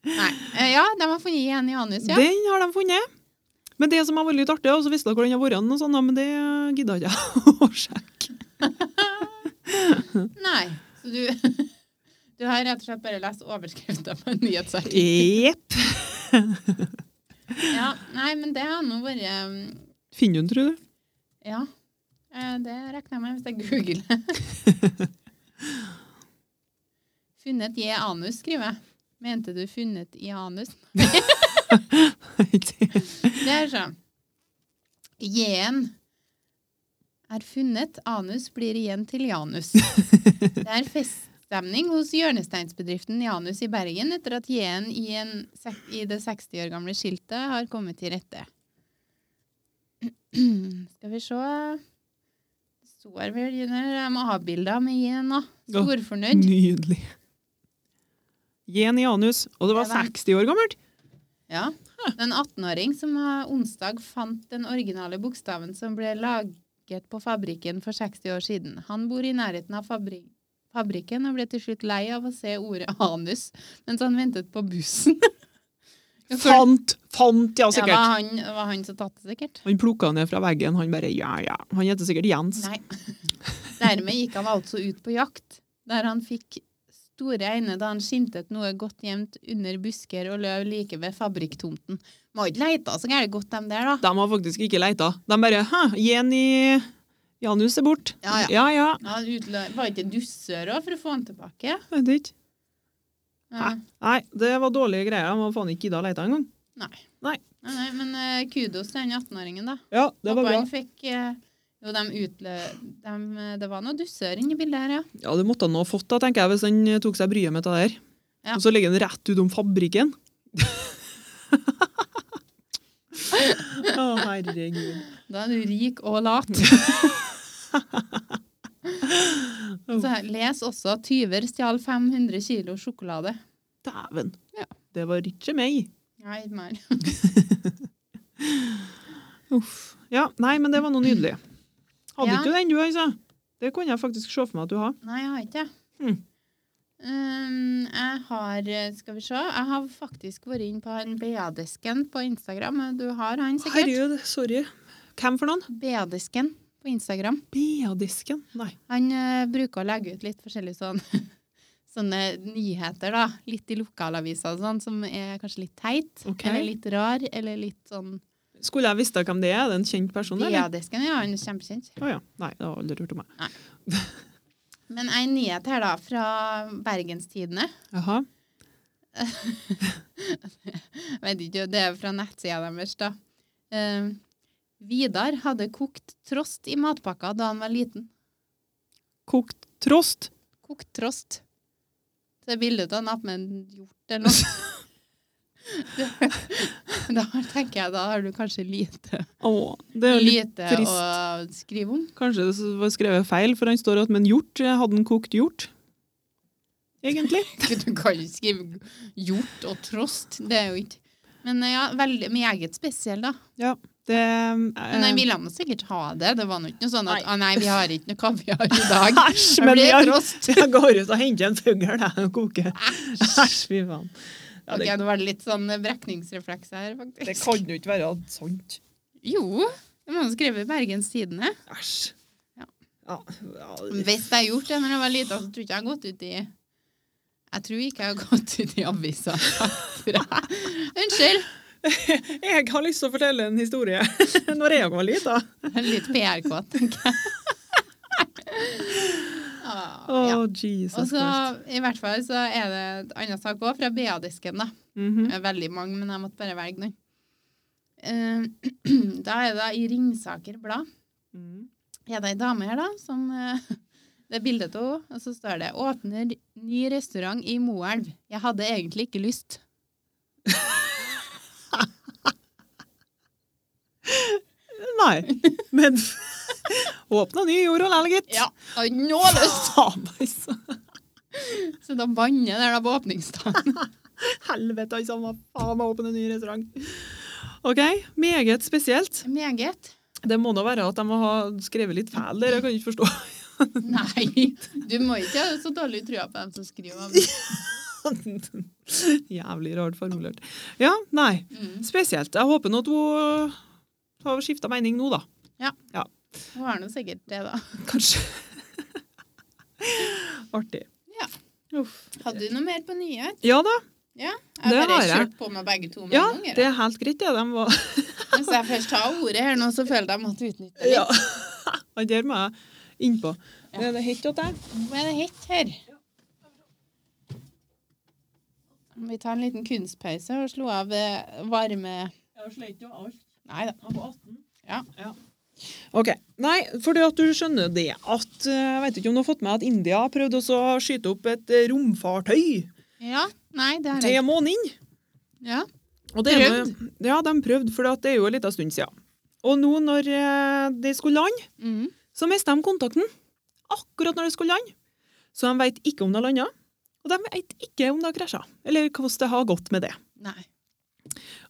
[SPEAKER 1] Nei. Eh, Ja, de har funnet igjen i anus, ja.
[SPEAKER 2] Den har de funnet. Men det som har vært litt artig, og så visste jeg hvor den har vært, og sånn, da, men det gidda ikke jeg å sjekke.
[SPEAKER 1] Nei. Så du, du har rett og slett bare lest overskrifta på en nyhetsartikkel.
[SPEAKER 2] Jepp.
[SPEAKER 1] Ja, nei, men det har nå vært um,
[SPEAKER 2] Finner du den, tror du?
[SPEAKER 1] Ja. Eh, Det regner jeg med hvis jeg googler. funnet i anus, skriver jeg. Mente du funnet i anus?
[SPEAKER 2] Ikke.
[SPEAKER 1] Det er sånn. J-en er funnet. Anus blir igjen til Janus. Det er feststemning hos hjørnesteinsbedriften Janus i Bergen etter at J-en i, en sek- i det 60 år gamle skiltet har kommet til rette. Skal vi se Står vel under Jeg må ha bilder med J-en, da.
[SPEAKER 2] Ja.
[SPEAKER 1] Storfornøyd.
[SPEAKER 2] Nydelig. Gen i anus. Og det var
[SPEAKER 1] Det var-
[SPEAKER 2] 60 år gammelt.
[SPEAKER 1] Ja. Det er en 18-åring som eh, onsdag fant den originale bokstaven som ble laget på fabrikken for 60 år siden. Han bor i nærheten av fabri fabrikken og ble til slutt lei av å se ordet anus mens han ventet på bussen. Ja, for-
[SPEAKER 2] Fant! Fant,
[SPEAKER 1] Ja,
[SPEAKER 2] ja,
[SPEAKER 1] det
[SPEAKER 2] sikkert.
[SPEAKER 1] var han, det var han som tatt det, sikkert.
[SPEAKER 2] Han plukka ned fra veggen. Han bare ja, ja. Han heter sikkert Jens.
[SPEAKER 1] Nei. Dermed gikk han altså ut på jakt, der han fikk store øyne da han skimtet noe godt gjemt under busker og løv like ved fabrikktomten. Må ikke leite så gærent godt, dem der, da.
[SPEAKER 2] De har faktisk ikke leita. De bare hæ, gen i Janus er borte.
[SPEAKER 1] Ja, ja.
[SPEAKER 2] ja, ja.
[SPEAKER 1] Ja, han utlø- Var ikke dusser òg, for å få han tilbake?
[SPEAKER 2] Vet ikke.
[SPEAKER 1] Ja.
[SPEAKER 2] Nei, det var dårlige greier. De har faen ikke gidda å leite engang.
[SPEAKER 1] Nei.
[SPEAKER 2] Nei.
[SPEAKER 1] Nei, nei, men eh, kudos til den 18-åringen, da.
[SPEAKER 2] Ja, det var
[SPEAKER 1] Håper
[SPEAKER 2] bra.
[SPEAKER 1] han fikk eh, Jo, de utlø... dem, eh, det var noe dusser inni bildet her, ja.
[SPEAKER 2] Ja, Det måtte han nå ha fått, da, tenker jeg, hvis han eh, tok seg bryet med det der.
[SPEAKER 1] Ja.
[SPEAKER 2] Og så ligger han rett utom fabrikken. Å, herregud.
[SPEAKER 1] Da er du rik og lat. Så her, les også 'Tyver stjal 500 kilo sjokolade'.
[SPEAKER 2] Dæven.
[SPEAKER 1] Ja.
[SPEAKER 2] Det var ikke meg.
[SPEAKER 1] Nei, mer.
[SPEAKER 2] Uff. Ja, nei, men det var noe nydelig. Hadde
[SPEAKER 1] Ja.
[SPEAKER 2] ikke du den, du, altså? Det kunne jeg faktisk se for meg at du har.
[SPEAKER 1] Nei, jeg har ikke det.
[SPEAKER 2] Hmm.
[SPEAKER 1] Um, jeg har eh, Skal vi se. Jeg har faktisk vært inn på han BA-desken på Instagram. Du har han sikkert?
[SPEAKER 2] Herregud, sorry. Hvem for noen?
[SPEAKER 1] BA-desken på Instagram.
[SPEAKER 2] Bea-disken. Nei.
[SPEAKER 1] Han eh, bruker å legge ut litt forskjellige sånn, sånne nyheter, da. Litt i lokalaviser og sånn, som er kanskje litt teit,
[SPEAKER 2] Ok.
[SPEAKER 1] eller litt rar, eller litt sånn
[SPEAKER 2] Skulle jeg visst hvem det er? Sånn Er det en kjent person, eller?
[SPEAKER 1] Diadesken, ja, han er kjempekjent.
[SPEAKER 2] Å ja. Nei, det har aldri hørt om meg.
[SPEAKER 1] Men en nyhet her, da, fra Bergenstidene.
[SPEAKER 2] Jaha.
[SPEAKER 1] Jeg Vet ikke, det er fra nettsida deres, da. Eh, Vidar hadde kokt trost i matpakka da han var liten.
[SPEAKER 2] Kokt trost.
[SPEAKER 1] Kokt trost. Det er bildet av napp med en hjort eller noe. da tenker jeg da har du kanskje lite,
[SPEAKER 2] Å, det er jo litt
[SPEAKER 1] lite
[SPEAKER 2] trist.
[SPEAKER 1] å skrive om.
[SPEAKER 2] Kanskje det var skrevet feil, for han står at med en hjort eh, hadde han kokt hjort. Egentlig.
[SPEAKER 1] Du kan jo skrive hjort og trost. Det er jo ikke Men ja, veldig meget spesiell, da.
[SPEAKER 2] Det, eh,
[SPEAKER 1] Men jeg ville nå sikkert ha det. Det var nå ikke noe sånn at
[SPEAKER 2] Nei.
[SPEAKER 1] å nei, vi har ikke noe kaviar i dag.
[SPEAKER 2] Æsj,
[SPEAKER 1] Det
[SPEAKER 2] men
[SPEAKER 1] blir
[SPEAKER 2] jeg,
[SPEAKER 1] trost.
[SPEAKER 2] jeg går ut og henter en fugl jeg, og koker. Æsj, fy faen. Ja,
[SPEAKER 1] Ok,
[SPEAKER 2] det,
[SPEAKER 1] nå var det litt sånn brekningsrefleks her, faktisk.
[SPEAKER 2] det kan jo ikke være sant.
[SPEAKER 1] Jo, det må jo skrive i Bergens Tidende.
[SPEAKER 2] Æsj.
[SPEAKER 1] Ja.
[SPEAKER 2] Ja, ja,
[SPEAKER 1] Hvis jeg har gjort det når jeg var liten, så tror jeg ikke jeg har gått ut i Jeg tror ikke jeg har gått ut i avisa. Unnskyld.
[SPEAKER 2] Jeg har lyst til å fortelle en historie. Når jeg var liten.
[SPEAKER 1] Litt PR-kåt, tenker jeg. Ah,
[SPEAKER 2] Å,
[SPEAKER 1] ja.
[SPEAKER 2] Jesus
[SPEAKER 1] Og så,
[SPEAKER 2] Christ.
[SPEAKER 1] I hvert fall så er det et annet sak òg, fra BA-disken. da.
[SPEAKER 2] Mhm.
[SPEAKER 1] Det er veldig mange, men jeg måtte bare velge noen. Eh, Da er det da i Ringsaker Blad
[SPEAKER 2] Mhm.
[SPEAKER 1] er det ei dame her da, som eh, Det er bilde av henne, og så står det 'Åpner ny restaurant i Moelv'. Jeg hadde egentlig ikke lyst.
[SPEAKER 2] Nei, men åpna ny jord og lell, gitt.
[SPEAKER 1] Og nå lyst!
[SPEAKER 2] Faen, altså.
[SPEAKER 1] Så da banner der da på åpningsdagen.
[SPEAKER 2] Helvete, altså. Hva faen å åpne en ny restaurant? OK, meget spesielt.
[SPEAKER 1] Meget.
[SPEAKER 2] Det må nå være at de må ha skrevet litt feil der, jeg kan ikke forstå.
[SPEAKER 1] Nei, du må ikke ha så dårlig trua på dem som skriver. om det.
[SPEAKER 2] Jævlig rart formulert. Ja, nei.
[SPEAKER 1] Mm.
[SPEAKER 2] Spesielt. Jeg håper nå at hun har skifta mening nå, da.
[SPEAKER 1] Hun har nå sikkert det, da.
[SPEAKER 2] Kanskje. Artig.
[SPEAKER 1] Ja.
[SPEAKER 2] Uff.
[SPEAKER 1] Hadde du noe mer på nyhet?
[SPEAKER 2] Ja da,
[SPEAKER 1] Ja,
[SPEAKER 2] Det
[SPEAKER 1] jeg har
[SPEAKER 2] har
[SPEAKER 1] bare
[SPEAKER 2] jeg.
[SPEAKER 1] kjørt på med begge to med
[SPEAKER 2] ja,
[SPEAKER 1] en gang.
[SPEAKER 2] det
[SPEAKER 1] da.
[SPEAKER 2] er helt greit, det. De var
[SPEAKER 1] Hvis jeg først har ordet her nå, så føler jeg at jeg måtte utnytte det
[SPEAKER 2] Ja.
[SPEAKER 1] litt.
[SPEAKER 2] Han der må jeg innpå. Det er det hett at jeg
[SPEAKER 1] Nå er det hett her. Vi tar en liten kunstpause og slo av eh, varme
[SPEAKER 2] Jeg sleit jo alt.
[SPEAKER 1] Nei da.
[SPEAKER 2] Jeg var 18.
[SPEAKER 1] Ja.
[SPEAKER 2] OK. Nei, for det at du skjønner det at eh, Jeg vet ikke om du har fått med at India prøvde også å skyte opp et eh, romfartøy
[SPEAKER 1] Ja, nei, det har jeg.
[SPEAKER 2] til månen.
[SPEAKER 1] Ja.
[SPEAKER 2] Og det er med- Ja, de prøvde, for det er jo en liten stund siden. Og nå når eh, de skulle lande,
[SPEAKER 1] Mm.
[SPEAKER 2] så mista de kontakten. Akkurat når de skulle lande. Så de veit ikke om de har landa, og de veit ikke om de har krasja. Eller hvordan det har gått med det.
[SPEAKER 1] Nei.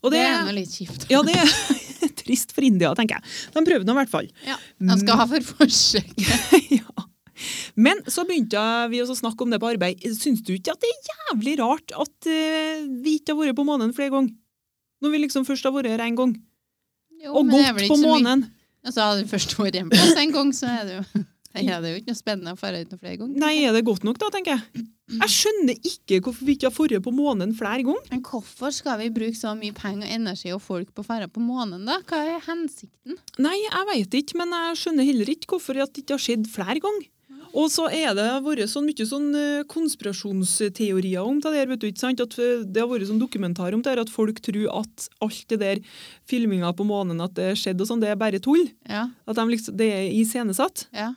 [SPEAKER 2] Og
[SPEAKER 1] Det,
[SPEAKER 2] det,
[SPEAKER 1] er nå litt kjipt.
[SPEAKER 2] Ja, det er trist for India, tenker jeg. De prøvde nå i hvert fall.
[SPEAKER 1] Ja, De skal ha for forsøk.
[SPEAKER 2] ja. Men så begynte vi også å snakke om det på arbeid. Syns du ikke at det er jævlig rart at eh, vi ikke har vært på månen flere ganger? Når vi liksom først har vært her én gang,
[SPEAKER 1] Jo,
[SPEAKER 2] og
[SPEAKER 1] men det er vel
[SPEAKER 2] gått
[SPEAKER 1] ikke
[SPEAKER 2] på
[SPEAKER 1] så mye-
[SPEAKER 2] månen.
[SPEAKER 1] Altså, hadde du først vært hjemme hos en gang, så er det jo Nei, det er jo ikke noe spennende å dra ut noen flere ganger.
[SPEAKER 2] Nei, er det godt nok, da, tenker jeg. Jeg skjønner ikke hvorfor vi ikke har vært på månen flere ganger.
[SPEAKER 1] Men hvorfor skal vi bruke så mye penger og energi og folk på å dra på månen, da? Hva er hensikten?
[SPEAKER 2] Nei, jeg veit ikke, men jeg skjønner heller ikke hvorfor at det ikke har skjedd flere ganger. Og så er det vært sånn mye sånn eh, konspirasjonsteorier om det der, vet du ikke sant? At eh, det har vært sånn dokumentar om det her, at folk tror at alt det der filminga på månen, at det skjedde og sånn, det er bare tull.
[SPEAKER 1] Ja,
[SPEAKER 2] At de liksom, det er iscenesatt.
[SPEAKER 1] ja.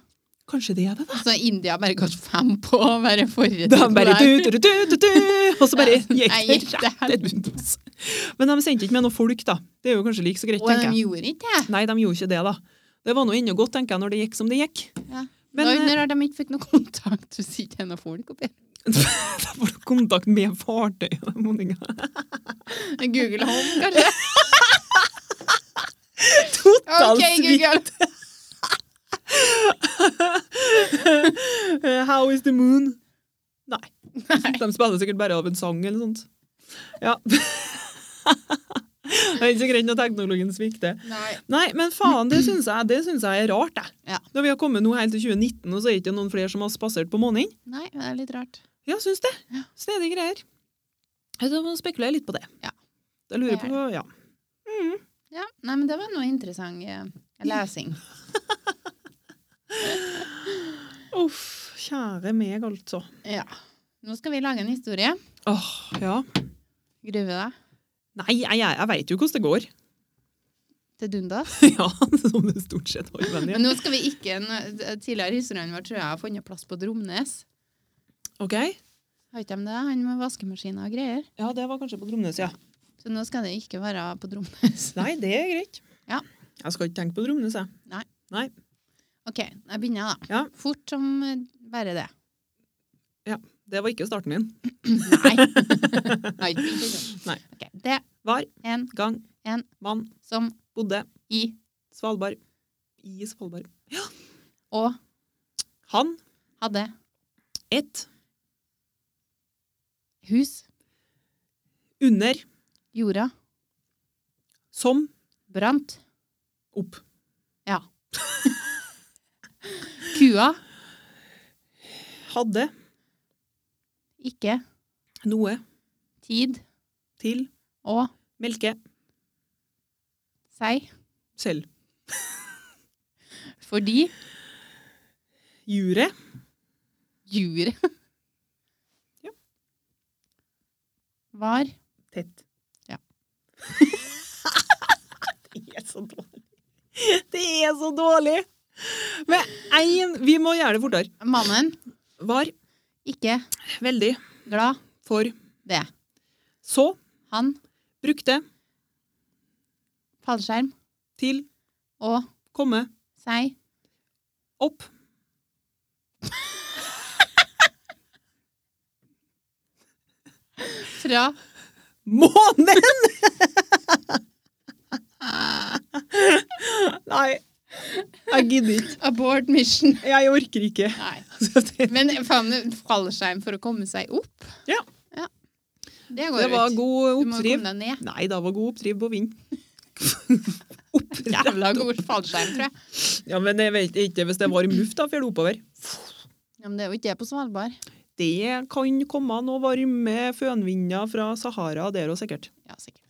[SPEAKER 2] Kanskje det er det, da?
[SPEAKER 1] Så India har bare gått fem på å være forrige
[SPEAKER 2] Da bare
[SPEAKER 1] der.
[SPEAKER 2] du, du, du, du, du, og så bare
[SPEAKER 1] Nei,
[SPEAKER 2] gikk
[SPEAKER 1] gikk
[SPEAKER 2] det
[SPEAKER 1] det
[SPEAKER 2] rett ut. altså. Men de sendte ikke med noen folk, da. Det er jo kanskje like så greit,
[SPEAKER 1] Og
[SPEAKER 2] tenker jeg.
[SPEAKER 1] de gjorde ikke det.
[SPEAKER 2] Nei, de gjorde ikke det, da. Det var nå ennå godt, tenker jeg, når det gikk som det gikk.
[SPEAKER 1] Ja.
[SPEAKER 2] Men
[SPEAKER 1] Når-
[SPEAKER 2] eh,
[SPEAKER 1] når de ikke fikk noe kontakt, så sitter det noen folk oppi
[SPEAKER 2] da var det kontakt med fartøyet, den måningen.
[SPEAKER 1] Google Home, kanskje?
[SPEAKER 2] Totalt
[SPEAKER 1] OK, Google!
[SPEAKER 2] Eh, How is the moon? Nei. De spiller sikkert bare av en sang eller sånt. Ja. det er ikke så greit når teknologien svikter.
[SPEAKER 1] Nei.
[SPEAKER 2] Nei, men faen, det syns jeg, det synes jeg er rart, jeg.
[SPEAKER 1] Ja.
[SPEAKER 2] Når vi har kommet nå helt til 2019, og så er det ikke noen flere som har spasert på månen.
[SPEAKER 1] Nei, det er litt rart.
[SPEAKER 2] Ja, syns det. Snedige greier. Jeg tror man spekulerer litt på det.
[SPEAKER 1] Ja.
[SPEAKER 2] Jeg lurer
[SPEAKER 1] Det er
[SPEAKER 2] på, ja.
[SPEAKER 1] Ja, nei, men det var noe interessant eh, lesing.
[SPEAKER 2] Uff, kjære meg, altså.
[SPEAKER 1] Ja. Nå skal vi lage en historie.
[SPEAKER 2] Åh, ja.
[SPEAKER 1] Gruer du deg?
[SPEAKER 2] Nei, jeg, jeg, jeg veit jo hvordan det går.
[SPEAKER 1] til dundas.
[SPEAKER 2] ja, som det stort sett har vært.
[SPEAKER 1] Men nå skal vi ikke nå- eh, Tidligere i historien vår tror jeg jeg har funnet plass på Dromnes.
[SPEAKER 2] Ok.
[SPEAKER 1] Har ikke de det? Han med vaskemaskiner og greier.
[SPEAKER 2] Ja, det var kanskje på Dromnes, ja.
[SPEAKER 1] Så nå skal det ikke være på Dromnes.
[SPEAKER 2] Nei, det er greit.
[SPEAKER 1] Ja.
[SPEAKER 2] Jeg skal ikke tenke på Dromnes, jeg.
[SPEAKER 1] OK, jeg begynner, da.
[SPEAKER 2] Ja.
[SPEAKER 1] Fort som eh, bare det.
[SPEAKER 2] Det var ikke starten din.
[SPEAKER 1] Nei. Nei. ikke sant.
[SPEAKER 2] Nei.
[SPEAKER 1] Ok, Det
[SPEAKER 2] Var,
[SPEAKER 1] en
[SPEAKER 2] gang,
[SPEAKER 1] En.
[SPEAKER 2] mann,
[SPEAKER 1] som
[SPEAKER 2] bodde,
[SPEAKER 1] i
[SPEAKER 2] Svalbard. I Svalbard.
[SPEAKER 1] og
[SPEAKER 2] Han,
[SPEAKER 1] hadde
[SPEAKER 2] ett,
[SPEAKER 1] hus,
[SPEAKER 2] under,
[SPEAKER 1] jorda,
[SPEAKER 2] som,
[SPEAKER 1] brant,
[SPEAKER 2] opp.
[SPEAKER 1] ja. Kua,
[SPEAKER 2] Hadde,
[SPEAKER 1] ikke,
[SPEAKER 2] noe,
[SPEAKER 1] tid
[SPEAKER 2] til,
[SPEAKER 1] og
[SPEAKER 2] melke,
[SPEAKER 1] seg,
[SPEAKER 2] selv.
[SPEAKER 1] fordi
[SPEAKER 2] Jure,
[SPEAKER 1] jur
[SPEAKER 2] Ja.
[SPEAKER 1] var
[SPEAKER 2] tett.
[SPEAKER 1] Ja.
[SPEAKER 2] det er så dårlig. Det er så dårlig! Men en, vi må gjøre det fortere.
[SPEAKER 1] mannen
[SPEAKER 2] Var,
[SPEAKER 1] ikke
[SPEAKER 2] veldig,
[SPEAKER 1] glad
[SPEAKER 2] for,
[SPEAKER 1] det.
[SPEAKER 2] så,
[SPEAKER 1] Han,
[SPEAKER 2] brukte,
[SPEAKER 1] fallskjerm
[SPEAKER 2] til,
[SPEAKER 1] og
[SPEAKER 2] komme,
[SPEAKER 1] seg,
[SPEAKER 2] opp.
[SPEAKER 1] fra,
[SPEAKER 2] Månen! Nei, jeg gidder ikke.
[SPEAKER 1] abort mission.
[SPEAKER 2] Jeg orker ikke.
[SPEAKER 1] Nei.
[SPEAKER 2] Så det-
[SPEAKER 1] Men faen, fallskjerm for å komme seg opp?
[SPEAKER 2] Ja.
[SPEAKER 1] ja. Det går
[SPEAKER 2] Det var
[SPEAKER 1] ut.
[SPEAKER 2] god
[SPEAKER 1] Du må jo
[SPEAKER 2] oppdriv.
[SPEAKER 1] komme deg ned.
[SPEAKER 2] Nei, det var god oppdriv på vind.
[SPEAKER 1] Jævla god fallskjerm, tror jeg.
[SPEAKER 2] Ja, men jeg vet ikke hvis det var varm luft da, fjer det oppover.
[SPEAKER 1] Ja, men det er jo ikke det på Svalbard.
[SPEAKER 2] Det kan komme noe varme fønvinder fra Sahara der og sikkert.
[SPEAKER 1] Ja, sikkert.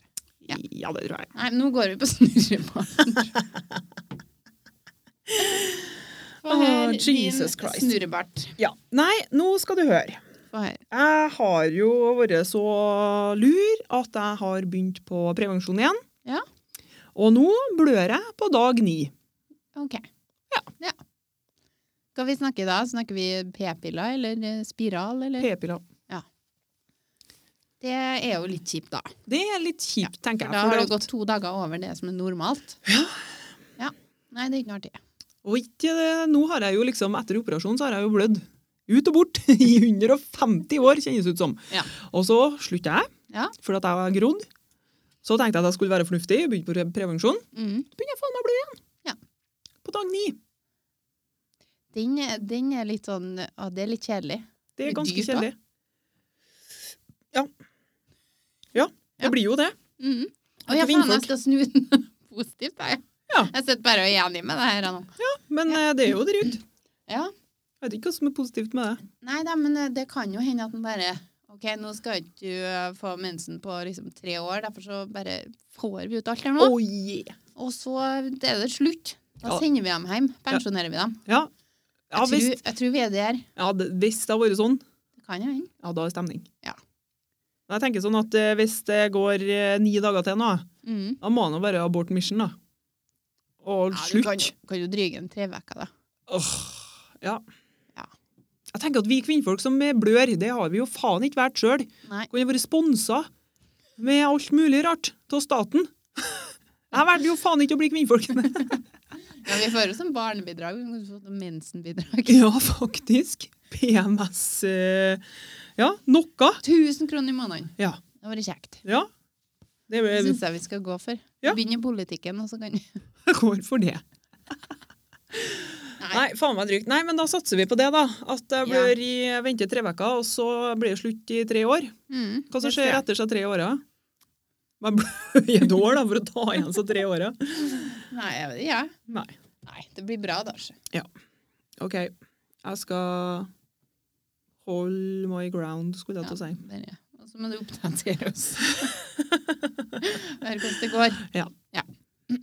[SPEAKER 1] Ja.
[SPEAKER 2] Ja, det tror jeg.
[SPEAKER 1] Nei, nå går vi på snurrebarten. Få
[SPEAKER 2] Åh,
[SPEAKER 1] høre
[SPEAKER 2] Jesus
[SPEAKER 1] din
[SPEAKER 2] Christ.
[SPEAKER 1] snurrebart.
[SPEAKER 2] Ja. Nei, nå skal du høre.
[SPEAKER 1] Få høre.
[SPEAKER 2] Jeg har jo vært så lur at jeg har begynt på prevensjon igjen.
[SPEAKER 1] Ja.
[SPEAKER 2] Og nå blør jeg på dag ni.
[SPEAKER 1] OK. Ja. Skal vi snakke da? Snakker vi p-piller eller eh, spiral, eller?
[SPEAKER 2] P-piller.
[SPEAKER 1] Det er jo litt kjipt, da.
[SPEAKER 2] Det er litt kjipt, tenker
[SPEAKER 1] For
[SPEAKER 2] jeg.
[SPEAKER 1] da har
[SPEAKER 2] fordi
[SPEAKER 1] det gått to dager over det som er normalt.
[SPEAKER 2] Ja.
[SPEAKER 1] Ja. Nei, det er ikke noe artig.
[SPEAKER 2] at- Og ikke det, nå har jeg jo liksom, etter operasjonen så har jeg jo blødd. Ut og bort i 150 år, kjennes ut som.
[SPEAKER 1] Ja.
[SPEAKER 2] Og så slutta jeg,
[SPEAKER 1] Ja.
[SPEAKER 2] fordi at jeg har grodd. Så tenkte jeg at jeg skulle være fornuftig, begynte på pre- prevensjon.
[SPEAKER 1] Mm.
[SPEAKER 2] Begynner jeg faen meg å blø igjen.
[SPEAKER 1] Ja.
[SPEAKER 2] På dag ni.
[SPEAKER 1] Den, er- den er litt sånn Å, det er litt kjedelig.
[SPEAKER 2] Det er
[SPEAKER 1] Blir det
[SPEAKER 2] ganske
[SPEAKER 1] dyrt da?
[SPEAKER 2] kjedelig. Ja. Ja, det
[SPEAKER 1] Ja.
[SPEAKER 2] blir jo det.
[SPEAKER 1] Mm. Og jeg
[SPEAKER 2] Jeg er ikke
[SPEAKER 1] faen, jeg
[SPEAKER 2] vindfolk.
[SPEAKER 1] skal snu den positivt, jeg.
[SPEAKER 2] Ja.
[SPEAKER 1] Jeg sitter bare og er enig med det her nå.
[SPEAKER 2] Men eh, det er jo drygt.
[SPEAKER 1] Ja.
[SPEAKER 2] Jeg vet ikke hva som er positivt med det.
[SPEAKER 1] Nei da, men eh, det kan jo hende at den bare OK, nå skal ikke du eh, få mensen på liksom tre år, derfor så bare får vi ut alt her nå.
[SPEAKER 2] Oh, yeah.
[SPEAKER 1] Og så er det slutt. Da
[SPEAKER 2] Ja.
[SPEAKER 1] sender vi dem hjem. Pensjonerer vi dem.
[SPEAKER 2] Ja, ja
[SPEAKER 1] Jeg
[SPEAKER 2] hvis,
[SPEAKER 1] tror, jeg tror vi er der.
[SPEAKER 2] ja, det- hvis det har vært sånn,
[SPEAKER 1] Det kan jo hende.
[SPEAKER 2] ja, da er det stemning.
[SPEAKER 1] Ja.
[SPEAKER 2] Men jeg tenker sånn at eh, hvis det går eh, ni dager til nå,
[SPEAKER 1] Mm.
[SPEAKER 2] da må det nå være abort mission, da. Og
[SPEAKER 1] Ja, du
[SPEAKER 2] slutt.
[SPEAKER 1] kan, jo- kan jo dryge en tre uker, da.
[SPEAKER 2] Åh, ja.
[SPEAKER 1] Ja.
[SPEAKER 2] Jeg tenker at vi kvinnfolk som eh, blør, det har vi jo faen ikke vært sjøl.
[SPEAKER 1] Nei.
[SPEAKER 2] Kunne vært sponsa med alt mulig rart av staten. Jeg valgte jo faen ikke å bli kvinnfolk.
[SPEAKER 1] Ja, vi får jo som barnebidrag. Vi kan få sånn mensenbidrag.
[SPEAKER 2] Ja, faktisk. PMS eh, Ja, noe.
[SPEAKER 1] 1000 kroner i måneden.
[SPEAKER 2] Ja.
[SPEAKER 1] Det hadde vært kjekt.
[SPEAKER 2] ja. Det
[SPEAKER 1] Det
[SPEAKER 2] er-
[SPEAKER 1] syns jeg vi skal gå for.
[SPEAKER 2] Mm. Ja.
[SPEAKER 1] Begynn i politikken, og så kan
[SPEAKER 2] jeg går for det.
[SPEAKER 1] Nei.
[SPEAKER 2] Nei, faen meg drygt. Nei, men da satser vi på det, da. At jeg blir i, jeg venter tre uker, og så blir det slutt i tre år.
[SPEAKER 1] Mm,
[SPEAKER 2] Hva som
[SPEAKER 1] det
[SPEAKER 2] skjer
[SPEAKER 1] tror jeg.
[SPEAKER 2] etter seg tre åra? Man blør i et år, da, for å ta igjen seg tre åra.
[SPEAKER 1] Nei, jeg vet ikke. jeg.
[SPEAKER 2] Nei.
[SPEAKER 1] Nei, det blir bra, da. sjø.
[SPEAKER 2] OK. Jeg skal Hold my ground, skulle jeg til å si.
[SPEAKER 1] Bare- Og så må du oppdatere oss. Høre hvordan det går.
[SPEAKER 2] Ja.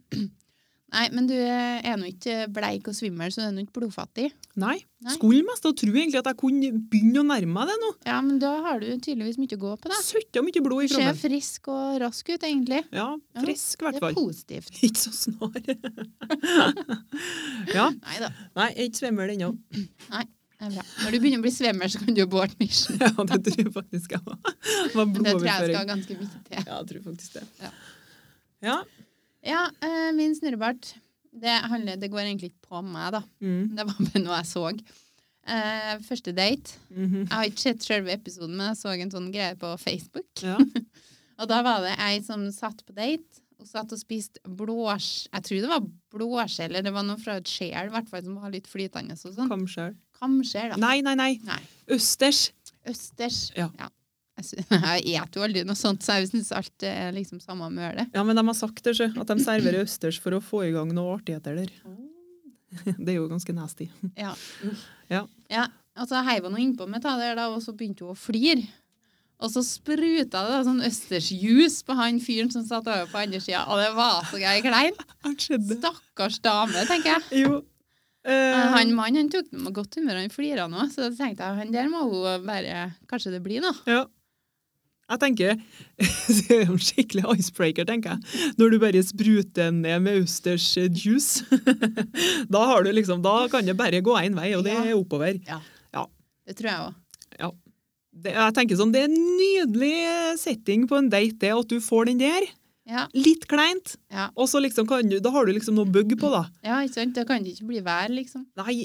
[SPEAKER 1] Nei, men du er nå ikke bleik og svimmel, så du er nå ikke blodfattig.
[SPEAKER 2] Nei.
[SPEAKER 1] Nei.
[SPEAKER 2] Skulle mest og tro egentlig at jeg kunne begynne å nærme meg det nå.
[SPEAKER 1] Ja, men da har du tydeligvis mye å gå på, da.
[SPEAKER 2] Søtta mye blod i
[SPEAKER 1] Ser
[SPEAKER 2] kroppen.
[SPEAKER 1] frisk og rask ut, egentlig.
[SPEAKER 2] Ja,
[SPEAKER 1] Ja,
[SPEAKER 2] frisk i
[SPEAKER 1] Det
[SPEAKER 2] hvert
[SPEAKER 1] er
[SPEAKER 2] fall.
[SPEAKER 1] positivt.
[SPEAKER 2] Ikke så snar. ja.
[SPEAKER 1] Nei da,
[SPEAKER 2] Nei, jeg er ikke svimmel ennå.
[SPEAKER 1] det er bra. Når du begynner å bli svimmel, så kan du jo board mission.
[SPEAKER 2] Ja, det tror jeg faktisk jeg var.
[SPEAKER 1] Men
[SPEAKER 2] var
[SPEAKER 1] det tror jeg
[SPEAKER 2] blodoverføring.
[SPEAKER 1] skal ganske mye til.
[SPEAKER 2] Ja, jeg tror faktisk det.
[SPEAKER 1] Ja.
[SPEAKER 2] Ja,
[SPEAKER 1] Ja, eh, min snurrebart, det, handler, det går egentlig ikke på meg, da.
[SPEAKER 2] Mm.
[SPEAKER 1] Det var bare noe jeg så. Eh, første date.
[SPEAKER 2] Mhm.
[SPEAKER 1] Jeg har ikke sett selve episoden, men jeg så en sånn greie på Facebook.
[SPEAKER 2] ja.
[SPEAKER 1] Og da var det ei som satt på date og satt og spiste blås... Jeg tror det var blåskjell, eller det var noe fra et skjell, i hvert fall, som var litt flytende og sånn.
[SPEAKER 2] Kamskjell.
[SPEAKER 1] Kamskjell, da.
[SPEAKER 2] Nei, nei, nei.
[SPEAKER 1] Nei.
[SPEAKER 2] Østers.
[SPEAKER 1] Østers.
[SPEAKER 2] Ja.
[SPEAKER 1] Jeg sy- Jeg spiser jo aldri noe sånt, så jeg syns alt er liksom samme møle.
[SPEAKER 2] Ja, men de har sagt det, sjø, at de serverer østers for å få i gang noe artigheter der. Det er jo ganske nasty.
[SPEAKER 1] Ja.
[SPEAKER 2] Ja.
[SPEAKER 1] ja. Og så heiv hun innpå meg, ta det der, da, og så begynte hun å flire. Og så spruta det da sånn østersjus på han fyren som satt over på andre sida, og det var så gøy klein.
[SPEAKER 2] Hva skjedde?
[SPEAKER 1] Stakkars dame, tenker jeg.
[SPEAKER 2] Jo. Eh,
[SPEAKER 1] Han mannen han tok det med godt humør, han flira nå, så da tenkte jeg han der må hun bare Kanskje det blir noe.
[SPEAKER 2] Ja. Jeg tenker Det er jo en skikkelig icebreaker, tenker jeg. Når du bare spruter ned med østers eh, juice. da, har du liksom, da kan det bare gå én vei, og det
[SPEAKER 1] Ja.
[SPEAKER 2] er oppover.
[SPEAKER 1] Det tror jeg òg.
[SPEAKER 2] Det, jeg tenker sånn, det er en nydelig eh, setting på en date, det at du får den der.
[SPEAKER 1] Ja.
[SPEAKER 2] Litt kleint,
[SPEAKER 1] Ja.
[SPEAKER 2] og så liksom kan du, da har du liksom noe bugg på, da.
[SPEAKER 1] ja, ikke sant? Det kan ikke bli vær, liksom.
[SPEAKER 2] Nei,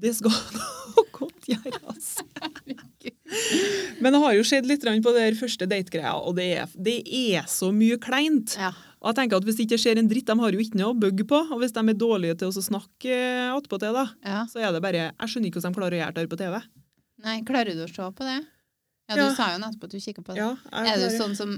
[SPEAKER 2] det skal noe godt gjøres. Men jeg har jo sett litt grann på det her første date-greia, og det er, det er så mye kleint.
[SPEAKER 1] Ja.
[SPEAKER 2] Og jeg tenker at Hvis det ikke skjer en dritt, de har jo ikke noe å bugge på. Og hvis de er dårlige til å snakke eh, attpåtil, da,
[SPEAKER 1] ja.
[SPEAKER 2] så er det bare Jeg skjønner ikke hvordan de klarer å gjøre det her på TV.
[SPEAKER 1] Nei, klarer du å se på det? Ja, du
[SPEAKER 2] Ja.
[SPEAKER 1] sa jo nettopp at du kikka på det.
[SPEAKER 2] Ja,
[SPEAKER 1] Er du
[SPEAKER 2] klarer-
[SPEAKER 1] sånn som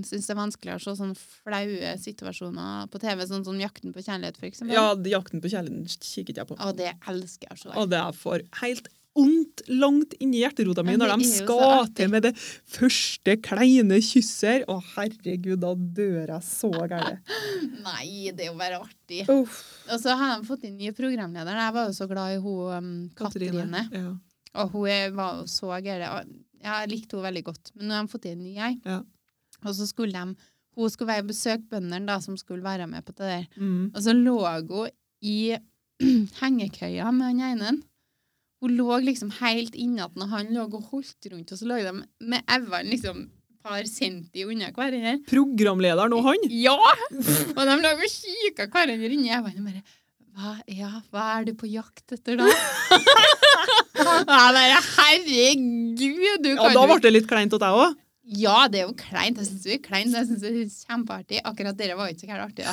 [SPEAKER 1] syns det er vanskelig å se sånne flaue situasjoner på TV, sånn som Jakten på kjærlighet, for eksempel?
[SPEAKER 2] ja, Jakten på kjærligheten kikket jeg på.
[SPEAKER 1] sånn, Å, det elsker jeg å se.
[SPEAKER 2] Og det jeg får helt ondt langt inni hjerterota mi
[SPEAKER 1] Ja,
[SPEAKER 2] når
[SPEAKER 1] det
[SPEAKER 2] de
[SPEAKER 1] er jo så
[SPEAKER 2] skal
[SPEAKER 1] artig.
[SPEAKER 2] til med det første kleine kysser. Å, herregud, da dør jeg så gærent.
[SPEAKER 1] Nei, det er jo bare artig.
[SPEAKER 2] Uff.
[SPEAKER 1] Og så har de fått inn nye programledere. Jeg var jo så glad i hun um, Katrine.
[SPEAKER 2] Ja.
[SPEAKER 1] Og hun er- var jo så gæren. Jeg likte henne veldig godt. Men nå har de fått inn en ny ei.
[SPEAKER 2] Ja.
[SPEAKER 1] Og så skulle de Hun skulle være besøke bøndene da, som skulle være med på det der.
[SPEAKER 2] Mm.
[SPEAKER 1] Og så lå hun Altså, i hengekøya med den ene. Hun lå liksom helt innat når han lå og holdt rundt, og så lå de med evene liksom et par centi unna hverandre.
[SPEAKER 2] Programlederen og han?
[SPEAKER 1] Ja! Og de lå og kikka hverandre inni evene og bare hva, ja, hva er du på jakt etter, da? Jeg bare, herregud, du
[SPEAKER 2] Ja,
[SPEAKER 1] kan
[SPEAKER 2] da
[SPEAKER 1] jo
[SPEAKER 2] ble det litt kleint til deg òg.
[SPEAKER 1] ja, det er jo kleint. Jeg syns det er kleint. Jeg synes det er kjempeartig. Akkurat dere var jo ikke så gærent artig, da.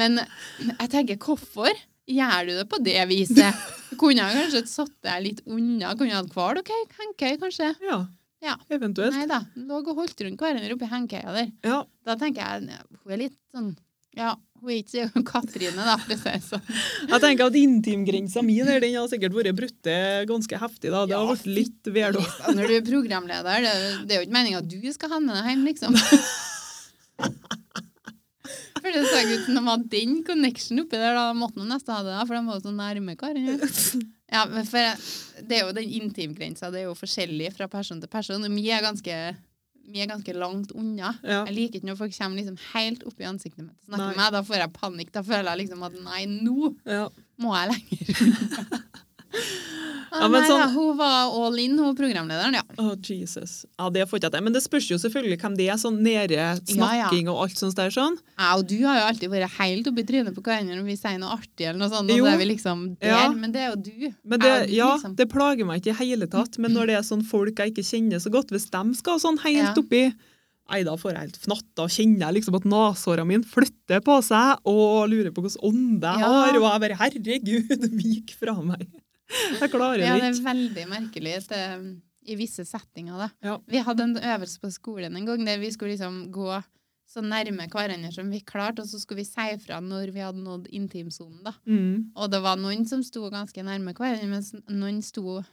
[SPEAKER 1] Men jeg tenker, hvorfor gjør du det på det viset? Kunne jeg kanskje satt deg litt unna? Kunne jeg hatt hval? OK, hengekøy, kanskje?
[SPEAKER 2] Ja.
[SPEAKER 1] Ja.
[SPEAKER 2] Eventuelt.
[SPEAKER 1] Nei da. Lå og holdt rundt hverandre oppi hengekøya der.
[SPEAKER 2] Ja.
[SPEAKER 1] Da tenker jeg, hun er litt sånn Ja, hun er ikke så Katrine, da, for å si det sånn.
[SPEAKER 2] Jeg tenker at intimgrensa mi der, den har sikkert vært brutt ganske heftig. da. Det har
[SPEAKER 1] Ja,
[SPEAKER 2] vært litt vel da.
[SPEAKER 1] Når du er programleder, det er jo- det er jo ikke meninga at du skal ha med deg hjem, liksom. For det så ut som de hadde den connection oppi der, da måtte de nesten ha det, da, for de var jo så nærme hverandre. Ja, men for jeg- det er jo den intimgrensa, det er jo forskjellig fra person til person. og Mye er ganske, mye er ganske langt unna.
[SPEAKER 2] Ja.
[SPEAKER 1] Jeg liker ikke når folk kommer liksom helt opp i ansiktet mitt og
[SPEAKER 2] Nei.
[SPEAKER 1] snakker med meg. Da får jeg panikk. Da føler jeg liksom at nei, nå
[SPEAKER 2] Ja.
[SPEAKER 1] må jeg lenger.
[SPEAKER 2] Ja, men
[SPEAKER 1] nei, da,
[SPEAKER 2] sånn-
[SPEAKER 1] hun var all in, hun programlederen, ja.
[SPEAKER 2] Å, Jesus. Ja, Det får ikke jeg til. Men det spørs jo selvfølgelig hvem det er. Sånn nede snakking og alt sånt der. sånn.
[SPEAKER 1] Jeg og du har jo alltid vært helt oppi trynet på hverandre når vi sier noe artig eller noe sånt, og
[SPEAKER 2] Jo.
[SPEAKER 1] så er vi liksom der,
[SPEAKER 2] Ja.
[SPEAKER 1] men det er jo du.
[SPEAKER 2] Men det,
[SPEAKER 1] Jeg og du,
[SPEAKER 2] ja,
[SPEAKER 1] liksom.
[SPEAKER 2] det plager meg ikke i hele tatt. Men når det er sånn folk jeg ikke kjenner så godt, hvis de skal sånn
[SPEAKER 1] Ja.
[SPEAKER 2] helt oppi Nei, da får jeg helt fnatt. Da kjenner jeg liksom at neshåra mine flytter på seg og lurer på hvordan ånde jeg
[SPEAKER 1] Ja.
[SPEAKER 2] har. Og jeg bare Herregud, vik fra meg. Jeg klarer
[SPEAKER 1] Ja, det
[SPEAKER 2] det
[SPEAKER 1] er
[SPEAKER 2] ikke.
[SPEAKER 1] veldig merkelig at, eh, i visse settinger. Da.
[SPEAKER 2] Ja.
[SPEAKER 1] Vi hadde en øvelse på skolen en gang der vi skulle liksom gå så nærme hverandre som vi klarte, og så skulle vi si fra når vi hadde nådd intimsonen. Da.
[SPEAKER 2] Mm.
[SPEAKER 1] Og det var noen som sto ganske nærme hverandre, mens noen sto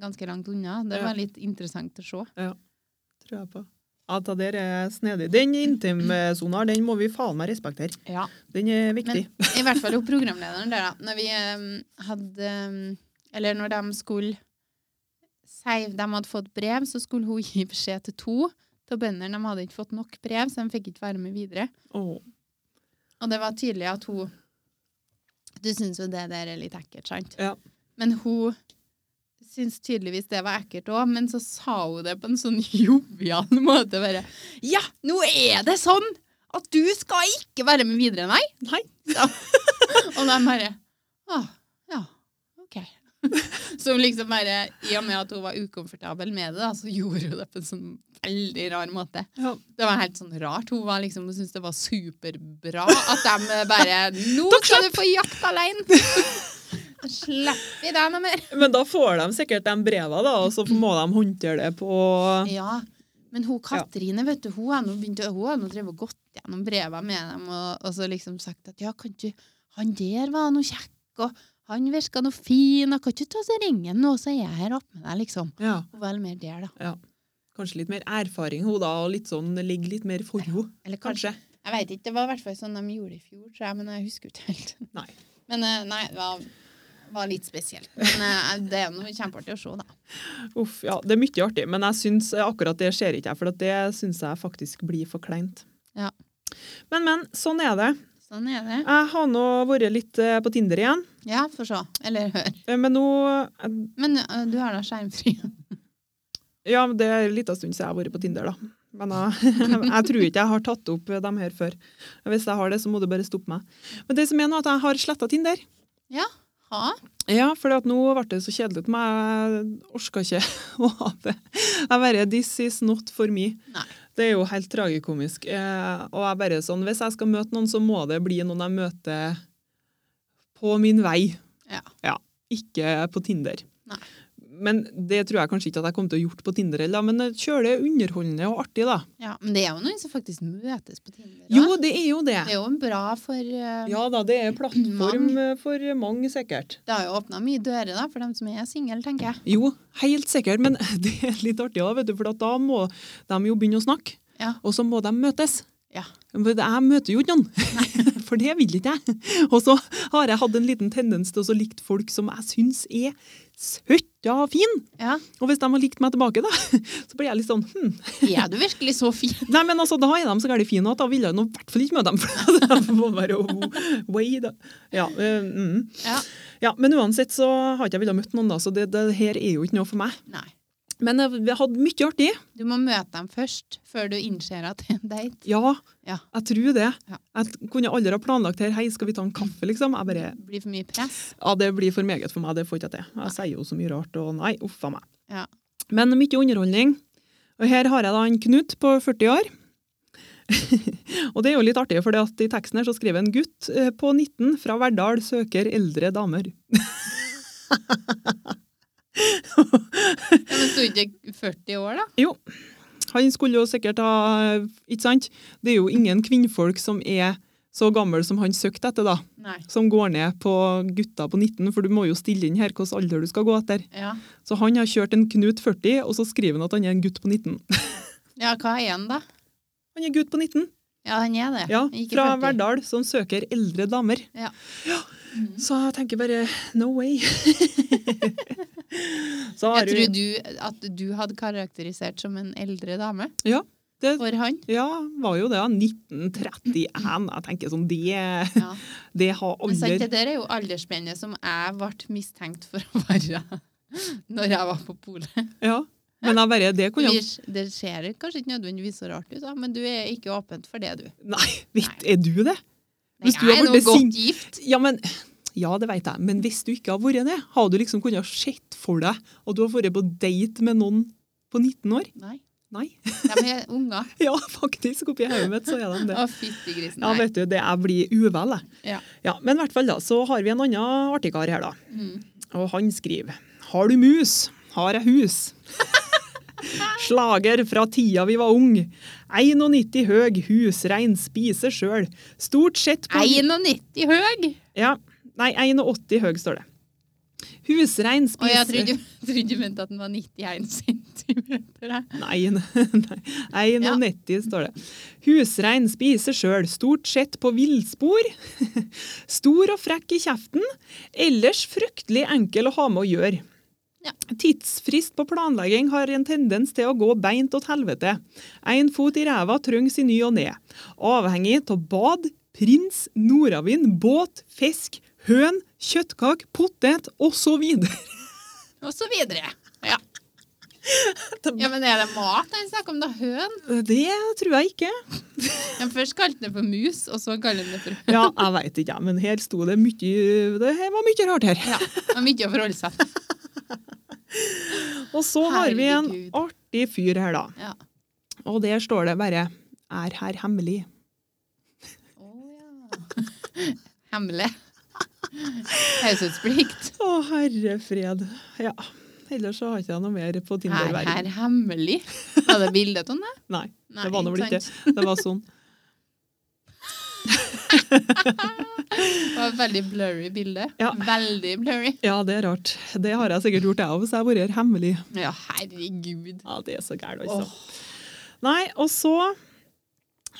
[SPEAKER 1] ganske langt unna. Det
[SPEAKER 2] Ja.
[SPEAKER 1] var litt interessant å se.
[SPEAKER 2] Tror jeg på. Ja, det der er snedig. Den intimsona, den må vi faen meg respektere.
[SPEAKER 1] Ja.
[SPEAKER 2] Den er viktig.
[SPEAKER 1] Men i hvert fall jo programlederen der, da. Når vi eh, hadde eh, Eller når de skulle si de hadde fått brev, så skulle hun gi beskjed til to av bøndene. De hadde ikke fått nok brev, så de fikk ikke være med videre.
[SPEAKER 2] Åh.
[SPEAKER 1] Og det var tydelig at hun Du syns jo det der er litt ekkelt, sant?
[SPEAKER 2] Ja.
[SPEAKER 1] Men hun syns tydeligvis det var ekkelt òg, men så sa hun det på en sånn jovial måte. Bare Ja, nå er det sånn at du skal ikke være med videre, nei?
[SPEAKER 2] Nei.
[SPEAKER 1] Ja. Og de bare Å, ja, OK. Så hun liksom bare, i og med at hun var ukomfortabel med det, da, så gjorde hun det på en sånn veldig rar måte.
[SPEAKER 2] Ja.
[SPEAKER 1] Det var helt sånn rart. Hun, var liksom, hun syntes det var superbra at de bare Nå
[SPEAKER 2] Dere
[SPEAKER 1] skal du få jakt alene! Da slipper vi deg noe mer.
[SPEAKER 2] Men da får de sikkert de breva, da, og så må de håndtere det på
[SPEAKER 1] Ja, men hun Katrine, vet du, hun har nå begynt å- hun har nå drevet og gått gjennom brevene med dem og, og så liksom sagt at ja, kan du Han der var noe kjekk, og han virka noe fin, og kan du ta oss og ringe han nå, så er jeg her oppe med deg, liksom.
[SPEAKER 2] Ja.
[SPEAKER 1] Hun var vel mer der, da.
[SPEAKER 2] Kanskje litt mer erfaring, hun da, og litt sånn ligger litt mer for henne.
[SPEAKER 1] Eller kanskje.
[SPEAKER 2] Kanskje.
[SPEAKER 1] Jeg veit ikke, det var i hvert fall sånn de gjorde i fjor, tror jeg, men jeg husker ikke helt.
[SPEAKER 2] Nei.
[SPEAKER 1] Men eh, nei, det var, var litt spesielt. Men eh, det er noe kjempeartig å se, da.
[SPEAKER 2] Uff, ja, Det er mye artig, men jeg synes akkurat det ser ikke jeg, for at det syns jeg faktisk blir for kleint.
[SPEAKER 1] Ja.
[SPEAKER 2] Men, men, sånn er det.
[SPEAKER 1] Sånn er det.
[SPEAKER 2] Jeg har nå vært litt eh, på Tinder igjen,
[SPEAKER 1] Ja, få se. Eller hør.
[SPEAKER 2] eh, men nå
[SPEAKER 1] Men eh, du har da skjermfri.
[SPEAKER 2] Ja, det er en liten stund siden jeg har vært på Tinder, da. Men jeg, jeg tror ikke jeg har tatt opp eh, dem her før. Hvis jeg har det, så må du bare stoppe meg. Men det som er nå, at jeg har sletta Tinder.
[SPEAKER 1] Ha?
[SPEAKER 2] Ja, for nå ble det så kjedelig for meg. Jeg orka ikke å ha det. Jeg bare This is not for me.
[SPEAKER 1] Nei.
[SPEAKER 2] Det er jo helt tragikomisk. Eh, og jeg bare sånn, Hvis jeg skal møte noen, så må det bli noen jeg møter på min vei.
[SPEAKER 1] Ja.
[SPEAKER 2] Ikke på Tinder.
[SPEAKER 1] Nei.
[SPEAKER 2] Men det tror jeg kanskje ikke at jeg kommer til å gjort på Tinder heller, men eh, kjør det underholdende og artig, da.
[SPEAKER 1] Ja, men det er jo noen som faktisk møtes på Tinder. da.
[SPEAKER 2] Jo, det er jo det.
[SPEAKER 1] Det er jo bra for eh,
[SPEAKER 2] Ja da, det er plattform eh, for mange, sikkert.
[SPEAKER 1] Det har jo åpna mye dører da, for dem som er single, tenker jeg.
[SPEAKER 2] Jo, helt sikkert, men det er litt artig òg, vet du, for at da må de jo begynne å snakke.
[SPEAKER 1] Ja.
[SPEAKER 2] Og så må de møtes.
[SPEAKER 1] Ja.
[SPEAKER 2] For jeg møter jo ikke noen, for det vil ikke jeg. Og så har jeg hatt en liten tendens til å så likt folk som jeg syns er søtta fin.
[SPEAKER 1] Ja.
[SPEAKER 2] Og hvis de har likt meg tilbake, da, så blir jeg litt sånn hm.
[SPEAKER 1] Er du virkelig så fin?
[SPEAKER 2] Nei, men altså, da er de så gærent fine at da vil jeg nå i hvert fall ikke møte dem. For det må være oh, way, da. Ja, eh, mm.
[SPEAKER 1] Ja.
[SPEAKER 2] ja, men uansett så har ikke jeg villet møtt noen, da, så det, det her er jo ikke noe for meg.
[SPEAKER 1] Nei.
[SPEAKER 2] Men eh, vi hadde mye artig.
[SPEAKER 1] Du må møte dem først, før du innser at det er en date.
[SPEAKER 2] Ja,
[SPEAKER 1] Ja.
[SPEAKER 2] jeg tror det.
[SPEAKER 1] Ja.
[SPEAKER 2] Jeg kunne aldri ha planlagt her, hei, skal vi ta en kaffe, liksom? Jeg bare,
[SPEAKER 1] Det blir for mye press.
[SPEAKER 2] ja, det blir for meget for meg, det får ikke jeg til. Jeg sier jo så mye rart, og nei, uff a meg.
[SPEAKER 1] Ja.
[SPEAKER 2] Men mye underholdning. Og her har jeg da en Knut på 40 år. og det er jo litt artig, for i teksten her så skriver en gutt eh, på 19 fra Verdal søker eldre damer.
[SPEAKER 1] Ja, men Sto ikke 40 år, da?
[SPEAKER 2] Han skulle jo sikkert ha Ikke sant? Det er jo ingen kvinnfolk som er så gammel som han søkte etter, da.
[SPEAKER 1] Nei.
[SPEAKER 2] Som går ned på gutta på 19, for du må jo stille inn her hvilken alder du skal gå etter.
[SPEAKER 1] Ja,
[SPEAKER 2] Så han har kjørt en Knut 40, og så skriver han at han er en gutt på 19.
[SPEAKER 1] ja hva er han, da?
[SPEAKER 2] Han er gutt på 19,
[SPEAKER 1] Ja, han er det.
[SPEAKER 2] ja,
[SPEAKER 1] Ikke
[SPEAKER 2] fra
[SPEAKER 1] 40.
[SPEAKER 2] Verdal, som søker eldre damer.
[SPEAKER 1] Ja. Mhm.
[SPEAKER 2] Så jeg tenker bare no way. så har
[SPEAKER 1] Jeg tror
[SPEAKER 2] du
[SPEAKER 1] du, at du hadde karakterisert som en eldre dame
[SPEAKER 2] Ja, det-
[SPEAKER 1] for han.
[SPEAKER 2] Ja, var jo det. ja. 1931. Jeg tenker sånn, det,
[SPEAKER 1] Ja.
[SPEAKER 2] det har
[SPEAKER 1] Men sant,
[SPEAKER 2] alder
[SPEAKER 1] det der er jo aldersspennet som jeg ble mistenkt for å være når jeg var på polet.
[SPEAKER 2] Ja. Men jeg bare, det kunne jeg
[SPEAKER 1] Vi- Det ser kanskje ikke nødvendigvis så rart ut, da, men du er ikke åpent for det, du.
[SPEAKER 2] Nei, vet, er du det? Hvis du
[SPEAKER 1] jeg
[SPEAKER 2] har
[SPEAKER 1] er
[SPEAKER 2] blitt
[SPEAKER 1] nå godt
[SPEAKER 2] sint-
[SPEAKER 1] gift.
[SPEAKER 2] Ja, men ja, det vet jeg. Men hvis du ikke har vært det, har du liksom kunnet sett for deg at du har vært på date med noen på 19 år?
[SPEAKER 1] Nei,
[SPEAKER 2] Nei.
[SPEAKER 1] de er unger.
[SPEAKER 2] Ja, faktisk. Oppi hodet mitt så er de det.
[SPEAKER 1] Å, fytti grisen.
[SPEAKER 2] Ja,
[SPEAKER 1] Nei.
[SPEAKER 2] vet du, det jeg blir uvel, jeg.
[SPEAKER 1] Ja.
[SPEAKER 2] men i hvert fall da, så har vi en annen artig kar her, da.
[SPEAKER 1] Mm.
[SPEAKER 2] Og han skriver Har du mus? Har jeg hus? Slager fra tida vi var ung. 91 høg, husrein, spiser sjøl. Stort sett på
[SPEAKER 1] 91 høg!
[SPEAKER 2] ja. Nei, 81 høg står det. Husrein
[SPEAKER 1] Og jeg
[SPEAKER 2] spiser
[SPEAKER 1] trodde, trodde du mente at den var 91 centimeter. jeg.
[SPEAKER 2] Nei, nei, nei
[SPEAKER 1] Ja.
[SPEAKER 2] nå netti står det. Husrein spiser sjøl, stort sett på villspor. Stor og frekk i kjeften, ellers fryktelig enkel å ha med å gjøre.
[SPEAKER 1] Ja.
[SPEAKER 2] Tidsfrist på planlegging har en tendens til å gå beint åt helvete. Én fot i ræva trengs i ny og ne. Avhengig av bad, prins, nordavind, båt, fisk, høn, kjøttkake, potet osv.
[SPEAKER 1] Og så videre. Ja. ja, Men er det mat han snakker om, da? Høn?
[SPEAKER 2] Det tror jeg ikke.
[SPEAKER 1] Ja, først kalte han det for mus, og så kaller han det for høn.
[SPEAKER 2] Ja, jeg veit ikke, jeg, men her sto det mye Det her var mye rart her.
[SPEAKER 1] Ja, det er mye å forholde seg til.
[SPEAKER 2] Og så har vi en
[SPEAKER 1] Herregud.
[SPEAKER 2] artig fyr her, da.
[SPEAKER 1] Ja.
[SPEAKER 2] Og der står det bare 'Er her hemmelig'.
[SPEAKER 1] Å, ja. Hemmelig. Taushetsplikt.
[SPEAKER 2] Å, herre fred. Ja. Ellers så har ikke jeg noe mer på
[SPEAKER 1] Er
[SPEAKER 2] Tinder-verden.
[SPEAKER 1] her hemmelig? Var det bilde av det?
[SPEAKER 2] Nei,
[SPEAKER 1] Nei,
[SPEAKER 2] det var nå vel ikke
[SPEAKER 1] sant.
[SPEAKER 2] Det var sånn.
[SPEAKER 1] Det var et veldig blurry bilde.
[SPEAKER 2] Ja.
[SPEAKER 1] Veldig blurry.
[SPEAKER 2] Ja, det er rart. Det har jeg sikkert gjort, jeg òg, hvis jeg har vært her hemmelig.
[SPEAKER 1] Ja, herregud.
[SPEAKER 2] Ja, det er så gærent, altså.
[SPEAKER 1] Åh,
[SPEAKER 2] Nei, og så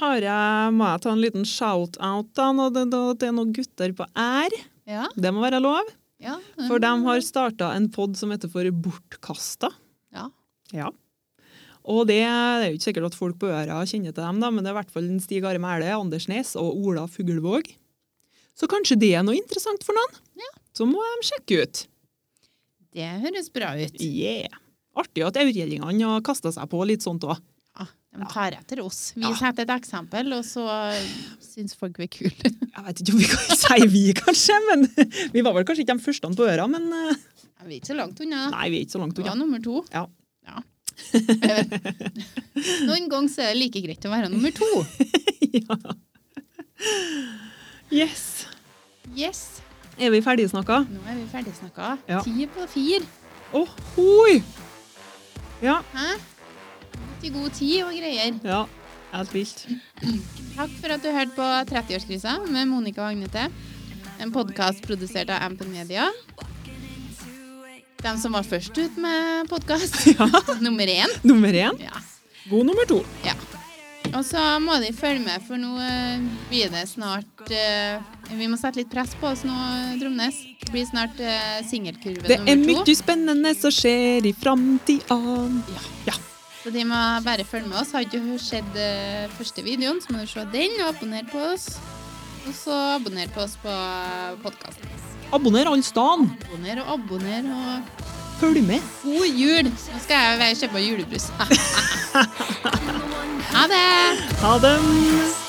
[SPEAKER 2] har jeg, må jeg ta en liten shout-out da, når det, når det er noen gutter på ær.
[SPEAKER 1] ja,
[SPEAKER 2] Det må være lov.
[SPEAKER 1] ja.
[SPEAKER 2] For de har
[SPEAKER 1] Mm.
[SPEAKER 2] starta en pod som heter for Bortkasta.
[SPEAKER 1] Ja.
[SPEAKER 2] Ja. Og det, det er jo ikke sikkert at folk på øra kjenner til dem, da, men det er i hvert fall en Stig Are Mæhle, Anders Nes og Ola Fuglevåg. Så kanskje det er noe interessant for noen? Så må de sjekke ut.
[SPEAKER 1] Det høres bra ut.
[SPEAKER 2] Yeah. Artig at aurgjellingene har kasta seg på litt sånt òg.
[SPEAKER 1] Ja, de tar etter oss. Vi
[SPEAKER 2] Ja.
[SPEAKER 1] setter et eksempel, og så syns folk vi er kule.
[SPEAKER 2] Jeg vet ikke om vi kan si vi, kanskje, men vi var vel kanskje ikke de første på øra, men eh,
[SPEAKER 1] Ja, Vi er ikke så langt unna.
[SPEAKER 2] nei, vi er ikke så langt
[SPEAKER 1] Du
[SPEAKER 2] unna.
[SPEAKER 1] var nummer to.
[SPEAKER 2] Ja.
[SPEAKER 1] Ja. Eh, Noen ganger så er det like greit å være nummer to.
[SPEAKER 2] Ja. Yes.
[SPEAKER 1] Yes.
[SPEAKER 2] Er vi ferdigsnakka?
[SPEAKER 1] Nå er vi ferdig snakka.
[SPEAKER 2] Ja.
[SPEAKER 1] Ti på fire.
[SPEAKER 2] Åh, hoi! Ja,
[SPEAKER 1] Hæ? Litt i god tid og greier.
[SPEAKER 2] ja. Helt vilt.
[SPEAKER 1] Takk for at du hørte på 30-årskrisa med Monica og Agnete. En podkast produsert av Ampen Media. De som var først ut med podkast. Nummer én.
[SPEAKER 2] Nummer én.
[SPEAKER 1] Ja.
[SPEAKER 2] God nummer to.
[SPEAKER 1] ja. Og så må de følge med, for nå eh, blir det snart eh, Vi må sette litt press på oss nå, Dromnes. Det blir snart uh, singelkurve
[SPEAKER 2] Det er
[SPEAKER 1] nummer to.
[SPEAKER 2] mye spennende som skjer i framtida.
[SPEAKER 1] Ja.
[SPEAKER 2] Ja.
[SPEAKER 1] Så de må bare følge med oss. Har ikke du sett eh, første videoen, så må du se den og abonnere på oss. Og så abonner på oss på podkasten.
[SPEAKER 2] Abonner all stan.
[SPEAKER 1] Abonner og abonner og
[SPEAKER 2] Følg med.
[SPEAKER 1] God jul! Nå skal jeg kjøpe julebrus. ha det!
[SPEAKER 2] Ha det.